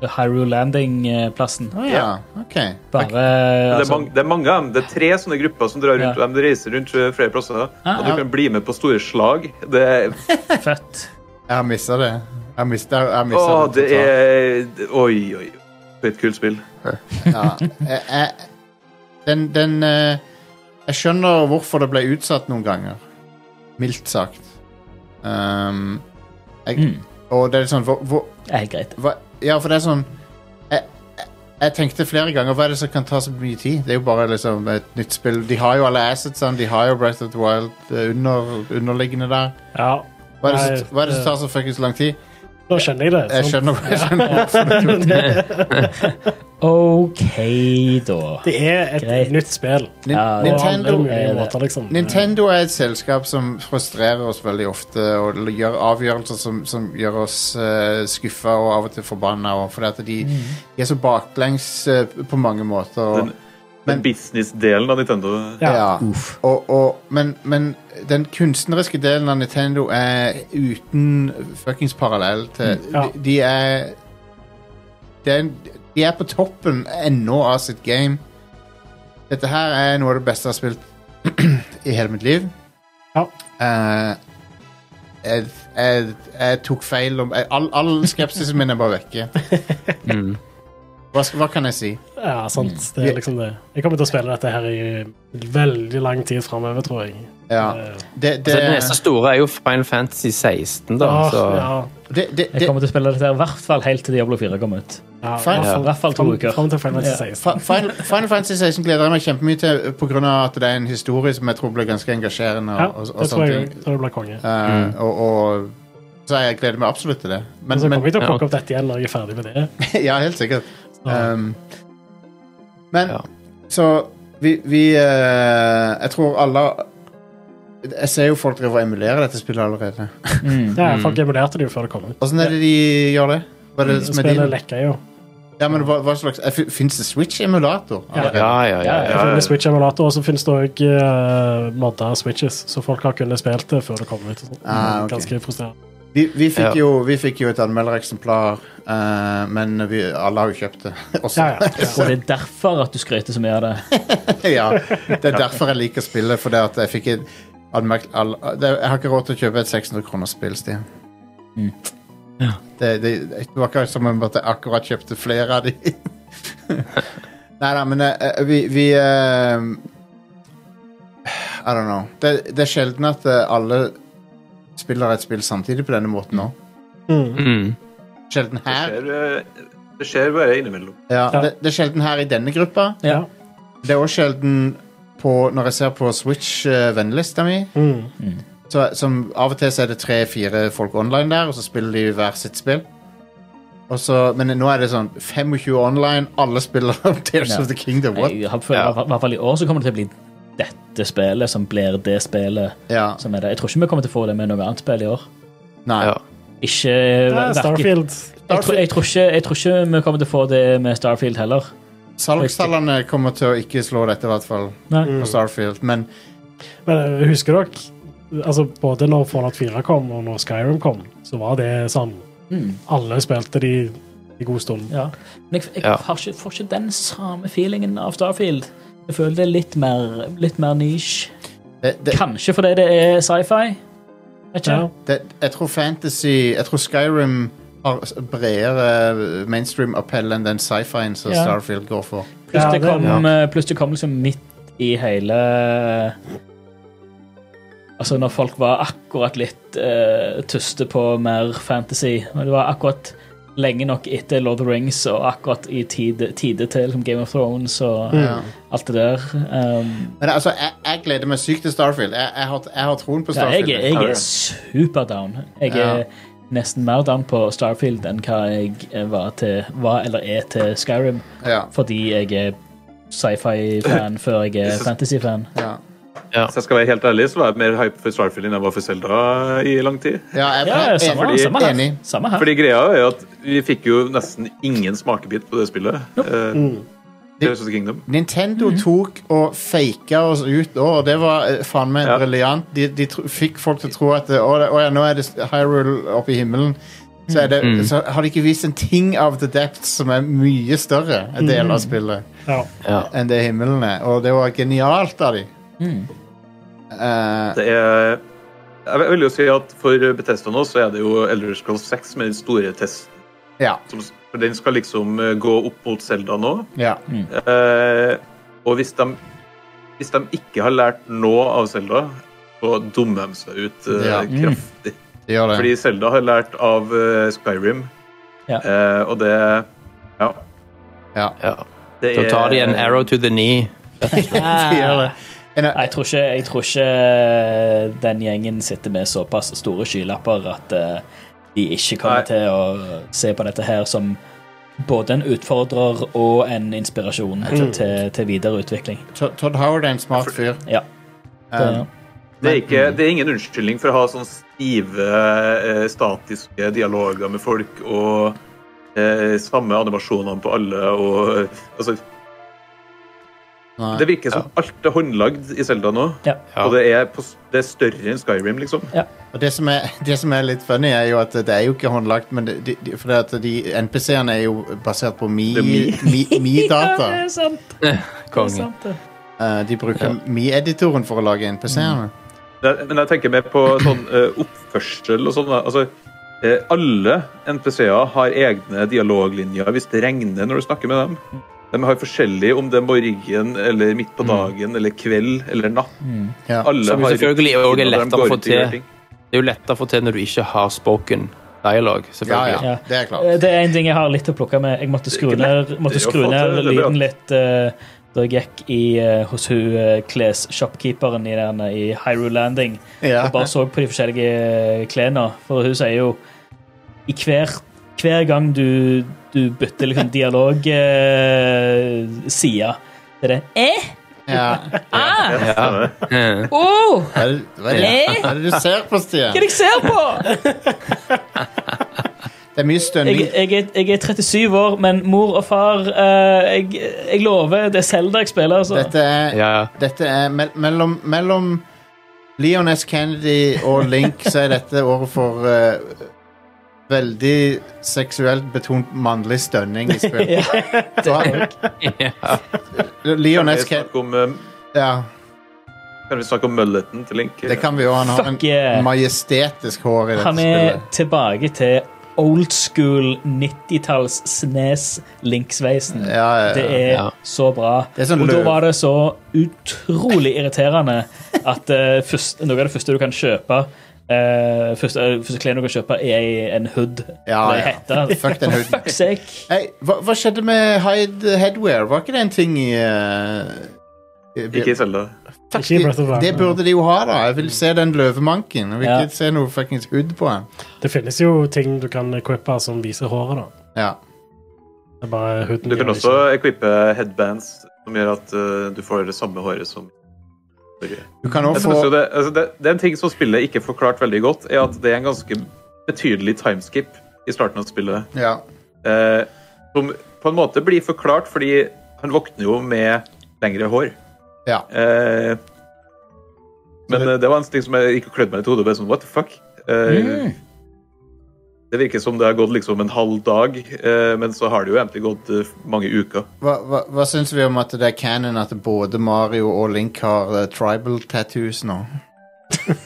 Hyrule Landing-plassen.
ja. OK.
Bare
Det er,
altså,
mange, det er mange av dem. Det er tre sånne grupper som drar rundt.
Ja. Ah,
og De reiser rundt eh, flere plasser. Og du
ja.
kan bli med på store slag. Det,
fett.
Jeg har missa det. Jeg mista jeg
å,
missa
det
totalt.
er Oi, oi. Det er et kult spill.
Ja, jeg, jeg, Eh, den, den eh, Jeg skjønner hvorfor det ble utsatt noen ganger. Mildt sagt. Ehm, jeg,
Mm.
Og det er sånn hvor, hvor,
Det er helt greit.
hva, Ja, for det er sånn jeg, jeg- jeg tenkte flere ganger hva er det som kan ta så mye tid? Det er jo bare liksom et nytt spill. De har jo alle assetsene. De har jo Breath of the Wild eh, under, underliggende der.
Ja,
Hva er det
Nei, eh, Sånn-
som, hva er det som tar så fuckings lang tid?
nå skjønner jeg det.
Jeg
sant?
skjønner, jeg skjønner.
OK, da.
Det er et
Greit.
nytt spill.
Nin-
Ja,
På alle
Nintendo Eh,
mulige
er det.
måter, liksom.
Nintendo er et selskap som frustrerer oss veldig ofte og l- gjør avgjørelser som, som gjør oss uh, skuffa og av og til forbanna. og- Fordi at de, de er så baklengs eh, på mange måter. Og,
Den, den business-delen av Nintendo
Ja.
ja. og, og, men, men den kunstneriske delen av Nintendo er uten fuckings parallell til
Ja.
de, de er det er en- De er på toppen ennå av sitt game. Dette her er noe av det beste jeg har spilt [clears throat] i hele mitt liv.
Ja.
Eh, jeg, jeg, jeg tok feil om jeg, all, all skepsisen min er bare vekke.
[laughs] Mm.
Hva, skal- hva kan jeg si?
Ja, sant.
Mm.
Det er liksom det. Jeg kommer til å spille dette her i veldig lang tid framover, tror jeg.
Ja.
Eh,
Det, det,
Så Altså, det neste store er jo Final Fantasy 16, da.
åh,
Så
Eh, ja,
det, det,
Jeg
det,
kommer til å spille dette her, i hvert fall helt til Diablo 4 kommer ut.
ja,
Fine.
i
I hvert fall to uker.
Fram til Final
Ja.
Fantasy 16.
Fi- Final, Final Fantasy 16 gleder jeg meg kjempemye til eh, pga. at det er en historie som jeg tror blir ganske engasjerende.
Ja,
Og, og,
det
og
tror
sånne
jeg
ting.
tror det blir konge.
Eh,
Mm.
og, og, så jeg gleder meg absolutt til det. Men,
så kommer
men
jeg til å
ja.
plukke opp dette igjen når jeg er ferdig med det.
[laughs] Ja, helt sikkert.
Ja.
Um, men
Ja.
så vi, vi eh, Jeg tror alle Jeg ser jo folk driver og emulerer dette spillet allerede.
Ja,
Mm.
folk emulerte det jo før det kom ut.
Åssen er det de gjør det? Hva er det som er
Spillet
din?
lekka jo.
Ja, men hva, hva slags Fins det Switch-emulator? allerede?
ja, ja. ja,
Det
ja.
finnes Switch-emulator, og så finnes det òg uh, modda Switches, så folk har kunnet spilt det før det kom ut. og sånt.
Ah, ok.
Ganske frustrerende.
Vi, vi, fikk
Ja.
jo, vi fikk jo et anmeldereksemplar, eh, men vi, alle har jo kjøpt det [laughs] også.
Ja,
[laughs]
ja.
Og det er derfor at du skryter så mye av det.
[laughs] ja, det er derfor jeg liker spillet, fordi at jeg fikk et anmerk... All, det, jeg har ikke råd til å kjøpe et 600 kroner spill, Stian.
Mm.
Ja.
Det, det, det var ikke som om at jeg akkurat kjøpte flere av de. [laughs] Nei da, men eh, vi, vi eh, I don't know. Det, det er sjelden at eh, alle spiller et spill samtidig på denne måten nå.
Mm.
Mm.
Sjelden
Det
her.
skjer, eh, det skjer bare innimellom.
Ja,
Ja.
det, det er sjelden her i denne gruppa.
Ja.
Det er òg sjelden på, når jeg ser på Switch-vennlista mi.
Mm.
Så, som Av og til så er det tre-fire folk online der, og så spiller de hver sitt spill. Og så, men nå er det sånn 25 online, alle spiller [laughs] Tears
Ja.
of the Kingdom. What?
Jeg har følt,
Ja.
I hvert fall i år så kommer det til å bli dette spillet som blir det spillet
Ja,
som er det. Jeg tror ikke vi kommer til å få det med noe annet spill i år.
nei.
Ja.
Ikke
Ja,
verken-
Starfield.
Jeg, tror, jeg, tror ikke, jeg tror ikke vi kommer til å få det med Starfield heller.
Salgstallene kommer til å ikke slå dette, i hvert fall,
Nei.
på Starfield. Men
Men eh, husker dere? Altså, både når Fallout 4 kom, og når Skyrim kom, så var det sånn Alle spilte de i god stund.
Ja. Men jeg, jeg
Ja.
har ikke, får ikke den samme feelingen av Starfield. Jeg føler det er litt mer, litt mer niche.
det, eh, det,
Kanskje fordi det er sci-fi. Vet ikke.
Ja.
det, jeg tror fantasy Jeg tror Skyrim har s- bredere mainstream appell enn den sci-fien som
Ja.
Starfield går for.
Pluss
Ja,
det
det-
kom, eh, pluss det kom liksom midt i hele eh, Altså når folk var akkurat litt eh, tuste på mer fantasy. Og det var akkurat lenge nok etter Lord of the Rings og akkurat i tide, tide til liksom Game of Thrones og
Mm.
Ja.
alt det der. Um,
Men altså, jeg, jeg gleder meg sykt til Starfield. Jeg, jeg, har, jeg har troen på
ja, jeg,
Starfield.
er- jeg er super down. Jeg er
Ja.
nesten mer down på Starfield enn hva jeg eh, var til var, eller er til Skyrim,
Ja,
fordi jeg er sci-fi-fan før jeg er fantasy-fan.
ja.
Hvis jeg skal være helt ærlig, så var jeg mer hype for Starfield enn jeg var for Zelda i lang tid.
ja jeg
Ja,
er
samme,
enig.
samme her.
enig.
Samme her.
Fordi greia er jo at vi fikk jo nesten ingen smakebit på det spillet. Eh, Tears of the Kingdom.
Nintendo tok og faka oss ut da, og det var eh, faen meg
Ja.
briljant. De, de tro, fikk folk til å tro at eh, å, det, å ja, nå er det Hyrule oppe i himmelen. Så, er det, så har de ikke vist en ting av The Depths som er mye større en del av spillet
Ja.
enn det himmelen er. Og det var genialt av de. Eh,
Det er Jeg vil jo si at for Bethesda nå, så er det jo Elder Scrolls 6 med den store testen.
ja,
som- For den skal liksom eh, gå opp mot Zelda nå.
ja.
Eh, og hvis de, hvis de ikke har lært noe av Selda, så dummer de seg ut eh,
Ja.
kraftig.
De gjør det.
Fordi Selda har lært av eh, Skyrim,
Ja.
Eh, og det Ja.
Ja.
Ja.
Det
Så tar de en arrow to the knee.
De
[laughs]
gjør det. En, eh,
Nei, Jeg tror, ikke, jeg tror ikke den gjengen sitter med såpass store skylapper at eh, de ikke kommer
Nei.
til å se på dette her som både en utfordrer og en inspirasjon til, til videre utvikling.
Todd Todd Howard er en smart fyr.
Ja.
Eh,
Det er, ikke, det er ingen unnskyldning for å ha sånn stive, eh, statiske dialoger med folk og eh, samme animasjonene på alle og eh, Altså,
nei.
det virker som alt er håndlagd i Selda nå.
Ja.
Ja.
Og det er, på, det er større enn Skyrim, liksom.
Og det som, er, det som er litt funny, er jo at det er jo ikke håndlagt, men det, de, de, for det at de NPC-ene er jo basert på
Det er Mi.
Mi-data. Mi, Mi-data.
[laughs] det er sant.
Kongen.
Eh, de bruker Mi-editoren for å lage NPC-ene.
Nei, Men jeg tenker mer på sånn eh, oppførsel og sånn. da. Altså, eh, alle NPC-er har egne dialoglinjer hvis det regner når du snakker med dem. De har forskjellig om det er morgen eller midt
Mm.
på dagen eller kveld eller natt.
Ja.
Alle
Som
har
Mm. selvfølgelig
rutiner
også er
når de
lettere
går
å få
ut og gjør
til.
ting.
Det er jo lettere å få til når du ikke har spoken dialog.
Ja,
selvfølgelig.
ja, det er
Eh,
klart.
Det er en ting jeg har litt å plukke med. Jeg måtte skru
ikke
ned, måtte
det å
skru
få
ned
til, det er bra.
lyden litt eh, da jeg gikk i, eh, hos hun eh, klesshopkeeperen i, den, eh, i Hyrule Landing
Ja.
og bare så på de forskjellige eh, klærne. For hun sier jo i hver, hver gang du, du bytter liksom dialogside, det er det eh,
Ja.
ah,
Ja.
oh,
Hva er det, hva er det, hva er det du ser på, Stian?
hva er det jeg ser på?
Det er mye stønning.
Jeg, jeg, er, jeg er 37 år, men mor og far eh, jeg, jeg lover, det er Selda jeg spiller. Altså.
Dette er,
Ja, ja.
dette er me mellom, mellom Leon S. Kennedy og Link så er dette året for eh, veldig seksuelt betont mannlig stønning i spill.
[laughs]
Da-
[laughs]
Leon
Kan vi
S. Kennedy
snakke om, eh,
Ja,
Kan vi snakke om mulleten til Link?
det kan vi jo. Han har en
Fuck yeah.
majestetisk hår i dette
Han er
spillet.
tilbake til old school 90-talls snes linksveisen.
Ja, ja, ja.
Det er
Ja.
så bra.
Det er sånn
og da
løv.
var det så utrolig irriterende at eh, først, noe av det første du kan kjøpe eh, første, eh, første klærne du kan kjøpe, er ei- en hood.
Ja,
Eller
ja.
hette.
Fuck
[laughs]
den hooden.
For fuck's sake.
Hei, hva, hva skjedde med Hyde Headwear? Var ikke det en ting i eh,
Ikke i Zelda.
Fuck,
Ikke i Breath of the Wild.
det burde de jo ha, da. Jeg vil se den løvemanken. Jeg vil
Ja.
ikke se noe fuckings hud på han.
Det finnes jo ting du kan equippe som viser håret, da.
Ja.
Det er bare huden
Du kan
gjør
også
det ikke.
equippe headbands, som gjør at eh, du får det samme håret som
Du kan òg
Jeg
få
altså, synes jo det, altså det, det er en ting som spillet ikke forklart veldig godt, er at det er en ganske betydelig timeskip i starten av spillet.
Ja.
Eh, som på en måte blir forklart, fordi han våkner jo med lengre hår.
Ja.
Eh, men eh, det var en ting som jeg gikk og klødde meg litt i hodet. og Bare sånn, what the fuck? Eh, Det virker som det har gått liksom en halv dag, eh, men så har det jo egentlig gått eh, mange uker.
Hva, hva, hva syns vi om at det er canon at både Mario og Link har eh, tribal tattoos nå?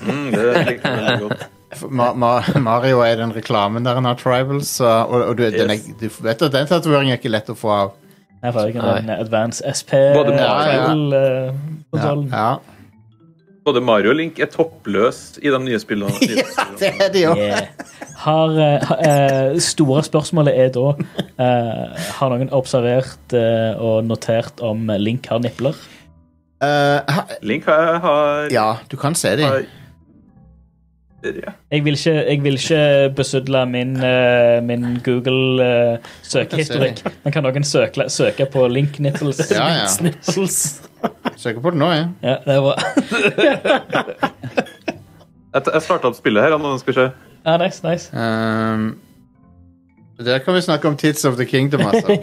Mm, det likte jeg veldig godt.
For Ma Ma [laughs] Mario er i den reklamen der han har tribals, så, og, og du, den er,
Yes.
du vet at den tatoveringen er ikke lett å få av.
Nei, for jeg
Nei.
har en Advance SP
Både
eh,
Mario-
travel, eh,
Ja,
kontrollen.
ja. [laughs]
Både Mario og Link er toppløs i de nye spillene. Nye
ja det er de jo.
Yeah. Har, eh, ha- eh, store spørsmålet er da eh, Har noen observert eh, og notert om Link har nipler?
Eh, ha,
Link har, har,
ja, du kan se de.
har ja.
Jeg vil ikke, jeg vil ikke besudle min, eh, min Google-søkehistorikk, men kan noen søke, søke på Link nipples?
Ja, ja.
Snipples.
Søker på det nå, jeg.
Ja, det er bra.
Jeg, jeg starta opp spillet her, nå skal vi se.
[laughs] Ja, nice,
[laughs]
nice.
Ehm, der kan vi snakke om Tits of the Kingdom,
[laughs]
altså.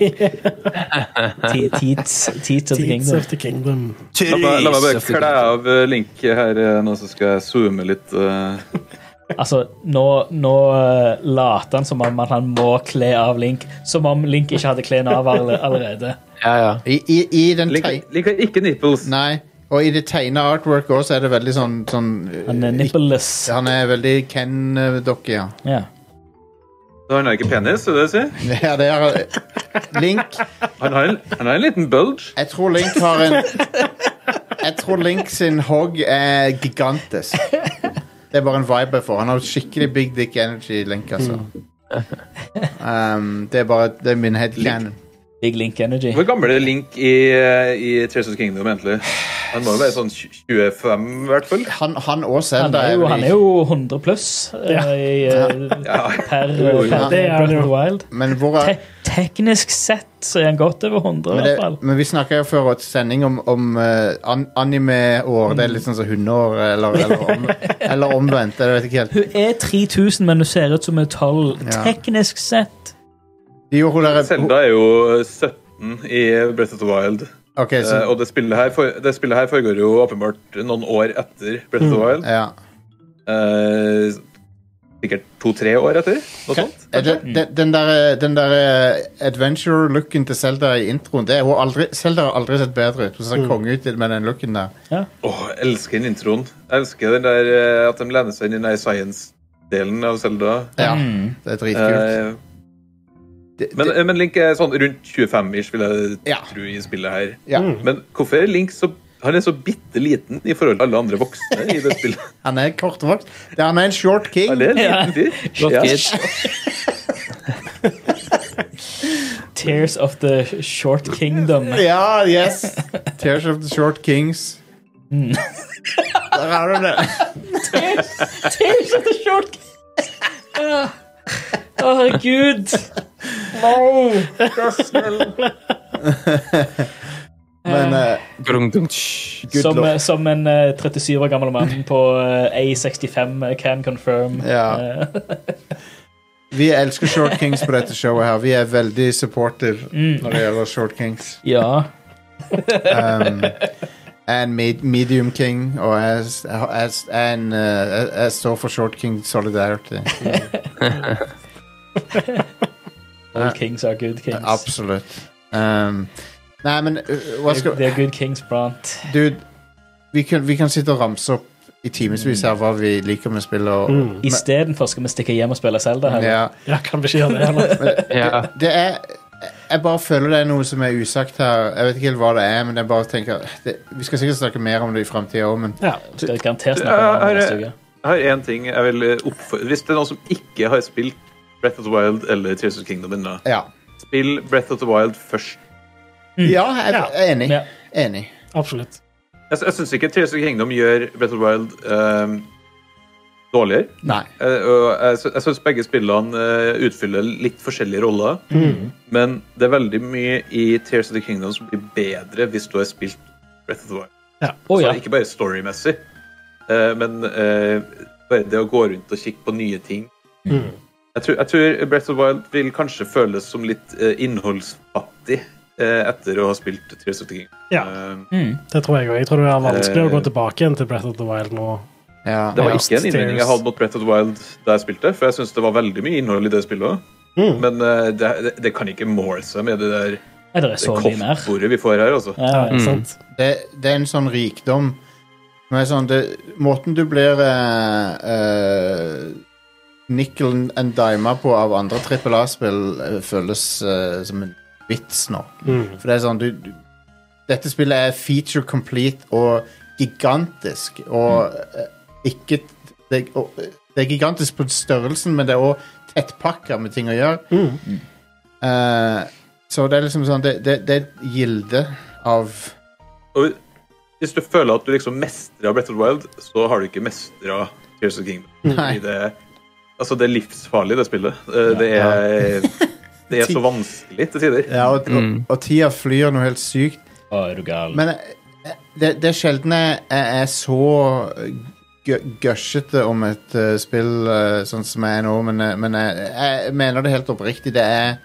Te- Teats teats of the
Deeds
kingdom.
of the Kingdom.
La meg, la meg bare
Jeez.
kle av eh, Link her eh, nå, så skal jeg zoome litt. eh.
Altså, nå, nå eh, later han som om at han må kle av Link, som om Link ikke hadde klærne av alle- allerede.
Ja, ja.
I, i, i den
Link,
teg-
Link har ikke nipples.
Nei, og i det tegna artworket også er det veldig sånn, sånn
Han er nippleless.
Han er veldig Ken-dokke, ja. [laughs]
Ja.
Så han har ikke penis, er det det du sier?
ja det er, Link
Han har en, han har en liten bulge.
Jeg tror Link har en Jeg tror Link sin hogg er gigantisk. Det er bare en vibe jeg får. Han har skikkelig big dick energy, Link, altså.
Mm.
Um, det er bare Det er min headcanon.
Big Link Energy.
Hvor gammel er Link i, eh, i Treasures Kingdom, egentlig? Han må jo være sånn 25, i hvert fall.
Han, han og
Han
Zelda
er jo,
vel i-
han er jo 100 pluss eh, i, eh, per,
Ja,
per
det er han
Breath of
jo.
the Wild.
Men hvor er
Te teknisk sett så er han godt over 100,
men,
i hvert fall.
det, men vi snakka jo før et sending om, om eh, an, anime-år. Det er litt sånn som hundeår, eller, eller,
[laughs]
om, eller omvendt. Jeg vet ikke helt.
Hun er 3000, men hun ser ut som hun er 12.
Ja.
Teknisk sett.
De gjorde hun der
Selda er jo 17 i Breath of the Wild.
Ok, så,
Eh, og det spillet, her for, det spillet her foregår jo åpenbart noen år etter Breath of the Wild.
ja.
Eh, sikkert to-tre år etter. Noe sånt.
Er det, den- den der, den der eh, adventure-looken til Zelda i introen det er hun aldri, Zelda har aldri sett bedre ut. Hun
Mm.
ser konge ut med den looken der.
Åh, jeg elsker den introen. Jeg elsker den der, eh, at de lener seg inn i den der science-delen av Zelda.
Ja,
Mm.
Det er dritkult.
Eh,
Det-
men,
det-
men Link er sånn rundt 25-ish, vil jeg
Ja.
tro, i spillet her.
ja.
Mm.
Men hvorfor er Link så han er så bitte liten i forhold til alle andre voksne i det
[laughs]
spillet.
Han er kortvokst. Det- Han er en short king.
Han er en liten fyr. Ja.
Kids.
Tears of the Short Kingdom.
Ja, yes! Tears of the Short Kings.
Mm.
Der har du det.
[laughs] [laughs] Tears of the Short Kingdom. Å, herregud.
Men eh,
Dum, dum, tsj.
good
Som,
lord.
som en eh, 37 år gammel mann på eh, A65 eh, can confirm.
Ja.
Eh,
Vi elsker Short Kings på dette showet her. Vi er veldig supportive når det gjelder Short Kings.
ja.
um, jeg er en med, medium king, og jeg, jeg, jeg, jeg, er en, eh, jeg, jeg står for short king solidarity.
All kings are good kings.
Absolutt. Um, nei, men uh, hva skal
They're good kings, Brant.
Dude, vi kan, vi kan sitte og ramse opp i timevis her hva vi liker med spillet. Og,
Mm. Istedenfor skal vi stikke hjem og spille Zelda. Her.
ja,
Ja, kan vi ikke gjøre
[laughs]
det heller?
Ja.
det er jeg bare føler det er noe som er usagt her. Jeg vet ikke helt hva det er, men jeg bare tenker det, Vi skal sikkert snakke mer om det i framtida òg, men
Ja.
Vi Skal garantert snakke om det neste uke.
Jeg har én ting jeg vil eh, oppfordre Hvis det er noen som ikke har spilt Breath of the Wild eller Tears of the Kingdom ennå,
ja.
spill Breath of the Wild først.
Ja, jeg er enig.
Ja.
Enig.
Absolutt.
Jeg, Altså, jeg syns ikke Tears of the Kingdom gjør Breath of the Wild eh, dårligere.
Nei.
Eh, og jeg, sy- jeg syns begge spillene eh, utfyller litt forskjellige roller.
Mm.
Men det er veldig mye i Tears of the Kingdom som blir bedre hvis du har spilt Breath of the Wild.
Å
Så
ja.
Ikke bare storymessig, eh, men eh, bare det å gå rundt og kikke på nye ting.
Mm.
Jeg tror, jeg tror Breath of the Wild vil kanskje føles som litt eh, innholdsfattig eh, etter å ha spilt Tears of the King.
Ja,
Eh,
det tror jeg òg. Jeg tror det er vanskelig å gå tilbake igjen til Breath of the Wild nå.
Ja.
det var
Ja.
ikke en innvending jeg hadde mot Breath of the Wild da jeg spilte, for jeg syns det var veldig mye innhold i det spillet òg.
Mm.
Men eh, det, det, det kan ikke måle seg med det der
Nei, det er
det
så mye mer.
koffbordet vi får her, altså.
Ja,
Ja,
ja.
ikke sant?
det, det er en sånn rikdom som er sånn, det, Måten du blir eh, eh, nickel and dima på av andre trippel A-spill, eh, føles eh, som en vits nå.
Mm.
For det er sånn du, du, Dette spillet er feature complete og gigantisk. Og eh, ikke det, og, eh, det er gigantisk på størrelsen, men det er òg tettpakka med ting å gjøre. Eh, så det er liksom sånn Det, det, det er et gilde av
Og hvis du føler at du liksom mestra Breath of the Wild, så har du ikke mestra Tears of the Kingdom.
Nei.
Fordi Det, altså, det er livsfarlig, det spillet. Eh, Det er, det
[laughs]
er så vanskelig til tider.
Ja, og, og, og tida flyr noe helt sykt.
Å, er du gal.
Men jeg- jeg- det, det er sjelden jeg, jeg er så gø- gushete om et eh, spill eh, sånn som jeg er nå, men, eh, men jeg, jeg mener det helt oppriktig. Det er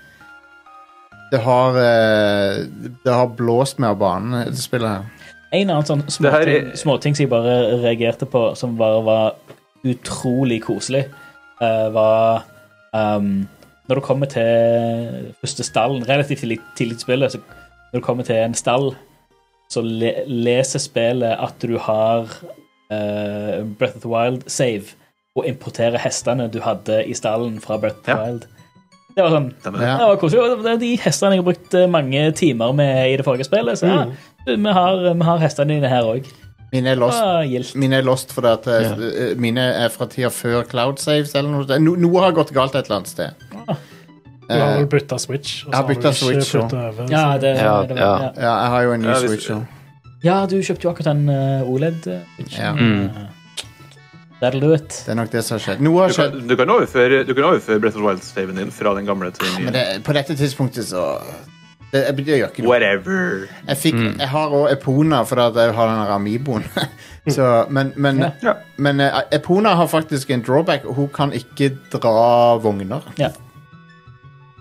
Det har eh, Det har blåst meg av banen, dette spillet her.
En annen sånn
Det her
småting,
er-
småting som jeg bare reagerte på, som bare var utrolig koselig, eh, var ehm, Når du kommer til første stallen, relativt tidlig, tidlig i spillet, så når du kommer til en stall, så le, leser spillet at du har eh, Breath of the Wild save og importerer hestene du hadde i stallen fra Breath of the
Ja.
Wild. Det var sånn
Ja.
det var koselig. og Det er de hestene jeg har brukt eh, mange timer med i det forrige spillet. Så ja, vi har, vi har hestene dine her òg.
Mine er lost.
Gildt.
Mine er lost fordi at eh, mine er fra tida før Cloud Saves eller noe. sånt. No, noe har gått galt et eller annet sted.
Du har
Eh,
vel bytta Switch?
jeg har
og så har du
byttet
ikke
Switch, ja.
flyttet over,
Ja,
så-
det,
Ja,
det var,
ja.
ja.
ja, jeg har jo en ny
Ja, hvis-
Switch. også.
ja, du kjøpte jo akkurat den eh, OLED. eh,
Ja,
That'll do it.
det er nok det som har skjedd. Noe
Du
har skjedd.
kan, du kan overføre, du kan overføre Breath of the Wild-staven din fra den gamle til den
Men
nye.
det, på dette tidspunktet så det, jeg, det gjør ikke noe.
Whatever.
Jeg, fikk, jeg har òg Epona fordi at jeg har den her Amiboen. [laughs] så, men men,
Ja.
men eh, Epona har faktisk en drawback. og Hun kan ikke dra vogner.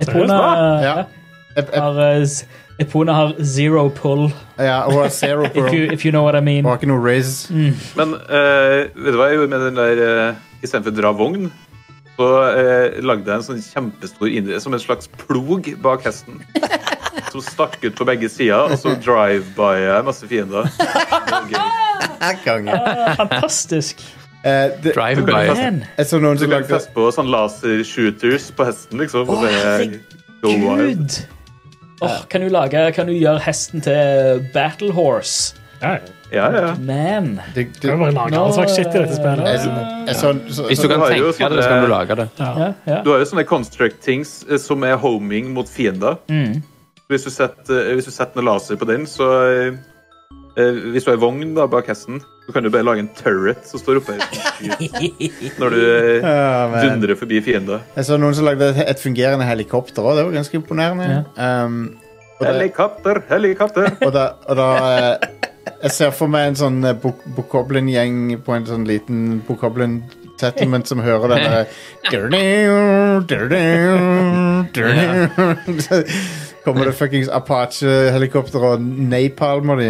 Epona,
Ja.
ja,
Ep, ep,
har, eh, z- Epona har zero pull,
ja, hun har zero på
if you,
Hun
if you know what I mean.
har ikke noe raise.
Men eh, vet du hva jeg gjorde med den der eh, Istedenfor dra vogn, så eh, lagde jeg en sånn kjempestor indre som en slags plog bak hesten. Som stakk ut på begge sider, og så drive-bya jeg masse fiender. Det var gøy.
Her gangen.
Ah, Fantastisk.
Eh, det,
Drive-by.
Man.
jeg så noen
Så
som
kan du
lagde
feste på sånn laser-shooters på hesten, liksom. Og
herregud.
det go wild.
Gud. Åh, kan du lage Kan du gjøre hesten til battle horse?
Ja, ja.
Ja, ja.
Man.
det,
Det
det,
er bare en annen
Nå,
slags shit i dette spillet.
jeg, jeg så, så,
Hvis du
så,
kan
Du har jo
tenke deg det, så kan
sånne-
du lage det.
Ja, ja.
Du har jo sånne construct-things eh, som er homing mot fiender.
Mm.
Hvis du setter, eh, hvis du setter noe laser på den, så eh, eh, Hvis du har vogn da, bak hesten, så kan du bare lage en turret som står oppe her når du eh,
Ja, men-
dundrer forbi fiender.
jeg så noen som lagde et, et fungerende helikopter òg. Det var ganske imponerende. Um, og det-
Helikopter, helikopter!
Og da, og da eh, Jeg ser for meg en sånn eh, Bo- Bokoblin-gjeng på en sånn liten Bokoblin-settlement som hører den
[laughs]
der "Durdu, durdu, durdu." [laughs] Så Kommer det fuckings Apache-helikopter og napalmer
[laughs]
de.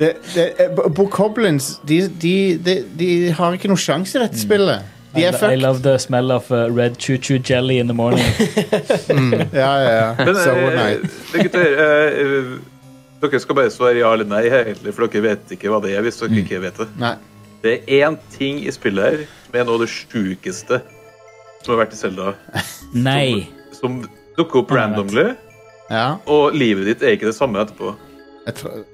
Det, det, eh, Bo- Bokoblins de, de, de, de har ikke noe sjanse i dette spillet. De
Mm. I,
er
lo- I
fucked.
love the smell of uh, red choo-choo jelly in the morning.
Ja, ja,
[laughs]
ja.
Men
So
eh,
nice.
det gutter, eh, eh, dere skal bare svare ja eller nei, egentlig, for dere vet ikke hva det er. hvis dere ikke vet Det
Nei.
Det er én ting i spillet her som er noe av det sjukeste som har vært i Selda,
[laughs] Nei.
som dukker opp randomly,
Ja.
og livet ditt er ikke det samme etterpå.
Jeg tror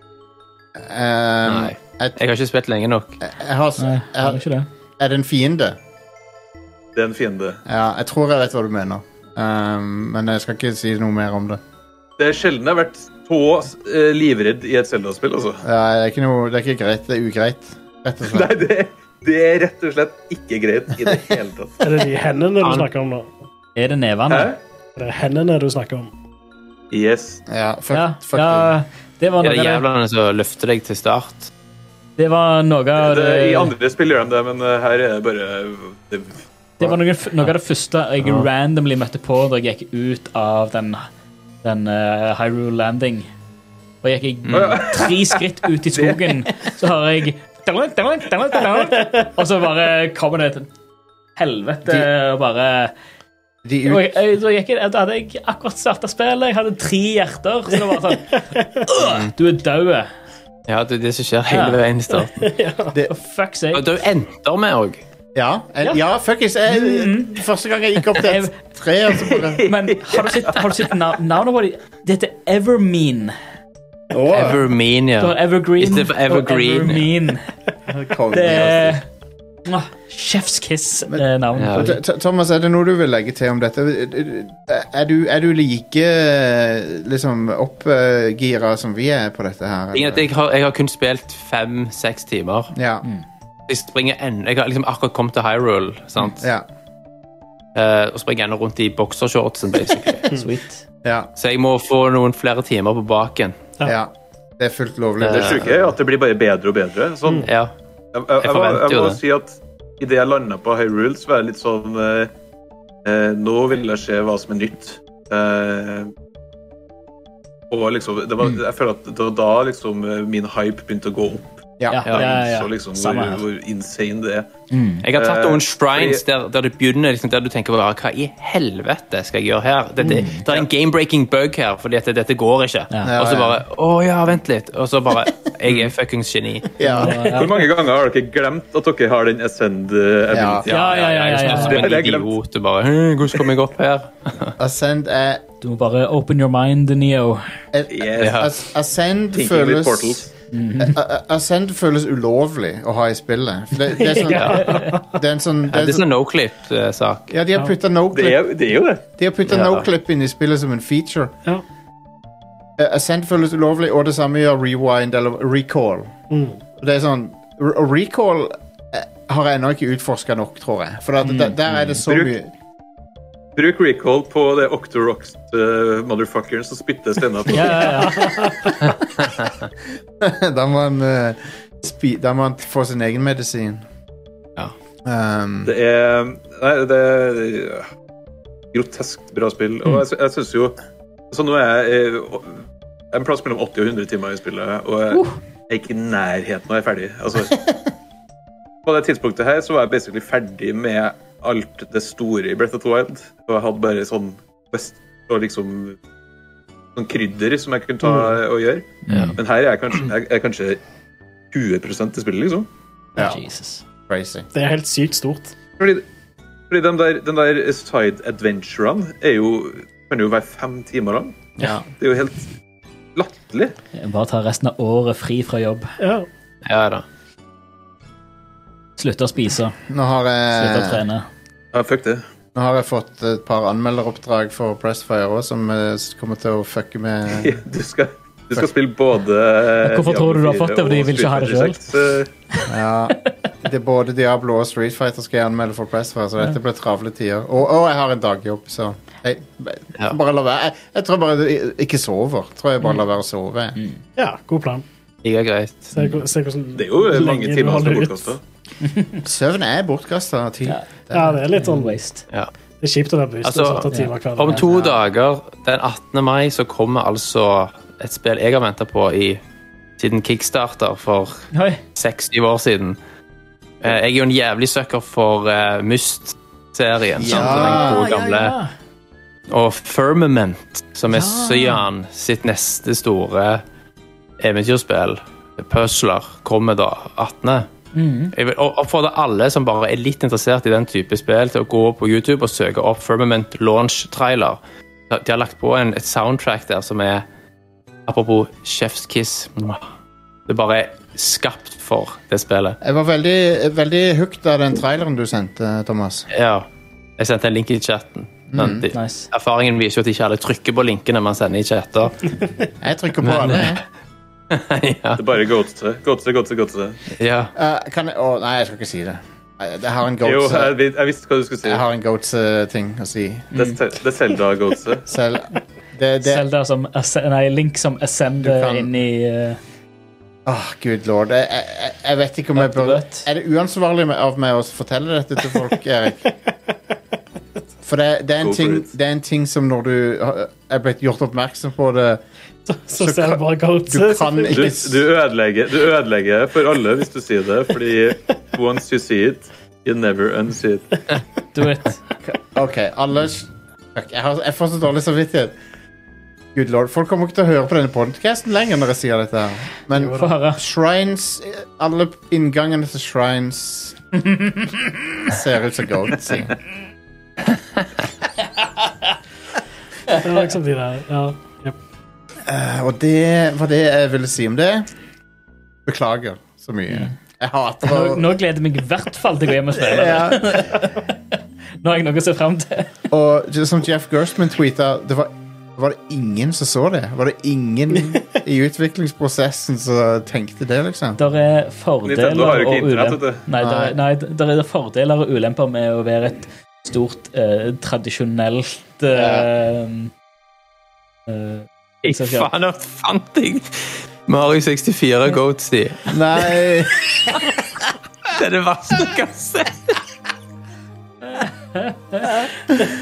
Ehm,
Nei.
Jeg,
Jeg har ikke spilt lenge nok.
jeg har,
Nei,
jeg
det er
har
Eh, ikke det.
Er det en fiende?
Det er en fiende.
Ja, jeg tror jeg vet hva du mener. Ehm, men jeg skal ikke si noe mer om det.
Det er sjelden jeg har vært så eh, livredd i et Zelda-spill, altså.
Ja, det, er ikke noe, det er ikke greit. Det er ugreit. Rett og slett.
[laughs] Nei, det, det er rett og slett ikke greit i det hele tatt.
Er det de hendene du snakker om nå?
Er det
Hæ?
nevene?
Er det hendene du snakker om?
Yes.
Ja, fuck,
Ja,
fuck
ja, det var
Det
noe
er
av det.
jævlene som løfter deg til start.
Det var noe av
Det, I
det,
andre spill gjør de det, men eh, her er det bare det,
det var noe, noe av det første jeg randomly møtte på da jeg gikk ut av den, den eh, Hyrule Landing. Og gikk jeg
Mm.
tre skritt ut i
[laughs]
skogen, så hører jeg "Dalunk, dalunk, dalunk, dalunk", Og så bare kommer det til helvete og bare
De
og
ut,
jeg, jeg, da, gikk jeg, da hadde jeg akkurat starta spillet, jeg hadde tre hjerter. Så det var bare
Mm.
sånn «Åh, Du er død.
Ja, det er det som skjer hele veien i starten.
Fuck sake.
Og du ender med òg.
ja, jeg, ja, fuckings.
Mm.
jeg- Første gang jeg gikk opp til
[laughs]
et tre, og så bare
Men har du sett, har du sett nav navnet på dem? Det heter Evermean.
Åh,
Du har
Evermenia.
Evergreen
It's the Evergreen,
og Evermean.
kongen,
Det
altså.
er Mwah, Chef's eh, kiss-navn.
Ja.
Th- Th- Thomas, er det noe du vil legge til om dette? Er du, er du like liksom oppgira som vi er på dette her?
Ting er at Jeg har, jeg har kun spilt fem-seks timer.
Ja,
Mm.
Jeg springer en, jeg har liksom akkurat kommet til Hyrule sant?
ja,
Eh, og springer ennå rundt i
[laughs]
boksershortsen. basically.
ja,
Så jeg må få noen flere timer på baken.
ja. Det er fullt lovlig.
Det
det sjuke er at det blir bare bedre og bedre. Sånn,
Ja.
jeg, jeg,
Jeg
jeg, må-
forventer
jeg
jo
må
det.
si at idet jeg landa på Hyrule, så var jeg litt sånn eh, eh, Nå vil jeg se hva som er nytt. Eh, og liksom, det
Mm.
var, jeg føler at det var da liksom eh, min hype begynte å gå opp.
Ja, ja, ja.
Så liksom
Samme
hvor,
her.
hvor insane det er.
Jeg har tatt
Eh,
noen shrines der, der det begynner liksom, der du tenker bare, hva i helvete skal jeg gjøre her? Dette, Det er en game-breaking bug her, fordi at dette går ikke.
Mm. Ja.
Og så
Ja,
bare Å ja, vent litt. Og så bare Jeg er fuckings geni.
Ja.
Hvor mange ganger har dere glemt at dere har den Ascend eh,
Ja.
ability?
Ja, ja, ja,
Jeg
ja,
står
ja.
som en
Det har jeg glemt.
idiot og bare «Hm, Hvordan kom jeg opp her?
Ascend er
Du må bare open your mind, Neo.
Yes.
As- Ascend
Thinking
føles
with portals.
A- A- Ascend føles ulovlig å ha i spillet. For Det, det er sånn, det er en sånn,
Ja,
det
det
er
er
sånn
sånn no-clip-sak.
Ja, de har putta
Det,
noclip
er, det er jo det.
De har puttet
Ja.
noclip inn i spillet som en feature.
Ja.
Eh, Ascent føles ulovlig, og det samme gjør rewind eller recall. Og Det er sånn re- og Recall eh, har jeg ennå ikke utforska nok, tror jeg. For at, der, der er det så
Bruk-
mye [laughs]
Bruk recall på det Octorox-motherfuckeren som spytter steiner på.
Ja, ja,
[laughs]
ja.
Da må han eh, spi- Da må han få sin egen medisin.
Ja.
Um,
Det er Nei, det er groteskt bra spill. Og jeg, sy- jeg syns jo Så nå er jeg eh, en plass mellom 80 og 100 timer i spillet, og jeg er ikke i nærheten av å være ferdig. Altså, på det tidspunktet her så var jeg basically ferdig med alt det store i Breath of the Wild. Og jeg hadde bare sånn best, og liksom sånn krydder som jeg kunne ta og gjøre. Men her er jeg kanskje, jeg, er kanskje 20 i spillet, liksom.
ja,
Jesus.
crazy.
Det er helt sykt stort.
Fordi, fordi den der, den der side adventurene er jo kan jo være fem timer lang.
Ja.
Det er jo helt latterlig.
Bare ta resten av året fri fra jobb.
Ja.
Ja da.
Slutte å spise.
Nå har
Slutte
Eh.
å
jeg
trene.
Ja, fuck det.
Nå har jeg fått et par anmelderoppdrag for Pressfire òg, som eh, s- kommer til å fucke
[laughs]
med
Du skal, du skal spille både
Hvorfor tror du du har fått det? Fordi de
de
vil ikke ha det selv?
eh,
Ja. Det er både Diablo og Street Fighter skal jeg anmelde for Pressfire, så dette blir travle tider. Og, og jeg har en dagjobb, så jeg,
Ja.
bare la være. Jeg, jeg tror bare jeg ikke sover. Tror jeg bare lar være å sove. jeg.
ja, god plan.
Like greit.
Se, hvor- se hvordan
Det er jo mange
lenge du
timer som
holder
er
ut.
bortkasta.
Søvn er bortkasta.
Ja.
Ja, det er litt sånn Det
Waste.
Ja.
er kjipt å være bevisst
Altså,
altså, åtte timer hver
Om
dag.
to dager, den 18. mai, så kommer altså et spill jeg har venta på i, siden kickstarter for
Oi.
60 år siden. Eh, Jeg er jo en jævlig sucker for eh, Myst-serien. sant? Den
Ah,
gode gamle. Og Firmament, som er Cyan sitt neste store eventyrspill, Puzzler, kommer da 18. Jeg vil opp- oppfordre alle som bare er litt interessert i den type spill, til å gå på YouTube og søke opp Firmament Launch Trailer. De har lagt på en, et soundtrack der som er Apropos Chef's Kiss. Det bare er skapt for det spillet.
Jeg var veldig, veldig hooked av den traileren du sendte, Thomas.
Ja. Jeg sendte en link i chatten. Men de,
nice.
Erfaringen viser jo at ikke alle trykker på linkene man sender i chatter.
Jeg trykker på alle. jeg.
[laughs] ja,
Det er bare gåtse, gåtse, gåtse. gåtse.
ja.
Eh, kan jeg Å, nei, jeg skal ikke si det. Jeg, jeg har en
Jo,
goats
jeg, vet- jeg visste hva du skulle si.
Jeg har en goats-ting å si.
Det er Sel- det er
[laughs]
Zelda-gåtse.
Selv det, det,
Zelda som Asc- Nei, Link som
Du
ascender
kan-
inn i eh,
Åh, gud lord. Jeg, jeg, jeg vet ikke om jeg bør
Rett.
Er det uansvarlig med- av meg å fortelle dette til folk, Erik?
[laughs]
For det, det, er en
Go for
ting,
it.
det er en ting som når du har- er blitt gjort oppmerksom på det
Så, så
Så
ser
kan-
du bare
Du
goatse.
kan
Du,
ikke s-
du, ødelegger, du ødelegger for alle hvis du sier det,
[laughs]
fordi once you see it, you never unsee it.
Do it.
OK, alle s- Fuck, jeg, har, jeg får så dårlig samvittighet. Gud lord, Folk kommer ikke til å høre på denne podcasten lenger når jeg sier dette. her Men
Få høre.
shrines eh, Alle inngangene til shrines ser ut som goatsing.
Det var liksom de der. Ja. Jep.
Eh, Og det var det jeg ville si om det. Beklager så mye. Jeg hater å
Nå, nå gleder jeg meg i hvert fall til å gå hjem og spille. det.
ja.
Nå har jeg noe å se frem til.
[laughs] Og just som Jeff Gerstmann tweeta det var, var det ingen som så det? Var det ingen i utviklingsprosessen som tenkte det, liksom?
Der er
Nintendo har jo
fordeler
ikke
og
internett,
ulemper.
vet du.
Nei, der, er- nei, der er det fordeler og ulemper med å være et stort, eh, tradisjonelt eh, eh,
Jeg
Så kjent.
faen, jeg fant jeg Mario 64 Goats i.
Nei
Det er det verste jeg kan [laughs] se.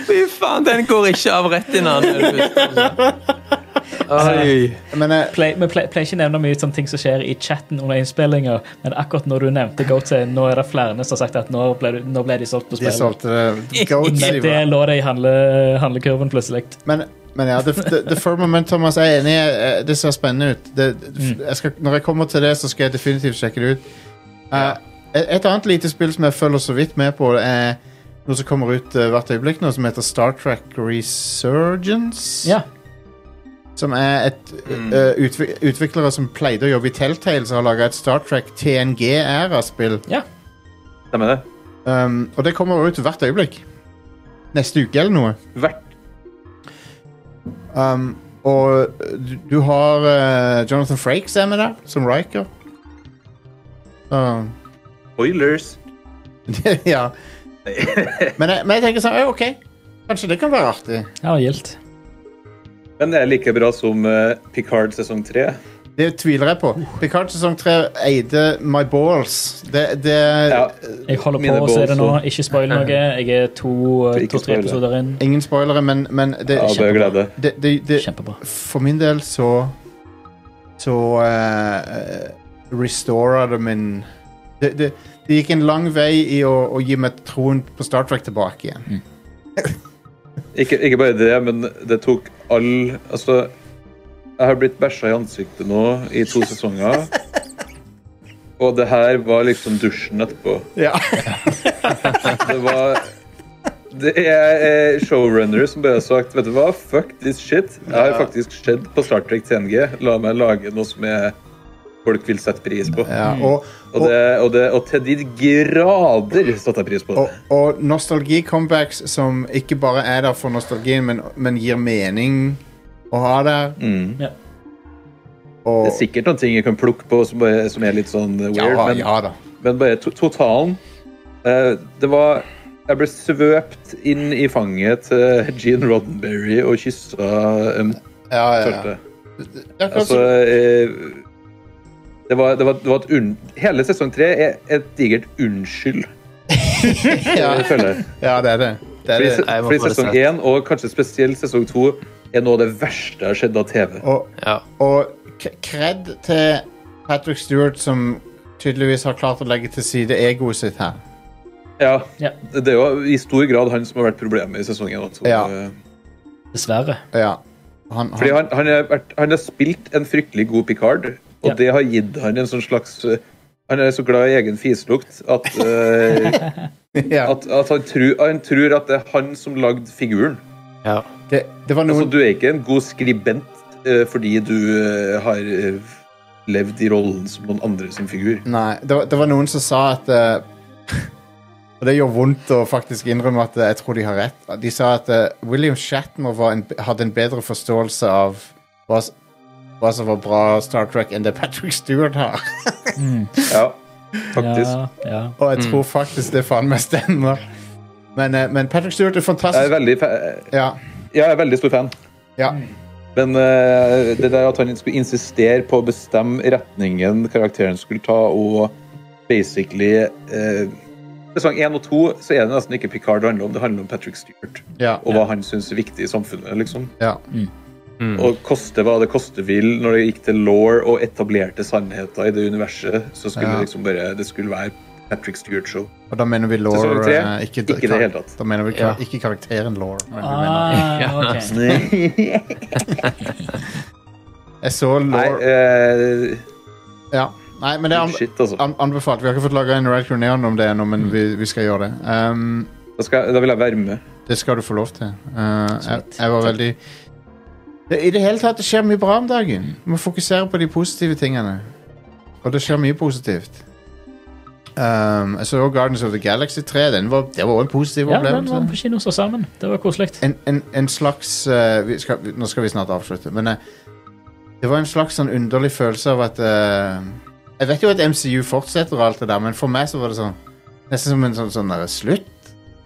Fy faen, den går ikke av rett i navnet. Oi.
Men eh, jeg,
play, Vi play, pleier ikke nevne mye sånne ting som skjer i chatten under innspillinga, men akkurat når du nevnte Goatsay, nå er det flere som har sagt at nå ble, du- nå ble de solgt på
de
spillet.
solgte
[laughs]
det. Goatsy
Men
var-
det lå det i handle, handlekurven plutselig.
Men, men ja, The, the, the Firm Moment, Thomas, jeg er enig. eh, Det ser spennende ut. Det,
Mm.
jeg skal, når jeg kommer til det, så skal jeg definitivt sjekke det ut. Eh, et, et annet lite spill som jeg følger så vidt med på, det er noe som kommer ut eh, hvert øyeblikk nå, som heter Star Trek Resurgence.
Ja.
Som er et eh, utvik utviklere som pleide å jobbe i Telltale, som har laga et Star Trek TNG-æra-spill.
Stemmer det?
Um, og det kommer ut hvert øyeblikk. Neste uke eller noe.
Hvert
Um, og du, du har eh, Jonathan Frakes er med der, som Riker. Så-
Oilers.
[laughs] ja. men, jeg, men jeg tenker sånn, «Ja, ok, kanskje det kan være artig.
Ja, gildt.
Men det er like bra som eh, Picard sesong tre.
Det tviler jeg på. Picard sesong 3 eide My Balls. Det, det
Ja,
Jeg holder
Mine
på å se
balls
det nå.
og-
Ikke spoil noe. Jeg er to-tre
Ikke
to, tre
spoil det.
episoder inn.
Ingen spoilere, men, men det,
ja bør glede.
det, det, det
Kjempebra.
For min del så Så eh, Restora det min det, det, det gikk en lang vei i å, å gi meg troen på Star Trek tilbake igjen.
Ikke, ikke bare det, men det tok all Altså, jeg har blitt bæsja i ansiktet nå i to
[laughs]
sesonger. Og det her var liksom dusjen etterpå.
Ja.
[laughs] Det var Det er eh, showrunnere som bare har sagt Vet du hva, fuck this shit. Jeg har faktisk skjedd på Star Trek TNG. La meg lage noe som jeg, folk vil sette pris på.
Ja, og,
Og, det, og, det, og til de grader satte jeg pris på det.
og, og nostalgi-comebacks som ikke bare er der for nostalgien, men, men gir mening å ha der.
Mm.
Ja.
Og,
Det er sikkert noen ting jeg kan plukke på som, bare, som er litt sånn weird,
ja,
men,
ja da.
men bare to totalen eh, Det var Jeg ble svøpt inn i fanget til Gene Roddenberry og kyssa um,
Ja, ja, ja.
følte.
Det er akkurat
Altså
som-
eh, det var, det var, det var et unn... Hele sesong tre er et digert unnskyld,
ja,
føler jeg.
ja, det er det. det, er
Fordi,
det.
se-
Jeg må
fordi
få det
sesong
sett.
én, og kanskje spesielt sesong to, er noe av det verste jeg har sett av TV.
Og,
Ja.
Og k- cred til Patrick Stewart, som tydeligvis har klart å legge til side egoet sitt her.
Ja,
Ja.
Det er jo i stor grad han som har vært problemet i sesong én. og to.
Ja.
Eh,
Dessverre.
Ja. Han,
Fordi
han,
han, han, har vært, han har spilt en fryktelig god Picard, og
Ja.
det har gitt han en sånn slags eh, Han er så glad i egen fislukt
[laughs]
at, eh,
[laughs] ja,
at, at han, tror, han tror at det er han som lagde figuren.
ja.
det, det var
Altså,
noen
du er ikke en god skribent eh, fordi du eh, har eh, levd i rollen som noen andre sin
[laughs]
figur.
Nei, det var, det var noen som sa at eh, [laughs] Og det gjør vondt å faktisk innrømme at eh, jeg tror de har rett. De sa at eh, William Shatner var en, hadde en bedre forståelse av hva, s- hva som var bra Star Trek, enn det Patrick Stewart har. [laughs]
Ja, faktisk.
Ja, ja.
Og jeg
Mm.
tror faktisk det faen meg stemmer. Men, eh, men Patrick Stewart er
Jeg er
fantastisk.
veldig, fa-
Ja,
jeg er veldig stor fan.
ja.
Men Men eh, det der at han skulle insistere på å bestemme retningen karakteren skulle ta, og basically eh, Sesong 1 og 2 så er det nesten ikke Picard det handler om, det handler om Patrick Stewart.
Ja. Mm.
Og hva han syns er viktig i samfunnet, liksom.
ja.
Og koste hva det koste vil, når det gikk til law og etablerte sannheter i det universet, så skulle
Ja.
det liksom bare Det skulle være Patrick Stewart-show.
Og da mener vi lore
Sesong tre?
eh, ikke,
Ikke i det hele tatt.
Da mener vi kar
Ja.
ikke karakteren lore. Men vi mener.
Ah, ok.
Jeg så
Nei,
lore
eh,
ja. Nei, men det er an
shit, altså.
an anbefalt. Vi har ikke fått laga en Red Crew Neon om det ennå, men vi, vi skal gjøre det. Ehm,
Da, skal, da vil jeg være med.
Det skal du få lov til. Eh, jeg, jeg var veldig det, I det hele tatt, det skjer mye bra om dagen. Du må fokusere på de positive tingene. Og det skjer mye positivt. Um, jeg så også Guardians of the Galaxy 3. Den var, det var også en positiv
Ja, men vi var på
opplevelse.
kino så sammen. Det var koselig.
En, en, en slags eh, vi skal, vi- Nå skal vi snart avslutte, men eh, det var en slags sånn underlig følelse av at eh, Jeg vet jo at MCU fortsetter og alt det der, men for meg så var det sånn nesten som en sånn, sånn der, slutt.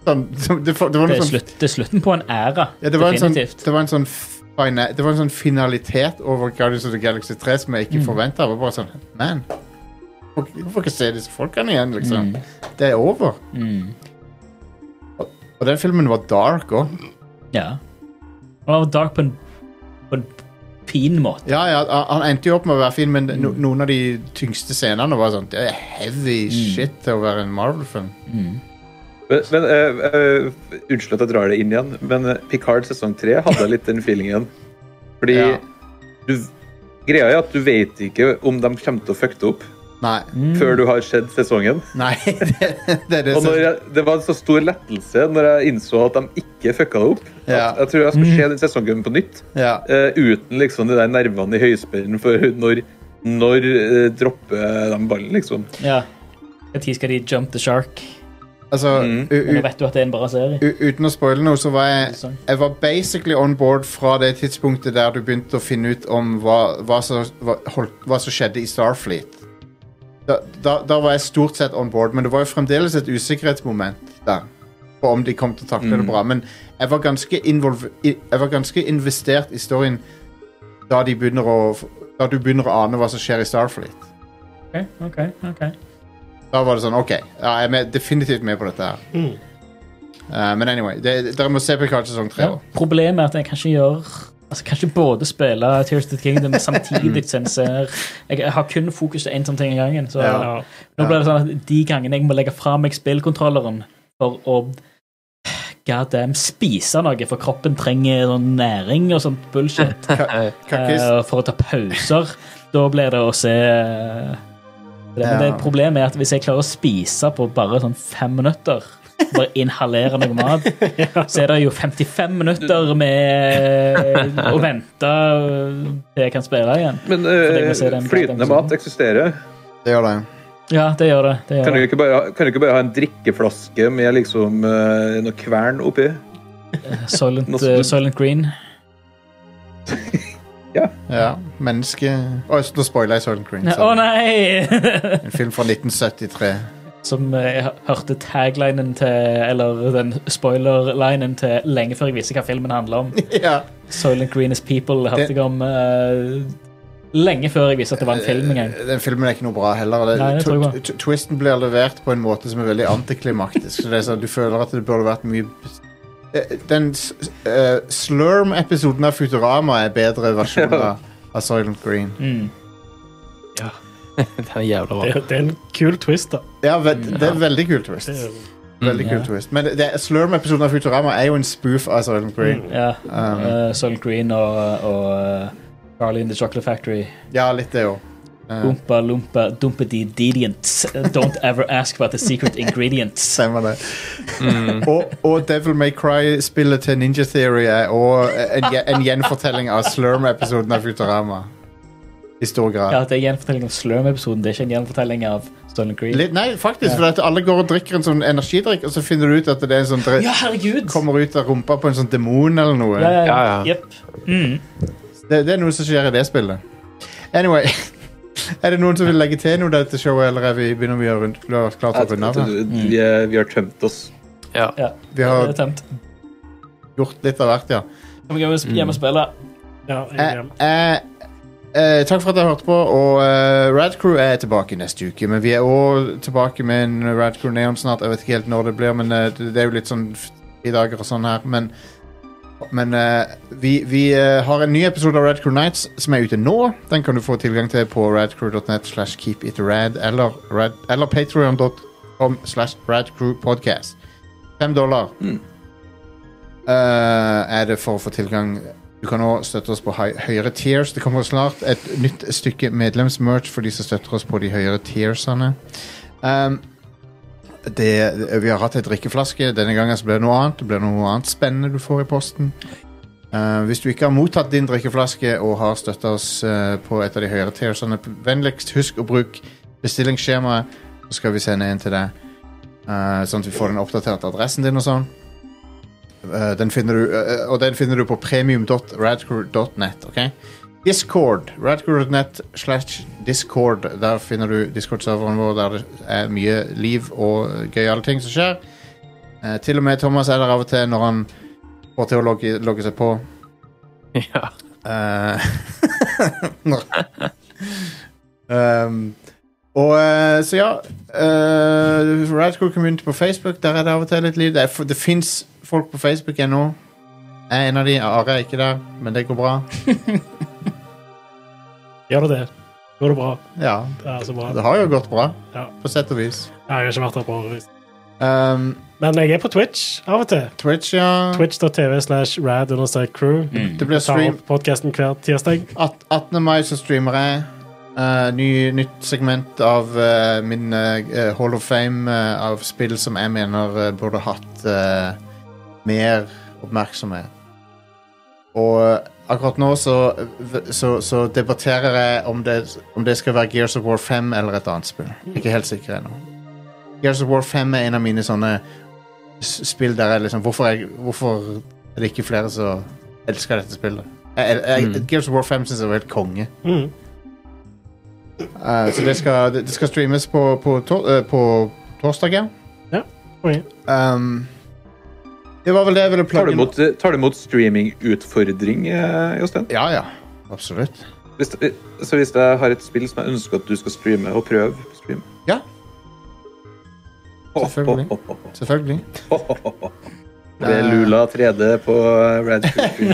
Sånn, det, var- det var
Det
noe
er,
sånn
slutt, det er slutten på en æra.
ja, det var en sånn,
definitivt.
det var en sånn fina, Det var en sånn finalitet over Guardians of the Galaxy 3 som jeg ikke
Mm.
forventet forventa. Bare sånn Man, får, får ikke se disse folkene igjen, liksom. Det er over.
Mm.
Og den filmen var dark òg.
Ja. Og det var dark på en, på en fin måte.
Ja, ja, han- han endte jo opp med å være fin, men no,
Mm.
noen av de tyngste scenene var sånn Det er heavy
Mm.
shit til å være en Marvel-film.
Men, men eh, eh, Unnskyld at jeg drar det inn igjen, men eh, Picard sesong tre hadde jeg litt den feelingen. Fordi
Ja.
du, greia er at du vet ikke om de kommer til å fucke det opp
Nei.
før du har sett sesongen.
Nei, [laughs] det, det er det
Mm. Og
som
når jeg, det var en så stor lettelse når jeg innså at de ikke fucka det opp.
Ja.
At jeg tror jeg skal se den sesongen på nytt
ja.
eh, uten liksom de der nervene i høyspenn for [laughs] når, når eh, dropper de ballen, liksom.
Ja. Når skal de jump the shark?
Altså,
Mm.
u,
Men
u,
Nå vet du at det er en bra serie.
U- Uten å spoile noe, så var jeg
Interessant.
Jeg var basically on board fra det tidspunktet der du begynte å finne ut om hva, hva, som, hva, holdt, hva som skjedde i Starfleet. Da, da, da var jeg stort sett on board, men det var jo fremdeles et usikkerhetsmoment der. På om de kom til å takle det bra. Men jeg var, ganske involv- i- jeg var ganske investert i storyen da, de begynner å, da du begynner å ane hva som skjer i Starfleet.
Ok, ok, ok.
Da var det sånn OK, ja, jeg er med, definitivt med på dette her. Eh, men anyway, det- dere må se på Kart sesong tre.
Ja.
da.
Problemet er at jeg kan ikke gjøre Altså, jeg kan ikke både spille Tears of the Kingdom samtidig som jeg ser Jeg jeg har kun fokus til én sånn ting i gangen. Så
Ja.
Ja.
nå blir det sånn at de gangene jeg må legge fra meg spillkontrolleren for å [sighs] God damn, spise noe, for kroppen trenger sånn næring og sånt bullshit
Kan ikke
eh, for å ta
[laughs]
pauser. Da blir det å se eh, det. Men det
Ja.
problemet er at hvis jeg klarer å spise på bare sånn fem minutter bare inhalere
[laughs]
noe mat, så er det jo 55 minutter med
[laughs]
å vente til jeg kan spille igjen.
Men
jeg må
eh,
se den
flytende
episoden.
mat eksisterer.
Det gjør det.
Ja, det gjør det. det,
Kan
gjør
du
det.
ikke bare, kan du ikke bare ha en drikkeflaske med liksom eh, noe kvern oppi?
Silent,
Nå skal du-
eh, Silent Green.
Ja, menneske Å, Nå spoiler jeg Soylent Green.
Å
sorry.
nei! [laughs]
En film fra 1973.
Som eh, jeg hørte taglinen til, eller den spoiler-linen til lenge før jeg visste hva filmen handler om.
ja.
Silent Green is People hørte
Det-
jeg om eh, lenge før jeg visste at det var en film engang.
Eh, Den filmen er ikke noe bra heller. Det,
Nei, det tror jeg
tw- tw- twisten blir levert på en måte som er veldig antiklimaktisk. så det er sånn, Du føler at det burde vært mye Eh, Den s- eh, Slurm-episoden av Futurama er bedre versjon av, av Soylent Green.
Mm.
Den er jævla bra.
Det, det er en kul twist, da.
Ja, ve
Mm,
Det er veldig kul twist.
Det er,
Veldig kul
ja.
twist. Men det- det, Slurm-episoden av Futurama er jo en spoof av Soylent Green.
Ja.
Um.
eh, Silent Green og, og eh, Charlie in the Chocolate Factory.
Ja, litt det òg.
Oompa loompa dumpedy deedients. Don't ever ask about the secret
[laughs]
ingredients.
Stemmer det. og, og Devil May Cry-spillet til Ninja Theory er òg en, gje- en gjenfortelling av Slurm-episoden av Futurama. I stor grad.
Ja, det er gjenfortelling av Slurm-episoden, det er ikke en gjenfortelling av Stolen Creed.
Litt, nei, faktisk, for at alle går og drikker en sånn energidrikk, og så finner du ut at det er en sånn dre
Ja, herregud!
kommer ut av rumpa på en sånn demon eller noe.
Ja, ja,
Ja, ja.
ja. Jepp. Mm.
Det, det er noe som skjer i det spillet. Anyway. [laughs] Er det noen som vil legge til noe der til showet, eller er vi, begynner vi å rundt, klart å
Jeg
runde
tror
av? her?
at vi, er- vi har tømt oss.
Ja.
Ja.
Vi
Det
har
er tømt.
gjort litt av hvert, ja.
Kan vi gå hjem og spille?
Ja,
Eh,
jeg,
eh, eh, takk for at dere hørte på, og eh, Radcrew er tilbake neste uke. Men vi er òg tilbake med en Radcrew Neon snart. Jeg vet ikke helt når det blir, men eh, det er jo litt sånn i dager og sånn her. Men, men eh, vi, vi eh, har en ny episode av Radcrew Nights som er ute nå. Den kan du få tilgang til på radcrew.net slash keepitrad eller, rad, eller patreon.com slash radcrewpodcast. Fem dollar eh, er det for å få tilgang. Du kan også støtte oss på høy høyere tiers. Det kommer snart et nytt stykke medlemsmerch for de som støtter oss på de høyere tiersene. Um, det, vi har hatt ei drikkeflaske. Denne gangen så blir det noe annet. Det blir noe annet spennende du får i posten. Eh, hvis du ikke har mottatt din drikkeflaske og har støtta oss eh, på et av de høyere tiersene, vennligst husk å bruke bestillingsskjemaet, så skal vi sende en til deg. Eh, sånn at vi får den oppdaterte adressen din og sånn. Eh, den finner du, eh, og den finner du på premium.radcrew.net. ok? Discord. Radcrew.net slash discord. Der finner du Discord-serveren vår, der det er mye liv og gøyale ting som skjer. Eh, til og med Thomas er der av og til når han får til å logge, logge seg på.
Ja.
Eh, [laughs] um, og eh, så ja uh, Radcrew Community på Facebook, der er det av og til litt liv. Det, er f- det fins folk på Facebook ennå. Jeg er en av de. Are er ikke der, men det går bra.
gjør du det? Går det bra?
Ja,
Det er så bra.
det har jo gått bra,
Ja.
på sett og vis.
Jeg har ikke vært der på årevis.
Um,
Men jeg er på Twitch av og til.
Twitch, ja.
Twitch.tv slash rad understrek crew.
Det blir
Tar
stream
opp podkasten hver tirsdag.
at- 18. mai så streamer jeg. Eh, ny, nytt segment av eh, min eh, Hall of Fame eh, av spill som jeg mener eh, burde hatt eh, mer oppmerksomhet. Og eh, akkurat nå så, så, så debatterer jeg om det, om det skal være Gears of War 5 eller et annet spill. Jeg er Ikke helt sikker ennå. Gears of War 5 er en av mine sånne s- spill der jeg liksom Hvorfor, jeg, hvorfor er det ikke flere som elsker dette spillet? Jeg, jeg, jeg, Gears eh, of War 5 syns jeg var helt konge.
Mm.
Eh, så det skal, det, det skal streames på, på, tor eh, på torsdag, ja.
Oi.
Um, det var vel det jeg ville
Tar
plugge
du imot, eh, tar du imot streamingutfordring, eh, Jostein?
Ja, ja. Absolutt.
Hvis, eh, så hvis jeg har et spill som jeg ønsker at du skal streame og prøve på stream
Ja.
Ho, ho,
Selvfølgelig.
ho, ho,
Selvfølgelig.
ho, ho, ho. Det er Lula 3D på eh, Red Crew.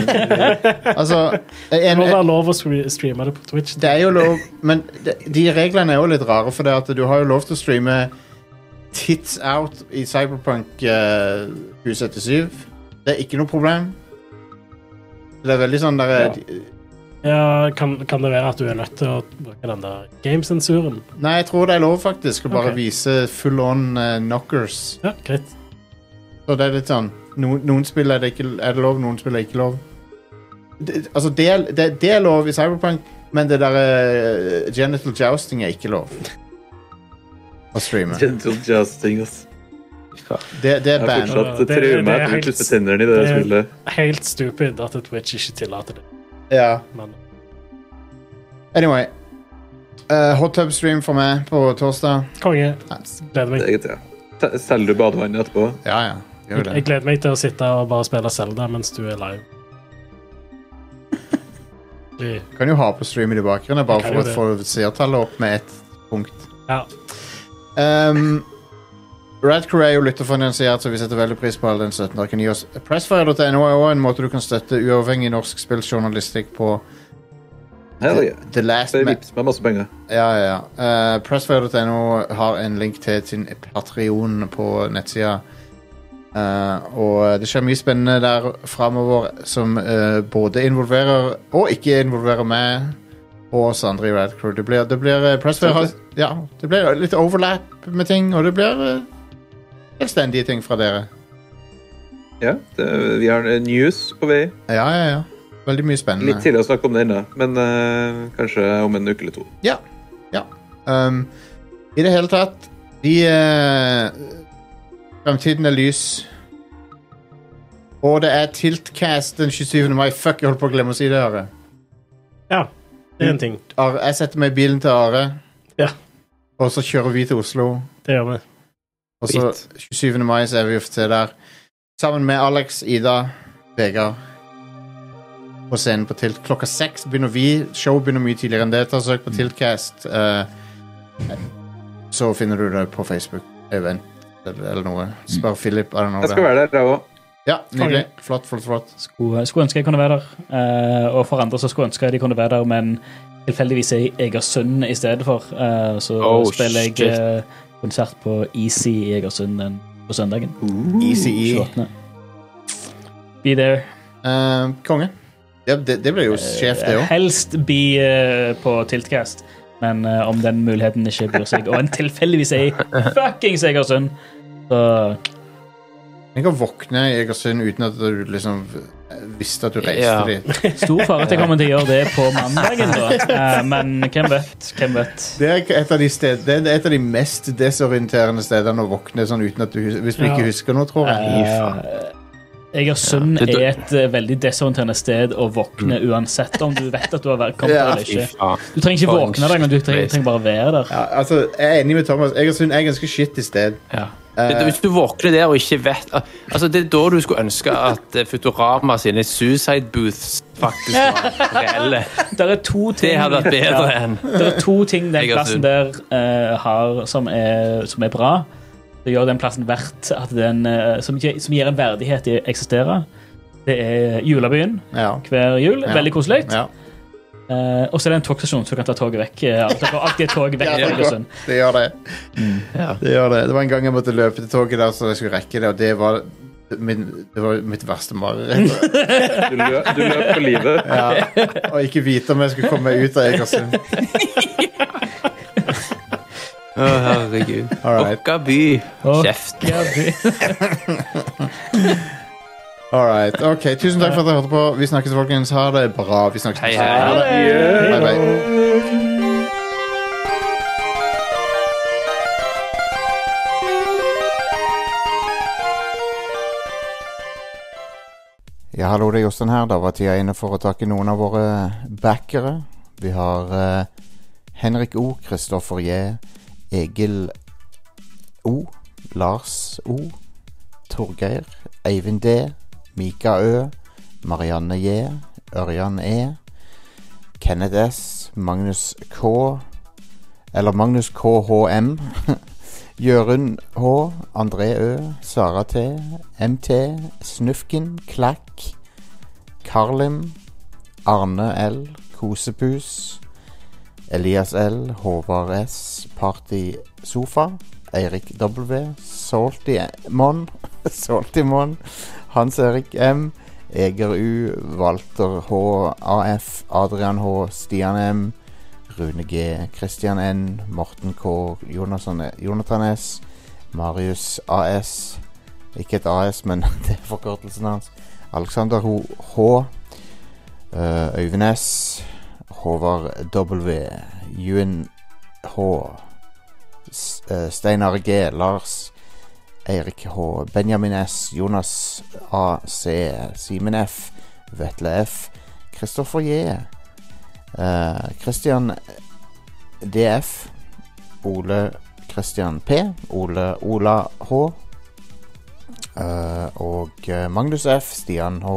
[laughs]
Altså
Det
en,
må være lov å stre- streame det på Twitch.
Det er jo lov Men de, de reglene er jo litt rare, for det at du har jo lov til å streame Tits Out i Cyberpunk eh, 2077. Det er ikke noe problem. Det er veldig sånn der eh, de-
Ja, kan, kan det være at du er nødt til å bruke den der gamesensuren?
Nei, jeg tror det er lov, faktisk, å bare
Ok.
vise full on eh, knockers.
Ja, greit.
Så det er litt sånn no, Noen spill er det, ikke, er det lov, noen spill er det ikke lov. Det, altså, det, er- det, det er lov i Cyberpunk, men det derre genital jousting er ikke lov. Å streame.
Gentle Justing, ass.
Det, det
Jeg
er
har
band.
fortsatt
Det- det- det er
traume etter å
helt-
klippe tennene i det
det-
spillet.
Helt stupid at Twitch ikke tillater det.
Ja.
Men
Anyway. Eh, hot tub stream for meg på torsdag.
konge. Gleder
Det er
meg.
greit, ja. Se- Selger du badevannet etterpå?
Ja, ja. Gjør
Jeg
det.
gleder meg til å sitte og bare spille Zelda mens du er
[laughs]
live. Skikkelig.
Kan jo ha på stream i det bakgrunnen, bare
Kan
for
jo
å få seertallet opp med ett punkt.
Ja.
Um, Radcrew er jo lytterfinansiert, så vi setter veldig pris på all den støtten. Dere kan gi oss Pressfire.no er også en måte du kan støtte uavhengig norsk spilljournalistikk på.
Hell yeah.
The Last
Bare
Man
vips meg masse penger.
Ja, ja, ja. Eh, Pressfire.no har en link til sin Patreon på nettsida. Eh, og det skjer mye spennende der framover som eh, både involverer og ikke involverer meg og oss andre i Radcrew. Det blir, det blir eh, Pressfire har, ja, det blir litt overlap med ting, og det blir eh, selvstendige ting fra dere.
Ja, det, vi har eh, news på vei.
Ja, ja, ja. Veldig mye spennende.
Litt tidlig å snakke om det ennå, men eh, kanskje om en uke eller to.
Ja. ja. Um, I det hele tatt De eh, Fremtiden er lys. Og det er Tiltcast den 27. mai. Fuck, jeg holdt på å glemme å si det. Are.
ja. Det er en ting.
Are, jeg setter meg i bilen til Are,
Ja.
og så kjører vi til Oslo.
Det gjør vi.
Og så 27. mai så er vi ofte der. Sammen med Alex, Ida, Vegard på scenen på Tilt. Klokka seks begynner vi. Showet begynner mye tidligere enn det. Ta og Søk på Tiltcast. eh, så finner du det på Facebook. Event eller, eller noe. Spør Philip. I don't know.
Jeg skal være der, jeg òg.
Ja, nydelig. Flott, flott, flott.
Skulle, skulle ønske jeg kunne være der. eh, og for andre så skulle ønske jeg de kunne være der, men tilfeldigvis er jeg Egersund i stedet for. eh, så
Oh,
spiller jeg
shit.
eh, konsert på Easy i Egersund den, på søndagen.
ECE.
28. Be there.
Eh, konge. Ja, det, det blir
Eh,
jo sjef, det òg.
Helst be eh, på Tiltcast, men eh, om den muligheten ikke byr seg, og en tilfeldigvis er jeg fuckings Egersund, så
Tenk å våkne i Egersund uten at du liksom visste at du reiste
Ja.
dit.
Stor fare at jeg kommer til å gjøre det på mandagen, da. Eh, Men hvem vet? Hvem vet?
Det er et av de, sted, det er et av de mest desorienterende stedene å våkne sånn uten at du hus- Hvis du
Ja.
ikke husker noe, tror jeg.
Eh, Egersund
Ja, det-
er et eh, veldig desorienterende sted å våkne uansett om du vet at du har vært- kommet
Ja,
der eller ikke. Du trenger ikke våkne der, men du trenger, trenger bare være der.
Ja, altså, jeg er enig med Thomas. Egersund er et ganske shitty sted.
Det- Hvis du våkner der og ikke vet al- altså Det er da du skulle ønske at eh, Futurama sine suicide booths faktisk var reelle.
Det er to ting
Det hadde vært bedre enn
Det er to ting den plassen
Egersund.
der eh, har som er, som er bra. Det gjør den plassen verdt at den eh, som, gir- som gir en verdighet i å eksistere. Det er julebyen
Ja.
hver jul.
Ja.
Veldig koselig.
ja.
Eh, og så er det en togstasjon, så du kan ta toget vekk. eh, Alt det går alltid et tog vekk
Ja,
fra
det, går.
Egersund.
det gjør det.
ja.
Det gjør det. Det var en gang jeg måtte løpe til toget der så jeg skulle rekke det, og det var min, det var mitt verste mareritt.
Du, lø, du løp for livet.
Ja. Og ikke vite om jeg skulle komme meg ut av Egersund.
Å, herregud.
All right.
Åkka by.
Åh.
Kjeft.
Ja, det-
All right. Ok, tusen takk for at dere hørte på. Vi snakkes, folkens. Ha det bra. Vi snakkes.
Hei, hei.
Ha det. Bye, bye. Ja, hallo, det er Jostein her. Da var tida inne for å takke noen av våre backere. Vi har eh, Henrik O, Kristoffer J, Egil O, Lars O, Torgeir, Eivind D, Mika Ø, Marianne J, Ørjan E, Kenneth S, Magnus K, eller Magnus KHM, [laughs] Jørund H, André Ø, Sara T, MT, Snufken, Klakk, Karlim, Arne L, Kosepus, Elias L, Håvard S, Party Sofa, Eirik W, Salty Mon, [laughs] Salty Mon, Hans Erik M, Eger U, Walter H, AF, Adrian H, Stian M, Rune G, Christian N, Morten K, Jonathan, E, Jonathan S, Marius AS Ikke et AS, men [laughs] det er forkortelsen hans. Alexander Ho- H. eh, Øyvind S. Håvard W. Juen H. S- eh, Steinar G. Lars. Eirik H. Benjamin S. Jonas A. C. Simen F. Vetle F. Kristoffer J. eh, Christian DF. Ole Christian P, Ole Ola H, eh, og eh, Magnus F, Stian H,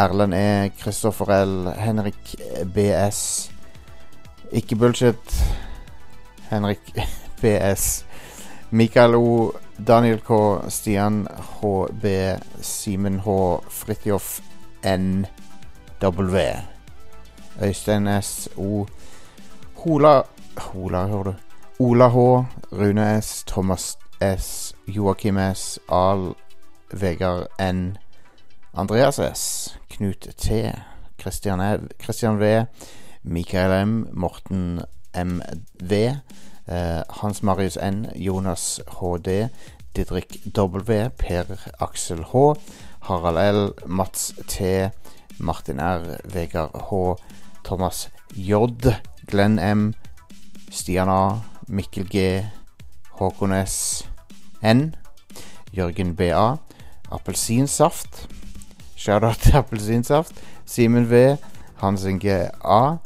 Erlend E, Kristoffer L, Henrik BS, Ikke Bullshit, Henrik [laughs] BS, Mikael O, Daniel K, Stian HB, Simen H, Fridtjof N, W, Øystein S, O, Hola Hola, hører du. Ola H, Rune S, Thomas S, Joakim S, Al, Vegard N, Andreas S, Knut T, Christian, E- Christian V, Mikael M, Morten M, V, eh, Hans Marius N, Jonas HD, Didrik W, Per Aksel H, Harald L, Mats T, Martin R, Vegard H, Thomas J, Glenn M, Stian A, Mikkel G, Håkon S, N, Jørgen BA, Appelsinsaft, Shoutout til Appelsinsaft, Simen V, Hans Inge A,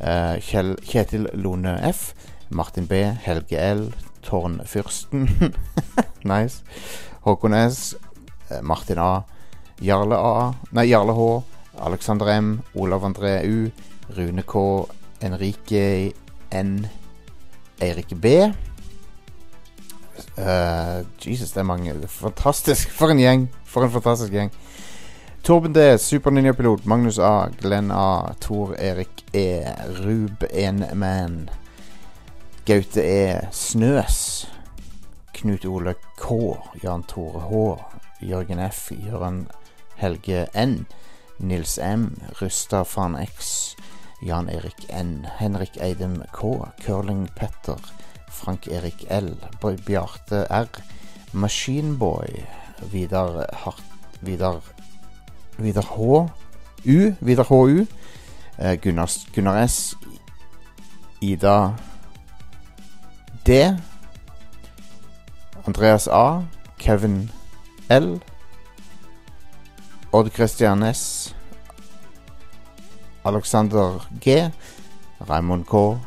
eh, Kjell, Kjetil Lone F, Martin B, Helge L, Tårn Fyrsten, [laughs] nice, Håkon S, eh, Martin A, Jarle A, nei, Jarle H, Alexander M, Olav André U, Rune K, Enrique N, Eirik B. Eh, Jesus, det er mange. Fantastisk. For en gjeng. For en fantastisk gjeng. Torben D, Super Ninja-pilot, Magnus A, Glenn A, Tor Erik E, Rub Enman, Gaute E, Snøs, Knut Ole K, Jan Tore H, Jørgen F, Jøran Helge N, Nils M, Rusta Fan X, Jan Erik N, Henrik Eidem K, Curling Petter, Frank Erik L, Boy Bjarte R, Machineboy, Vidar Hart, Vidar Vidar H. U. Vidar HU. Eh, Gunnar, Gunnar S. Ida D. Andreas A. Kevin L. Odd Christian S. Alexander G. Raymond K.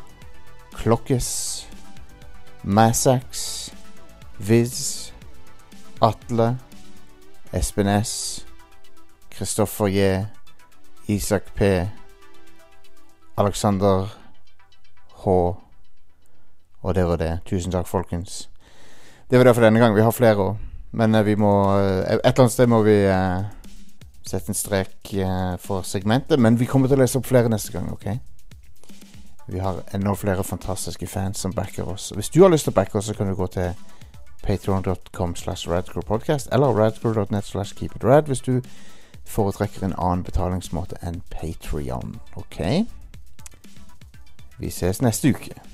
Klokkes. Massax. Viz. Atle. Espen S. Kristoffer J. Isak P. Alexander H. Og det var det. Tusen takk, folkens. Det var det for denne gang. Vi har flere òg. Men eh, vi må eh, Et eller annet sted må vi eh, sette en strek eh, for segmentet. Men vi kommer til å lese opp flere neste gang, OK? Vi har enda flere fantastiske fans som backer oss. Hvis du har lyst til å backe oss, så kan du gå til patreon.com slash radcrewpodcast eller radcrew.net slash keep it rad hvis du foretrekker en annen betalingsmåte enn Patreon. Ok? Vi ses neste uke.